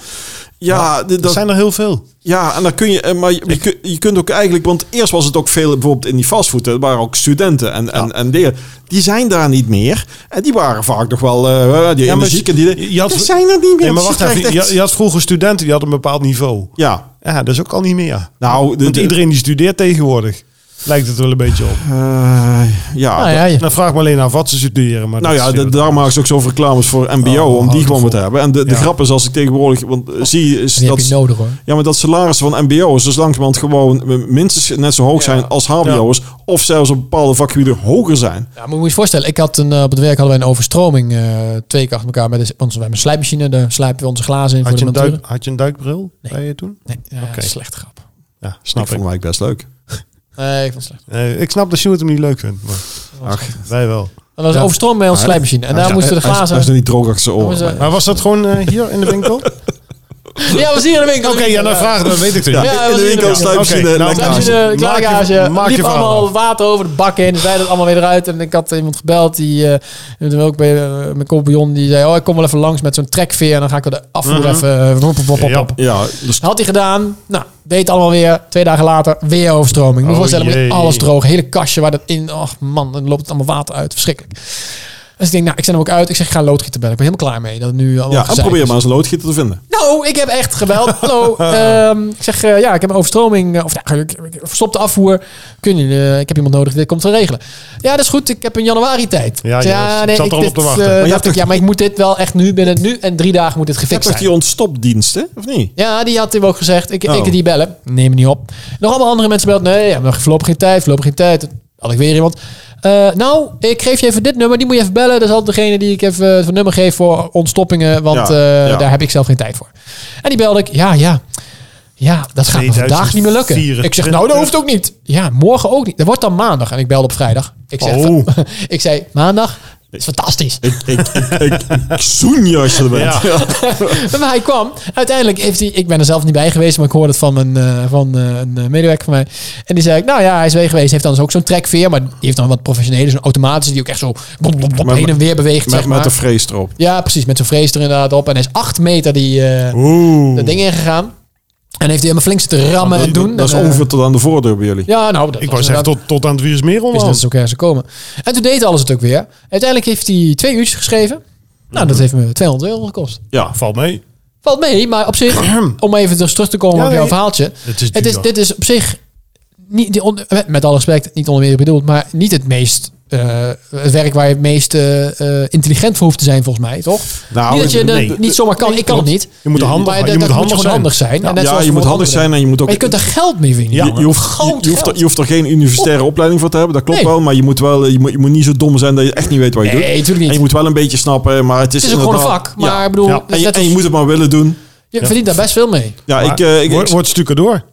Speaker 2: Ja, dit-
Speaker 4: Er
Speaker 2: dat,
Speaker 4: zijn er heel veel.
Speaker 2: ja, en dan kun je, eh, maar je, je kun- je kunt ook eigenlijk, want eerst was het ook veel bijvoorbeeld in die fastfood, er waren ook studenten en, en, en die, die zijn daar niet meer. En die waren vaak nog wel, eh die
Speaker 4: Ja, maar
Speaker 2: energieke, die,
Speaker 4: je- je had-
Speaker 2: die zijn er niet meer.
Speaker 4: Nee, maar
Speaker 2: Dus
Speaker 4: wacht
Speaker 2: je
Speaker 4: even.
Speaker 2: krijgt echt-
Speaker 4: Je, je had vroeger studenten, die hadden een bepaald niveau.
Speaker 2: ja,
Speaker 4: Ja, dat is ook al niet meer.
Speaker 2: nou, de,
Speaker 4: Want
Speaker 2: de-
Speaker 4: iedereen die studeert tegenwoordig, lijkt het wel een beetje op.
Speaker 2: eh, ja,
Speaker 3: Nou ja, je-
Speaker 4: Dan vraag me alleen af wat ze studeren. Maar
Speaker 2: Nou
Speaker 4: dat
Speaker 2: ja,
Speaker 4: is
Speaker 2: de,
Speaker 4: weer-
Speaker 2: daar maken ze ook zoveel reclames voor MBO,
Speaker 4: Oh,
Speaker 2: om
Speaker 4: houd
Speaker 2: die gewoon
Speaker 4: het vol.
Speaker 2: wat te hebben. En de, de
Speaker 4: Ja.
Speaker 2: grap is als ik tegenwoordig, want eh, zie is
Speaker 3: Die heb
Speaker 2: dat...
Speaker 3: je nodig hoor.
Speaker 2: Ja, maar dat salarissen van MBO's dus langzamerhand gewoon minstens net zo hoog zijn als HBO's. Of zelfs op bepaalde vakgebieden hoger zijn.
Speaker 3: Ja, maar moet je je voorstellen, ik had een, eh, op het werk hadden wij een overstroming eh, twee keer achter elkaar met de, onze, we hebben een slijpmachine, daar slijpen we onze glazen in
Speaker 4: Had je,
Speaker 3: voor
Speaker 4: een
Speaker 3: de
Speaker 4: duik,
Speaker 3: natuur.
Speaker 4: had je een duikbril
Speaker 3: Nee.
Speaker 4: bij je toen?
Speaker 3: Nee, ja,
Speaker 4: Oké.
Speaker 3: slecht grap.
Speaker 4: Ja,
Speaker 2: Dat
Speaker 4: snap ik.
Speaker 2: vond ik eigenlijk best leuk.
Speaker 3: Nee, ik vond het slecht.
Speaker 4: Eh, ik snap dat Sjoerd hem niet leuk vindt. Maar
Speaker 2: Ach.
Speaker 4: wij wel.
Speaker 3: Dat was een
Speaker 4: Ja.
Speaker 3: overstroming bij onze
Speaker 2: Ja,
Speaker 3: slijpmachine en daar
Speaker 2: Ja,
Speaker 3: moesten de
Speaker 2: hij is-
Speaker 3: glazen...
Speaker 2: Hij is nog niet droog achter zijn
Speaker 3: daar moesten-
Speaker 2: oren.
Speaker 4: Maar was dat gewoon eh, hier in de winkel? Oké,
Speaker 3: ja, we zien in de winkel.
Speaker 4: ja, dan vraag dan weet ik het.
Speaker 2: Ja,
Speaker 4: niet.
Speaker 3: Ja,
Speaker 2: in
Speaker 3: was
Speaker 2: de winkel
Speaker 3: inderdaad.
Speaker 2: sluipen ze
Speaker 4: Oké,
Speaker 2: de
Speaker 4: nou,
Speaker 2: lektage.
Speaker 4: sluipen
Speaker 3: Slijpmachine,
Speaker 4: Maak je-
Speaker 3: klaargage,
Speaker 4: maak je
Speaker 3: liep
Speaker 4: verhaal
Speaker 3: allemaal
Speaker 4: af.
Speaker 3: water over de bakken heen, dus wij dat allemaal weer eruit. En ik had iemand gebeld, die, eh, toen ook bij eh, mijn compagnon, die zei, oh ik kom wel even langs met zo'n trekveer en dan ga ik wel de afvoer even... eh, wop, wop, wop, wop,
Speaker 4: Mhm. Ja.
Speaker 3: wop.
Speaker 2: Ja, dus
Speaker 3: Had hij gedaan. Nou, deed het allemaal weer. Twee dagen later, weer overstroming. Moet je
Speaker 4: Oh,
Speaker 3: voorstellen, moet je
Speaker 4: jee.
Speaker 3: alles droog. Hele kastje waar dat in... Och man, dan loopt het allemaal water uit. Verschrikkelijk. Dus ik denk, nou, ik zet hem ook uit. Ik zeg, ik ga een loodgieter bellen. Ik ben helemaal klaar mee. Dat het nu allemaal
Speaker 2: ja, en
Speaker 3: gezeik
Speaker 2: probeer
Speaker 3: is.
Speaker 2: maar eens een loodgieter te vinden.
Speaker 3: Nou, ik heb echt gebeld. Hallo. ehm, ik zeg, eh, ja, ik heb een overstroming. eh, Of ja, ik, ik- stop de afvoer. Kun je, eh, ik heb iemand nodig. Dit komt te regelen. Ja, dat is goed. Ik heb in januari tijd.
Speaker 4: Ja,
Speaker 3: Ik zeg,
Speaker 4: ja, ik zat er al
Speaker 3: dit,
Speaker 4: op te
Speaker 3: eh,
Speaker 4: wachten. Maar
Speaker 2: je
Speaker 3: dacht
Speaker 2: hebt
Speaker 3: ik,
Speaker 2: toch-
Speaker 3: ja, maar ik moet dit wel echt nu binnen nu en drie dagen moet dit
Speaker 2: Je hebt
Speaker 3: gefixt
Speaker 2: toch
Speaker 3: zijn.
Speaker 2: die ontstopdienst, hè? Of niet?
Speaker 3: Ja, die had hem ook gezegd. Ik,
Speaker 2: Oh.
Speaker 3: ik die bellen. Neem me niet op. Nog allemaal andere mensen belt. Nee, ja, maar voorlopig geen tijd. Voorlopig geen tijd. Dan Had ik weer iemand. Eh, nou, ik geef je even dit nummer. Die moet je even bellen. Dat is altijd degene die ik even eh, het nummer geef voor ontstoppingen.
Speaker 2: Ja,
Speaker 3: Want eh,
Speaker 2: ja.
Speaker 3: daar heb ik zelf geen tijd voor. En die belde ik. Ja, ja. Ja, dat gaat me vandaag niet meer lukken.
Speaker 4: 2024.
Speaker 3: Ik zeg, nou, dat hoeft ook niet. Ja, morgen ook niet. Dat wordt dan maandag. En ik belde op vrijdag. Ik, zeg,
Speaker 4: Oh.
Speaker 3: ik zei, maandag? Dat is fantastisch.
Speaker 2: Ik, ik, ik, ik, ik zoen je als je er bent.
Speaker 4: Ja.
Speaker 3: Maar hij kwam. Uiteindelijk heeft hij... Ik ben er zelf niet bij geweest, maar ik hoorde het van, mijn, eh, van eh, een eh, medewerker van mij. En die zei ik, nou ja, hij is weer geweest. heeft dan dus ook zo'n trekveer, maar die heeft dan wat professionele, zo'n automatische, die ook echt zo blop, blop, blop,
Speaker 2: Maar-
Speaker 3: heen en weer beweegt,
Speaker 2: Met,
Speaker 3: zeg
Speaker 2: met
Speaker 3: maar.
Speaker 2: de vrees erop.
Speaker 3: ja, precies, met zo'n vrees er inderdaad op. En hij is acht meter die, eh
Speaker 4: Oeh.
Speaker 3: dat ding ingegaan. En heeft hij helemaal flink zitten rammen en doen.
Speaker 2: Dat is
Speaker 3: En, eh,
Speaker 2: ongeveer tot aan de voordeur bij jullie.
Speaker 3: Ja, nou, dat
Speaker 4: Ik
Speaker 3: was
Speaker 4: wou zeggen, tot,
Speaker 3: inderdaad-
Speaker 4: tot aan het virus meer
Speaker 3: is net
Speaker 4: onderhand.
Speaker 3: zo ergens komen. En toen deed alles het ook weer. Uiteindelijk heeft hij twee uurtjes geschreven. Nou,
Speaker 2: Mhm.
Speaker 3: dat heeft me 200 euro gekost.
Speaker 2: Ja,
Speaker 4: Valt mee.
Speaker 3: Valt mee, maar op zich, om even dus terug te komen
Speaker 4: Ja,
Speaker 3: op jouw
Speaker 4: nee.
Speaker 3: verhaaltje.
Speaker 4: Het is
Speaker 3: Het is,
Speaker 4: duur.
Speaker 3: dit is op zich, niet, die on- eh, met, met alle respect, niet onder meer bedoeld, maar niet het meest... eh, het werk waar je het meest eh, eh, intelligent voor hoeft te zijn, volgens mij, toch?
Speaker 2: nou,
Speaker 3: niet dat je
Speaker 4: nee.
Speaker 3: dat niet zomaar kan. ik kan het niet.
Speaker 4: Je moet handig,
Speaker 3: maar
Speaker 4: je
Speaker 3: dat-
Speaker 4: moet
Speaker 3: dat
Speaker 4: handig
Speaker 3: gewoon
Speaker 4: zijn.
Speaker 3: handig zijn. En net
Speaker 2: ja,
Speaker 3: zoals
Speaker 2: je moet
Speaker 3: voor
Speaker 2: handig
Speaker 3: anderen.
Speaker 2: zijn en je moet ook.
Speaker 3: Maar je kunt er geld mee
Speaker 2: je,
Speaker 3: verdienen.
Speaker 2: je, hoeft, je,
Speaker 3: Groot
Speaker 2: je hoeft er,
Speaker 3: geld.
Speaker 2: je hoeft er geen universitaire opleiding voor te hebben, dat klopt
Speaker 3: Nee.
Speaker 2: wel. Maar je moet, wel, je, moet, je moet niet zo dom zijn dat je echt niet weet wat je
Speaker 3: Nee,
Speaker 2: doet.
Speaker 3: tuurlijk niet.
Speaker 2: En je moet wel een beetje snappen, maar het is,
Speaker 3: het is ook gewoon een
Speaker 2: inderdaad-
Speaker 3: vak. Maar
Speaker 2: Ja.
Speaker 3: ik bedoel,
Speaker 4: Ja.
Speaker 3: het is
Speaker 2: En, je,
Speaker 3: net
Speaker 2: en je
Speaker 3: als-
Speaker 2: moet het maar willen doen.
Speaker 3: je verdient daar best veel mee.
Speaker 2: Ja, ik, eh, ik,
Speaker 4: word,
Speaker 2: ik-
Speaker 4: word stukken door.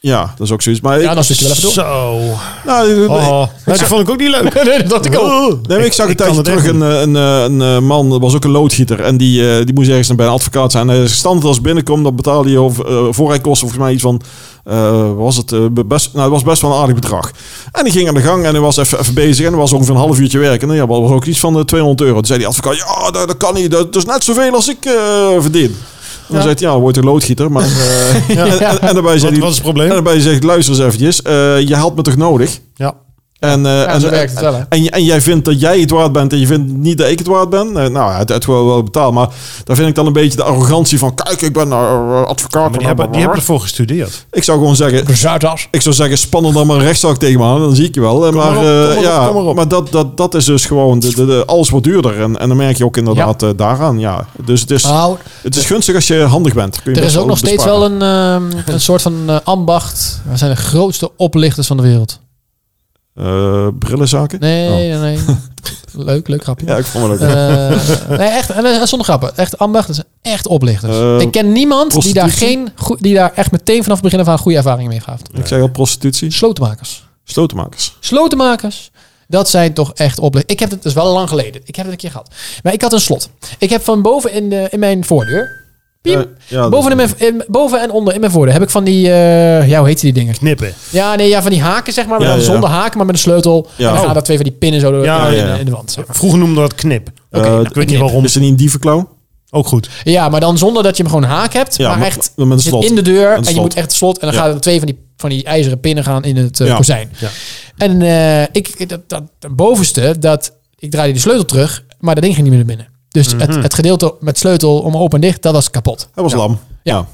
Speaker 2: ja, dat is ook zoiets. Maar ik,
Speaker 3: Ja, dan zit je wel even door.
Speaker 4: Zo.
Speaker 2: nou, nee,
Speaker 4: Oh, dat vond ik ook niet leuk. Oh.
Speaker 3: Nee, dat dacht ik ook.
Speaker 2: nee, maar ik zag een tijdje terug een, eh, een, eh, een, eh, man, dat was ook een loodgieter. En die, eh, die moest ergens bij een advocaat zijn. En hij zei, standaard als binnenkomt, dan betaalde je over, eh, voorrijkosten volgens mij iets van... eh, wat was het, eh, best, nou, het was best wel een aardig bedrag. En die ging aan de gang en hij was even, even bezig. En er was ongeveer een half uurtje werk. En eh, ja, dat was ook iets van eh, 200 euro. Toen zei die advocaat, ja, dat, dat kan niet. Dat, dat is net zoveel als ik eh, verdien. En dan
Speaker 3: Ja.
Speaker 2: zei hij, ja, dan wordt een loodgieter. Maar, eh, en, en- en daarbij zei hij...
Speaker 4: Wat, wat is het
Speaker 2: En
Speaker 4: probleem?
Speaker 2: daarbij zegt, luister eens eventjes, eh, je had me toch nodig?
Speaker 4: Ja.
Speaker 2: En, eh,
Speaker 3: Ja,
Speaker 2: en,
Speaker 3: zo werkt het wel, hè?
Speaker 2: en, en jij vindt dat jij het waard bent en je vindt niet dat ik het waard ben. Eh, nou, het, het wel, wel betaald. Maar daar vind ik dan een beetje de arrogantie van... Kijk, ik ben eh, advocaat.
Speaker 4: Maar die hebben, die hebben ervoor gestudeerd.
Speaker 2: Ik zou gewoon zeggen...
Speaker 3: Bezuidas.
Speaker 2: Ik zou zeggen, spannen dan maar een rechtszaak tegen me aan. Dan zie ik je wel. Eh, maar
Speaker 4: maar op,
Speaker 2: eh,
Speaker 4: kom maar op,
Speaker 2: ja,
Speaker 4: kom maar op.
Speaker 2: maar dat, dat, dat is dus gewoon... De, de, de- alles wordt duurder. En, en dan merk je ook inderdaad eh, daaraan. Ja. Dus het
Speaker 4: Ah.
Speaker 2: is,
Speaker 3: Nou,
Speaker 2: het is gunstig als je handig bent. Kun je
Speaker 3: er is
Speaker 2: best
Speaker 3: ook nog steeds
Speaker 2: besparen.
Speaker 3: wel een, ehm, een soort van eh, ambacht. We zijn de grootste oplichters van de wereld.
Speaker 2: Eh, brillenzaken?
Speaker 3: Nee,
Speaker 2: Oh.
Speaker 3: nee, nee. Leuk, leuk grapje.
Speaker 2: Ja, ik vond het ook.
Speaker 3: Eh, nee, echt, en dat is zonder grappen. Echt ambachten zijn echt oplichters.
Speaker 2: Eh,
Speaker 3: ik ken niemand die daar,
Speaker 2: prostitutie?
Speaker 3: geen, goe- die daar echt meteen vanaf het begin af aan goede ervaringen mee heeft.
Speaker 2: Ik zeg al prostitutie.
Speaker 3: Slotenmakers.
Speaker 2: Slotenmakers.
Speaker 3: Slotenmakers, dat zijn toch echt oplichters. Ik heb het, dat is wel lang geleden. Ik heb het een keer gehad. Maar ik had een slot. Ik heb van boven in, de, in mijn voordeur, piep,
Speaker 2: Eh, ja,
Speaker 3: boven, in
Speaker 2: dat-
Speaker 3: mijn, in- boven en onder in mijn voordeur heb ik van die, eh, ja, hoe heet die dingen?
Speaker 4: Knippen.
Speaker 3: Ja, nee, ja, van die haken zeg maar, maar
Speaker 2: Ja,
Speaker 3: dan
Speaker 2: ja.
Speaker 3: zonder haken, maar met een sleutel.
Speaker 2: Ja.
Speaker 3: En dan
Speaker 2: Oh.
Speaker 3: gaan daar twee van die pinnen zo door-
Speaker 4: Ja,
Speaker 3: in,
Speaker 2: ja, ja.
Speaker 3: in de wand. zeg maar.
Speaker 4: Vroeger noemden we dat knip. nou,
Speaker 2: Eh,
Speaker 4: ik weet niet waarom.
Speaker 2: Is er niet een dievenklauw?
Speaker 4: Ook goed.
Speaker 3: Ja, maar dan zonder dat je hem gewoon een haak hebt,
Speaker 2: Ja,
Speaker 3: maar
Speaker 2: maar-
Speaker 3: echt
Speaker 2: met een
Speaker 3: zit
Speaker 2: slot.
Speaker 3: in de deur en,
Speaker 2: Een
Speaker 3: je
Speaker 2: slot.
Speaker 3: moet echt het slot en dan
Speaker 2: Ja.
Speaker 3: gaan er twee van die, van die ijzeren pinnen gaan in het eh,
Speaker 2: Ja.
Speaker 3: kozijn.
Speaker 4: Ja.
Speaker 3: En eh, ik, ik- dat, dat, dat bovenste, dat, ik draaide de sleutel terug, maar dat ding ging niet meer naar binnen. Dus
Speaker 2: Mhm.
Speaker 3: het, het gedeelte met sleutel om open en dicht, dat was kapot.
Speaker 2: Hij was lam.
Speaker 3: Ja.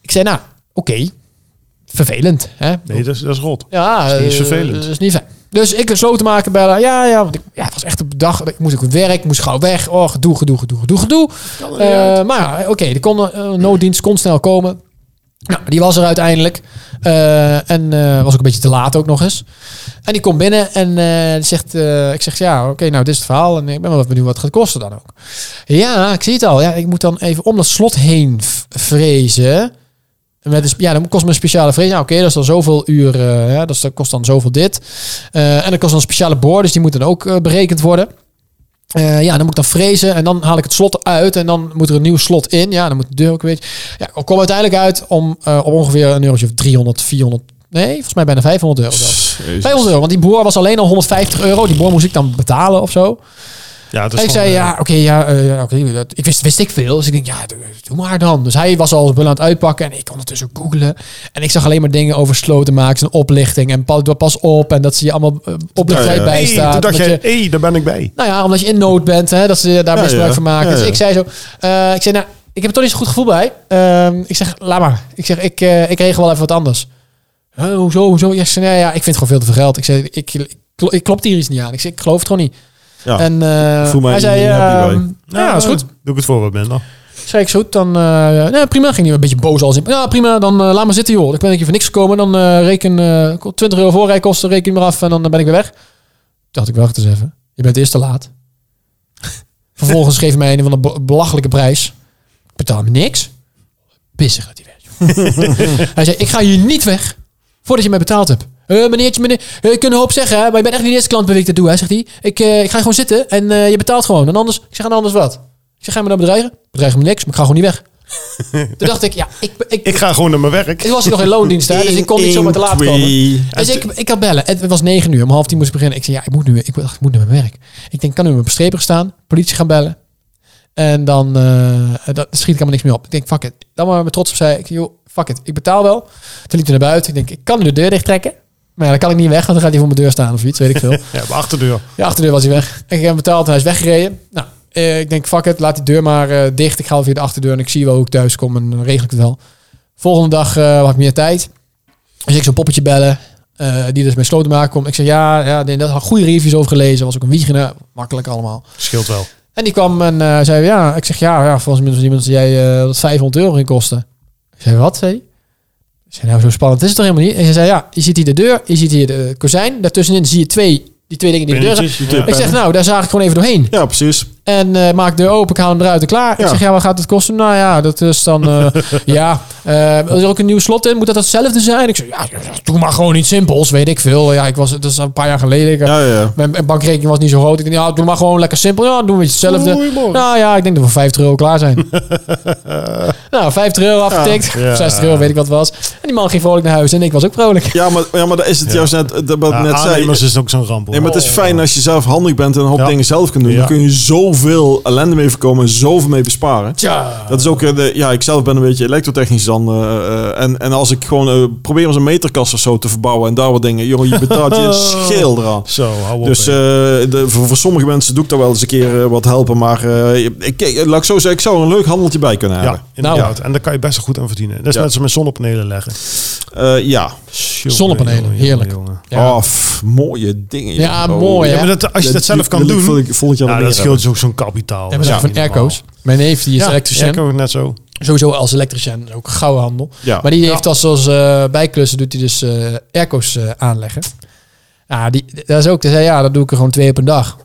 Speaker 3: Ik zei, nou, oké, vervelend. Hè?
Speaker 4: Nee, dat is, dat is rot.
Speaker 3: Ja,
Speaker 4: Dat is niet
Speaker 3: eh,
Speaker 4: vervelend.
Speaker 3: Dat is niet fijn. Dus ik sloten maken bellen. Ja, ja, want ik, ja, het was echt op de dag. Ik moest ook op werk, moest gauw weg. Oh, gedoe, gedoe, gedoe, gedoe, gedoe. Eh, maar ja, oké, de kon, eh, nooddienst kon snel komen. Nou, die was er uiteindelijk. Eh, en eh, was ook een beetje te laat ook nog eens. En die komt binnen en eh, die zegt, eh, ik zeg, ja, oké, nou, dit is het verhaal. En ik ben wel benieuwd wat het gaat kosten dan ook. Ja, ik zie het al. Ja, ik moet dan even om dat slot heen v- vrezen. En Met een, sp- ja, dan kost me een speciale vrees. Ja, oké, dat is dan zoveel uur. eh, ja, dat, is, dat kost dan zoveel dit. Eh, en dat kost dan een speciale boor, dus die moet dan ook eh, berekend worden. Eh, ja, dan moet ik dan vrezen en dan haal ik het slot uit en dan moet er een nieuw slot in. Ja, dan moet de deur ook weer. Ja, ik kom uiteindelijk uit om eh, op ongeveer een eurotje of 300, 400. Nee, volgens mij bijna 500 euro. zelfs.
Speaker 2: Jezus.
Speaker 3: 500 euro, want die boor was alleen al 150 euro. Die boor moest ik dan betalen of zo.
Speaker 4: Ja, dat is
Speaker 3: En ik
Speaker 4: gewoon,
Speaker 3: zei,
Speaker 4: eh,
Speaker 3: ja, oké, ja, eh, ja, oké, dat- ik wist, wist ik veel. Dus ik denk, ja, doe, doe maar dan. Dus hij was al wel aan het uitpakken en ik ondertussen googelen. En ik zag alleen maar dingen over slotenmakers en oplichting. En pas, pas op en dat ze je allemaal eh, oplichterij
Speaker 2: Ja, ja.
Speaker 3: bijstaat.
Speaker 4: hey, toen dacht
Speaker 3: omdat
Speaker 4: jij,
Speaker 3: je-
Speaker 4: hé, hey, daar ben ik bij.
Speaker 3: nou ja, omdat je in nood bent, hè, dat ze daar
Speaker 2: Ja,
Speaker 3: misbruik
Speaker 2: ja.
Speaker 3: van maken.
Speaker 2: Ja,
Speaker 3: Dus
Speaker 2: ja.
Speaker 3: ik zei zo, eh, ik zei, nou, ik heb er toch niet zo'n goed gevoel bij. Ehm, ik zeg, laat maar. Ik zeg, ik, eh, ik regel wel even wat anders. Huh, hoezo, hoezo? Ja, ik zei, nou ja, ik vind gewoon veel te veel geld. Ik zei, ik, ik, kl- ik klopt hier iets niet aan. Ik zeg, ik geloof het gewoon niet.
Speaker 2: Ja,
Speaker 3: en eh,
Speaker 2: voel mij
Speaker 3: hij zei,
Speaker 2: niet happy
Speaker 3: ehm,
Speaker 2: bij.
Speaker 3: nou ja, is goed.
Speaker 4: Doe ik het voor wat minder.
Speaker 3: Ik Zei ik, is goed, dan... eh nee, prima. Ging hij een beetje boos als in. Ja, prima, dan eh, laat maar zitten, joh. Ik ben ik hier voor niks gekomen. Dan eh, reken eh 20 euro voorrijkosten, reken maar af en dan eh, ben ik weer weg. Toen dacht ik, wacht eens even. Je bent eerst te laat. Vervolgens geef je mij een van de belachelijke prijs. Ik betaal me niks. Pissig dat hij werd. joh. hij zei, ik ga hier niet weg voordat je mij betaald hebt. Eh meneertje, meneer, eh, ik kan een hoop zeggen, hè, maar je bent echt niet de eerste klant bij wie ik dat doe, hè, zegt hij. Ik, eh, ik ga gewoon zitten en eh, je betaalt gewoon. En anders, ik zeg, en anders wat? Ik zeg, ga je me dan bedreigen? Bedreigen me niks, maar ik ga gewoon niet weg. Toen dacht ik, ja, ik, ik,
Speaker 4: Ik ga gewoon naar mijn werk.
Speaker 3: ik was hier nog in loondienst, hè, dus ik kon niet zomaar te laat komen. Dus ik, ik had bellen. Het was negen uur. Om half tien moest ik beginnen. Ik zei, ja, ik moet nu, ik, dacht, ik moet naar mijn werk. Ik denk, kan nu op mijn streper staan? Politie gaan bellen. En dan eh, dat schiet ik helemaal niks meer op. Ik denk, fuck it. Dan maar met trots op zei ik, joh, fuck it. Ik betaal wel. Toen liep hij naar buiten. Ik denk, ik kan nu de deur dicht trekken. Maar ja, dan kan ik niet weg, want dan gaat hij voor mijn deur staan of iets, weet ik veel.
Speaker 4: Ja, maar achterdeur.
Speaker 3: De achterdeur was hij weg. Ik heb hem betaald en hij is weggereden. Nou, eh, ik denk, fuck it, laat die deur maar eh, dicht. Ik ga wel via de achterdeur en ik zie wel hoe ik thuis kom en dan regel ik het wel. Volgende dag eh, had ik meer tijd. Dus ik zo'n poppetje bellen, eh, die dus mijn sloten maken komt. Ik zeg, ja, ja nee, dat had goede reviews over gelezen. Was ook een wiegende, makkelijk allemaal.
Speaker 4: Scheelt wel.
Speaker 3: En die kwam en eh, zei, ja, ik zeg, ja, ja volgens mij was iemand die jij eh dat 500 euro in kostte. Ik zei, wat, zei hij? Ik zei, nou, zo spannend is het toch helemaal niet? En ze zei, ja, je ziet hier de deur, je ziet hier de kozijn. Daartussenin zie je twee, die twee dingen die in de deur zijn.
Speaker 4: Pinnetjes, ja.
Speaker 3: Ik zeg, nou, daar zaag ik gewoon even doorheen.
Speaker 2: Ja, precies.
Speaker 3: En eh, maak de deur open, ik haal hem eruit en klaar. Ik
Speaker 2: Ja.
Speaker 3: zeg, ja, wat gaat het kosten? Nou ja, dat is dan... eh, ja, eh, er is ook een nieuw slot in. Moet dat hetzelfde zijn? Ik zeg, ja, doe maar gewoon iets simpels. Weet ik veel. Ja, ik was, dat is een paar jaar geleden. Ik, eh,
Speaker 2: Ja, ja, ja.
Speaker 3: Mijn mijn bankrekening was niet zo groot. Ik dacht, ja, doe maar gewoon lekker simpel. Ja, doen we hetzelfde.
Speaker 4: Goeiemorgen.
Speaker 3: Nou ja, ik denk dat we 50 euro klaar zijn. nou, 50 euro afgetikt.
Speaker 4: Ja.
Speaker 3: 60 euro, weet ik wat het was. En die man ging vrolijk naar huis en ik was ook vrolijk.
Speaker 2: Ja, maar, ja, maar dat is het juist net, dat wat ik
Speaker 4: Ja,
Speaker 2: net zei.
Speaker 4: aannemers is ook zo'n ramp. hoor. Oh.
Speaker 2: Nee, maar het is fijn als je zelf handig bent en een hoop
Speaker 4: Ja.
Speaker 2: dingen zelf kunt doen.
Speaker 4: Ja.
Speaker 2: Dan kun je zoveel ellende mee voorkomen en zoveel mee besparen.
Speaker 3: Tja.
Speaker 2: Dat is ook, eh, de, ja, ik zelf ben een beetje elektrotechnisch dan. eh, eh, en, en als ik gewoon eh, probeer eens een meterkast of zo te verbouwen en daar wat dingen. Joh, je betaalt je scheel eraan.
Speaker 4: Zo, hou op.
Speaker 2: Dus
Speaker 4: hè.
Speaker 2: eh, de, voor, voor sommige mensen doe ik daar wel eens een keer eh, wat helpen. Maar eh, ik, ik, laat ik zo zeggen, ik zou er een leuk handeltje bij kunnen hebben.
Speaker 4: ja,
Speaker 3: Nou.
Speaker 4: inderdaad. En daar kan je best wel goed aan verdienen. Dat is
Speaker 2: eh, Ja.
Speaker 4: net zo met zonnepanelen leggen.
Speaker 2: Ja, Eh, ja.
Speaker 4: Jongen,
Speaker 3: Zonnepanelen,
Speaker 4: jongen,
Speaker 3: heerlijk.
Speaker 4: jongen, jongen.
Speaker 3: Ja.
Speaker 2: Oh, pff, mooie dingen. joh.
Speaker 3: Ja,
Speaker 2: Oh.
Speaker 3: mooi, hè?
Speaker 4: Ja, maar dat, als je dat zelf kan
Speaker 2: wil ik-
Speaker 4: doen,
Speaker 2: wil ik- voel ik je al
Speaker 4: ja,
Speaker 2: meer
Speaker 4: dat scheelt
Speaker 2: hebben.
Speaker 4: dus ook zo'n kapitaal.
Speaker 3: En we
Speaker 4: Ja.
Speaker 3: zijn van airco's. Mijn neef die is
Speaker 4: Ja,
Speaker 3: elektricien.
Speaker 4: airco, net zo.
Speaker 3: Sowieso als elektricien, ook gouden handel.
Speaker 2: Ja.
Speaker 3: Maar die heeft als, als eh, bijklussen doet hij dus eh airco's eh, aanleggen. Ja, die, dat is ook. Hij zei, ja, dat doe ik er gewoon twee op een dag.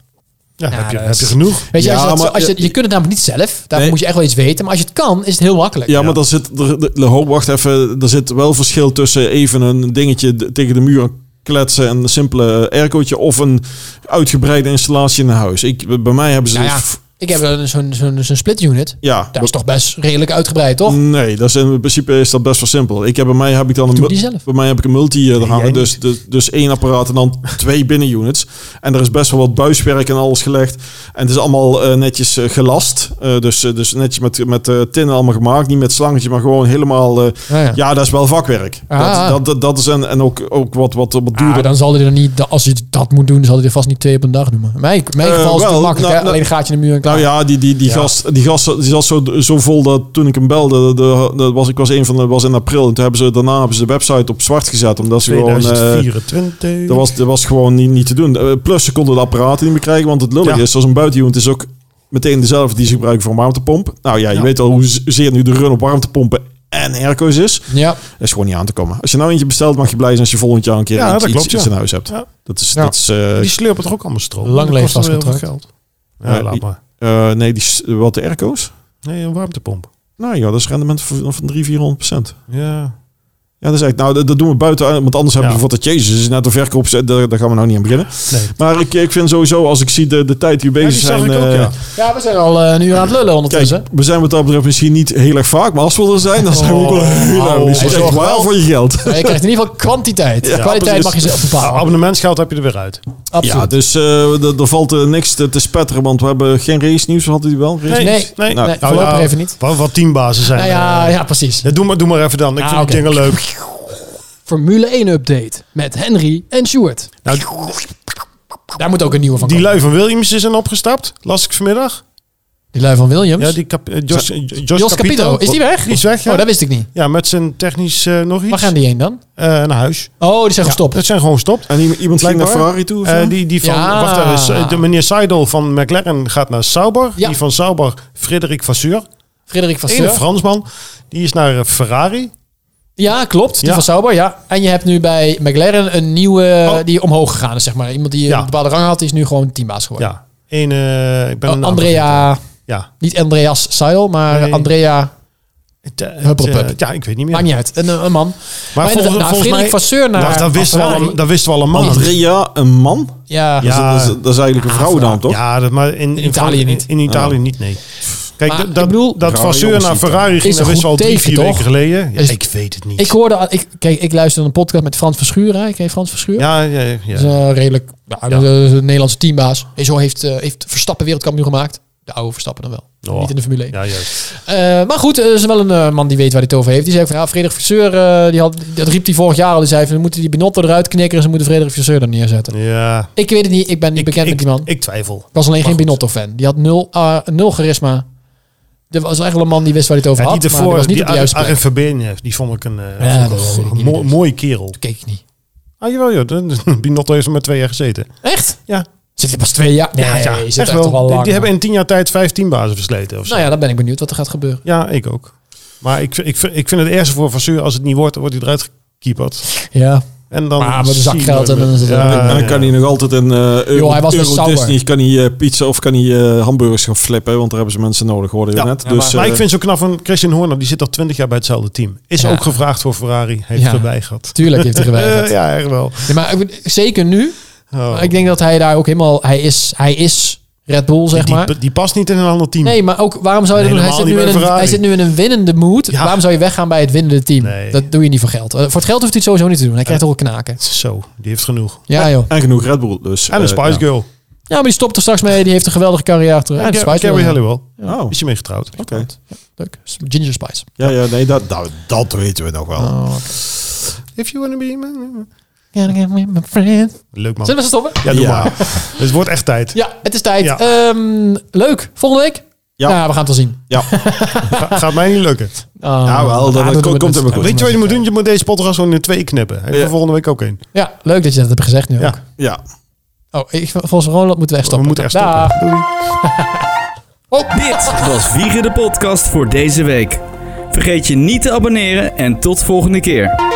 Speaker 4: Ja, heb, je,
Speaker 3: dat
Speaker 4: heb
Speaker 3: is-
Speaker 4: je genoeg?
Speaker 3: Weet je,
Speaker 2: Ja,
Speaker 3: als je, dat-
Speaker 2: maar-
Speaker 3: als je, je kunt het namelijk niet zelf. Daarvoor
Speaker 2: Nee.
Speaker 3: moet je echt wel iets weten. Maar als je het kan, is het heel makkelijk.
Speaker 2: Ja, maar daar zit, er, de- de- ho, wacht even, er zit wel verschil tussen even een dingetje d- tegen de muur kletsen en een simpele aircootje of een uitgebreide installatie in een huis. Ik, bij mij hebben ze...
Speaker 3: Nou ja,
Speaker 2: f-
Speaker 3: ik heb een- zo'n zo'n zo'n split unit.
Speaker 2: ja,
Speaker 3: Dat is toch best redelijk uitgebreid, toch?
Speaker 2: Nee, dat is in principe is dat best wel simpel. Ik heb bij mij heb ik dan een
Speaker 3: Doe
Speaker 2: mul-
Speaker 3: die zelf.
Speaker 2: bij mij heb ik een multi eh, er hangen,
Speaker 4: jij
Speaker 2: dus, dus dus één apparaat en dan twee binnenunits. En er is best wel wat buiswerk en alles gelegd. En het is allemaal eh, netjes eh, gelast, Eh, dus eh, dus netjes met met eh, tinnen allemaal gemaakt, niet met slangetje, maar gewoon helemaal. eh,
Speaker 3: Ah, Ja, ja.
Speaker 2: ja. dat is wel vakwerk.
Speaker 3: Ah.
Speaker 2: Dat, dat, dat, dat is en, en ook, ook wat, wat, wat
Speaker 3: Ah,
Speaker 2: duurder.
Speaker 3: dan zal hij er niet, als hij dat moet doen, zal hij er vast niet twee op een dag doen. maar In mijn, in mijn
Speaker 2: Eh,
Speaker 3: geval is het
Speaker 2: wel,
Speaker 3: makkelijk.
Speaker 2: nou,
Speaker 3: hè?
Speaker 2: nou-
Speaker 3: Alleen gaat je in de muur en klaar.
Speaker 2: Nou ja, die, die, die,
Speaker 4: Ja.
Speaker 2: Gast, die gast die zat zo, zo vol dat toen ik hem belde, de, de, was, ik was, een van de, was in april. En toen hebben ze, daarna hebben ze de website op zwart gezet. Omdat ze gewoon. eh,
Speaker 4: 2024.
Speaker 2: Dat was, dat was gewoon niet, niet te doen. Eh, Plus, ze konden de apparaten niet meer krijgen. Want het lullig
Speaker 4: Ja.
Speaker 2: is, als een buitenunit is ook meteen dezelfde die ze gebruiken voor een warmtepomp. Nou ja, je
Speaker 4: Ja.
Speaker 2: weet al hoezeer nu de run op warmtepompen en airco's is.
Speaker 3: ja.
Speaker 2: Dat is gewoon niet aan te komen. Als je nou eentje bestelt, mag je blij zijn als je volgend jaar een keer
Speaker 4: Ja,
Speaker 2: iets,
Speaker 4: dat klopt,
Speaker 2: iets- iets
Speaker 4: ja.
Speaker 2: in huis hebt.
Speaker 4: Ja.
Speaker 2: Dat is,
Speaker 3: Ja.
Speaker 2: dat is eh,
Speaker 4: Die slurpen toch ook allemaal stroom?
Speaker 3: Lang
Speaker 4: Dat kost
Speaker 3: leefvast
Speaker 4: wel heel veel
Speaker 3: contract.
Speaker 4: geld. Ja,
Speaker 2: Ja,
Speaker 4: laat
Speaker 2: die-
Speaker 4: maar.
Speaker 2: eh, nee, die, s- wat de airco's?
Speaker 4: Nee, een warmtepomp.
Speaker 2: Nou ja, dat is rendement van, van 300, 400 procent.
Speaker 4: Ja.
Speaker 2: Ja, dat is echt. Nou, dat, dat doen we buiten, want anders hebben
Speaker 4: Ja.
Speaker 2: we wat dat Jezus is net een verkoop. Daar, daar gaan we nou niet aan beginnen.
Speaker 4: Nee.
Speaker 2: Maar ik, ik vind sowieso, als ik zie de, de tijd die we
Speaker 4: Ja,
Speaker 2: bezig
Speaker 4: die zag
Speaker 2: zijn.
Speaker 4: ik ook,
Speaker 2: eh,
Speaker 4: ja.
Speaker 3: ja, we zijn al eh, een uur aan het lullen
Speaker 2: Kijk,
Speaker 3: ondertussen.
Speaker 2: we zijn wat dat betreft misschien niet heel erg vaak, maar als we er zijn, dan zijn we ook wel heel
Speaker 4: Oh,
Speaker 2: erg. Dus je
Speaker 3: zorg
Speaker 2: krijgt
Speaker 3: wel.
Speaker 2: waar voor je geld.
Speaker 3: Maar je krijgt in ieder geval kwantiteit.
Speaker 2: Ja,
Speaker 3: Kwaliteit
Speaker 2: precies.
Speaker 3: mag je zelf
Speaker 4: Nou,
Speaker 3: bepalen.
Speaker 4: abonnementsgeld heb je er weer uit.
Speaker 2: Ja,
Speaker 3: Absoluut.
Speaker 2: dus eh, er- er valt eh, niks te, te spetteren, want we hebben geen race nieuws. Hadden die wel? Race-
Speaker 3: Nee,
Speaker 2: nou,
Speaker 4: nee.
Speaker 3: nee,
Speaker 4: Nou
Speaker 3: voorlopig
Speaker 4: ja,
Speaker 3: even niet.
Speaker 4: Wat, wat teambazen zijn.
Speaker 3: Nou ja,
Speaker 4: eh.
Speaker 3: ja, precies.
Speaker 4: Ja, doe, maar, doe maar even dan. Ik
Speaker 3: Ah,
Speaker 4: vind
Speaker 3: oké.
Speaker 4: die dingen leuk.
Speaker 3: Formule 1 update met Henry en Stuart.
Speaker 4: Nou,
Speaker 3: Daar moet ook een nieuwe van
Speaker 4: die
Speaker 3: komen.
Speaker 4: lui van Williams is in opgestapt. Las ik vanmiddag.
Speaker 3: Die lui van Williams.
Speaker 4: Ja, die kap, eh, Jos, eh, Jos,
Speaker 3: Jos
Speaker 4: Capito.
Speaker 3: Capito. Is die weg?
Speaker 4: Die is weg, ja.
Speaker 3: Oh, dat wist ik niet.
Speaker 4: Ja, met zijn technisch eh, nog iets.
Speaker 3: Waar gaan die heen dan?
Speaker 4: Eh, naar huis.
Speaker 3: Oh, die zijn
Speaker 4: Ja, Dus
Speaker 3: gestopt.
Speaker 4: Dat zijn gewoon gestopt.
Speaker 2: En i- iemand ging naar
Speaker 4: Blijkbaar.
Speaker 2: Ferrari toe? of
Speaker 4: Eh,
Speaker 2: zo?
Speaker 4: die, die van,
Speaker 3: Ja.
Speaker 4: wacht daar is, eh, de meneer Seidel van McLaren gaat naar Sauber.
Speaker 3: Ja.
Speaker 4: Die van Sauber, Frederik Vasseur.
Speaker 3: Frederik van
Speaker 4: Een
Speaker 3: Steur.
Speaker 4: Fransman. Die is naar eh, Ferrari.
Speaker 3: Ja, klopt. Die
Speaker 4: Ja.
Speaker 3: van Sauber, ja. En je hebt nu bij McLaren een nieuwe
Speaker 4: Oh.
Speaker 3: die omhoog gegaan is, zeg maar. Iemand die
Speaker 4: Ja.
Speaker 3: een bepaalde rang had, die is nu gewoon teambaas geworden.
Speaker 4: Ja. Een, eh, ik ben
Speaker 3: Oh,
Speaker 4: een naam vergeten.
Speaker 3: Andrea,
Speaker 4: Ja.
Speaker 3: niet Andreas Seidel, maar
Speaker 4: Nee.
Speaker 3: Andrea,
Speaker 4: Het, eh, het,
Speaker 3: Huppelpup.
Speaker 4: eh, ja, ik weet niet meer.
Speaker 3: maakt niet uit, een, een man.
Speaker 4: Maar
Speaker 3: Maar
Speaker 4: volgens,
Speaker 3: inderdaad,
Speaker 4: volgens
Speaker 3: Frederik
Speaker 4: mij...
Speaker 3: Vasseur naar
Speaker 4: dat, dat, wisten we
Speaker 3: Ferrari.
Speaker 4: al, dat wisten we al een maand.
Speaker 2: Andrea, een man?
Speaker 3: Ja,
Speaker 4: Ja. Ah,
Speaker 2: Dat, is, dat is- dat is eigenlijk een vrouw dan, toch?
Speaker 4: Ja, dat, maar in, in,
Speaker 3: Italië
Speaker 4: Fran-
Speaker 3: niet.
Speaker 4: In, in Italië niet, nee. Kijk,
Speaker 3: Maar
Speaker 4: dat-
Speaker 3: ik
Speaker 4: dat,
Speaker 3: bedoel-
Speaker 4: dat
Speaker 2: Rauwe
Speaker 4: Vasseur
Speaker 2: jongens
Speaker 4: naar
Speaker 2: Italië.
Speaker 4: Ferrari
Speaker 3: Is
Speaker 4: ging,
Speaker 3: een
Speaker 4: dat wisten we al
Speaker 3: goed
Speaker 4: drie,
Speaker 3: teken,
Speaker 4: vier
Speaker 3: toch?
Speaker 4: weken geleden. Ja,
Speaker 3: Is-
Speaker 4: ik weet het niet.
Speaker 3: ik hoorde, al- ik, kijk, ik luisterde een podcast met Frans Verschuren. Ik heet Frans Verschuren.
Speaker 4: ja, ja, ja.
Speaker 3: nou, Dat is een redelijk ja, dat is een Nederlandse teambaas. En zo heeft, eh, heeft eh, Verstappen wereldkampioen gemaakt. De oude Verstappen dan wel.
Speaker 4: Oh.
Speaker 3: Niet in de Formule 1.
Speaker 4: Ja, juist.
Speaker 3: Eh, maar goed, er is wel een eh, man die weet waar hij het over heeft. Die zei van, ja, Frederik Vasseur, eh, die had, dat riep hij vorig jaar al. Die zei van, we moeten die Binotto eruit knikken en ze moeten Frederik Vasseur er neerzetten.
Speaker 4: Ja.
Speaker 3: Ik weet het niet, ik ben niet bekend
Speaker 4: ik,
Speaker 3: met die man.
Speaker 4: Ik twijfel.
Speaker 3: Ik was alleen
Speaker 4: Maar
Speaker 3: geen
Speaker 4: goed.
Speaker 3: Binotto-fan. Die had nul, eh, nul charisma. Er was echt wel een man die wist waar hij het over
Speaker 4: Ja, die
Speaker 3: had, maar dat
Speaker 4: ervoor,
Speaker 3: was niet
Speaker 4: die
Speaker 3: op de juiste
Speaker 4: Ar-
Speaker 3: plek.
Speaker 4: Arjen Verbeen, die vond ik een, eh,
Speaker 3: Ja,
Speaker 4: vond ik
Speaker 3: dat
Speaker 4: wel
Speaker 3: vind ik
Speaker 4: een
Speaker 3: niet
Speaker 4: mo-
Speaker 3: dus.
Speaker 4: mooie kerel.
Speaker 3: Keek ik niet.
Speaker 4: Ah, jawel joh. De- Binotto heeft er maar twee jaar gezeten.
Speaker 3: Echt?
Speaker 4: Ja.
Speaker 3: Zit hij pas twee jaar? Nee,
Speaker 4: ja, ja,
Speaker 3: je
Speaker 4: echt
Speaker 3: zit echt
Speaker 4: wel.
Speaker 3: toch wel
Speaker 4: die,
Speaker 3: lang.
Speaker 4: die hebben in tien jaar tijd vijftien bazen versleten of zo.
Speaker 3: Nou ja, dan ben ik benieuwd wat er gaat gebeuren.
Speaker 4: ja. ik ook. Maar ik, ik, ik vind het ergste voor Vasseur, als het niet wordt, dan wordt hij eruit gekieperd.
Speaker 3: Ja.
Speaker 4: En dan
Speaker 3: Maar met een zak
Speaker 4: zie je
Speaker 3: geld en
Speaker 4: nooit
Speaker 3: dan is
Speaker 4: meer.
Speaker 3: het-
Speaker 4: Ja,
Speaker 2: en dan
Speaker 4: ja.
Speaker 2: kan hij nog altijd een eh Euro,
Speaker 3: hij was
Speaker 2: Euro
Speaker 3: dus sauer.
Speaker 2: Disney, kan hij eh, pizza of kan hij eh, hamburgers gaan flippen, want daar hebben ze mensen nodig, hoorden we
Speaker 4: Ja,
Speaker 2: net.
Speaker 1: ja,
Speaker 2: dus,
Speaker 4: Maar
Speaker 2: eh,
Speaker 4: ik vind zo knap van Christian Horner, die zit al twintig jaar bij hetzelfde team. Is
Speaker 3: Ja.
Speaker 4: ook gevraagd voor Ferrari, heeft
Speaker 3: Ja.
Speaker 4: geweigerd.
Speaker 3: Tuurlijk heeft hij geweigerd.
Speaker 4: Eh, ja, echt wel.
Speaker 3: Nee, maar ik bedoel, zeker nu.
Speaker 4: Oh.
Speaker 3: Ik denk dat hij daar ook helemaal... Hij is, hij is Red Bull, zeg
Speaker 4: die,
Speaker 3: maar.
Speaker 4: die, die past niet in een ander team.
Speaker 3: Nee, maar ook waarom zou je
Speaker 4: Nee,
Speaker 3: dat doen? Hij
Speaker 4: helemaal
Speaker 3: zit,
Speaker 4: niet
Speaker 3: nu
Speaker 4: bij
Speaker 3: in een,
Speaker 4: Ferrari.
Speaker 3: hij zit nu in een winnende mood.
Speaker 4: Ja.
Speaker 3: Waarom zou je weggaan bij het winnende team?
Speaker 4: Nee.
Speaker 3: Dat doe je niet voor geld. Eh, Voor het geld hoeft hij het sowieso niet te doen. Hij krijgt ook wel knaken.
Speaker 4: Zo, die heeft genoeg.
Speaker 3: Ja, joh.
Speaker 2: en genoeg Red Bull dus.
Speaker 4: En een
Speaker 2: eh,
Speaker 4: Spice
Speaker 2: ja.
Speaker 4: Girl.
Speaker 3: Ja, maar die stopt er straks mee. Die heeft een geweldige carrière achter. Ja,
Speaker 4: En
Speaker 3: de
Speaker 4: Gary
Speaker 3: Spice Girls.
Speaker 4: Halliwell.
Speaker 2: Oh,
Speaker 4: Is je mee getrouwd?
Speaker 2: oké.
Speaker 3: Leuk. Ginger Spice.
Speaker 2: Ja, ja, nee, dat, dat, dat weten we nog wel.
Speaker 3: Oh,
Speaker 4: If you wanna be my...
Speaker 3: Gotta get with my friend.
Speaker 4: Leuk man.
Speaker 3: Zullen we stoppen?
Speaker 4: Ja, doe
Speaker 2: Ja.
Speaker 4: maar. Dus het wordt echt tijd.
Speaker 3: Ja, het is tijd.
Speaker 4: Ja.
Speaker 3: Ehm, leuk. Volgende week?
Speaker 2: Ja.
Speaker 3: Nou, we gaan het wel zien. Ehm, Ah,
Speaker 4: Ga- gaat mij niet lukken.
Speaker 2: Ja, wel, dat- dat komt
Speaker 3: er
Speaker 2: helemaal goed.
Speaker 4: Weet je wat je moet doen? Je moet deze podcast gewoon in twee knippen. En
Speaker 2: Ja.
Speaker 4: volgende week ook één.
Speaker 3: Ja, leuk dat je dat hebt gezegd nu
Speaker 4: Ja.
Speaker 3: ook.
Speaker 2: Ja.
Speaker 3: Oh, ik, volgens Ronald moeten we echt stoppen.
Speaker 4: We moeten echt stoppen.
Speaker 3: Dag. Oh.
Speaker 4: Doei.
Speaker 1: Dit was Vliegen de podcast voor deze week. Vergeet je niet te abonneren en tot volgende keer.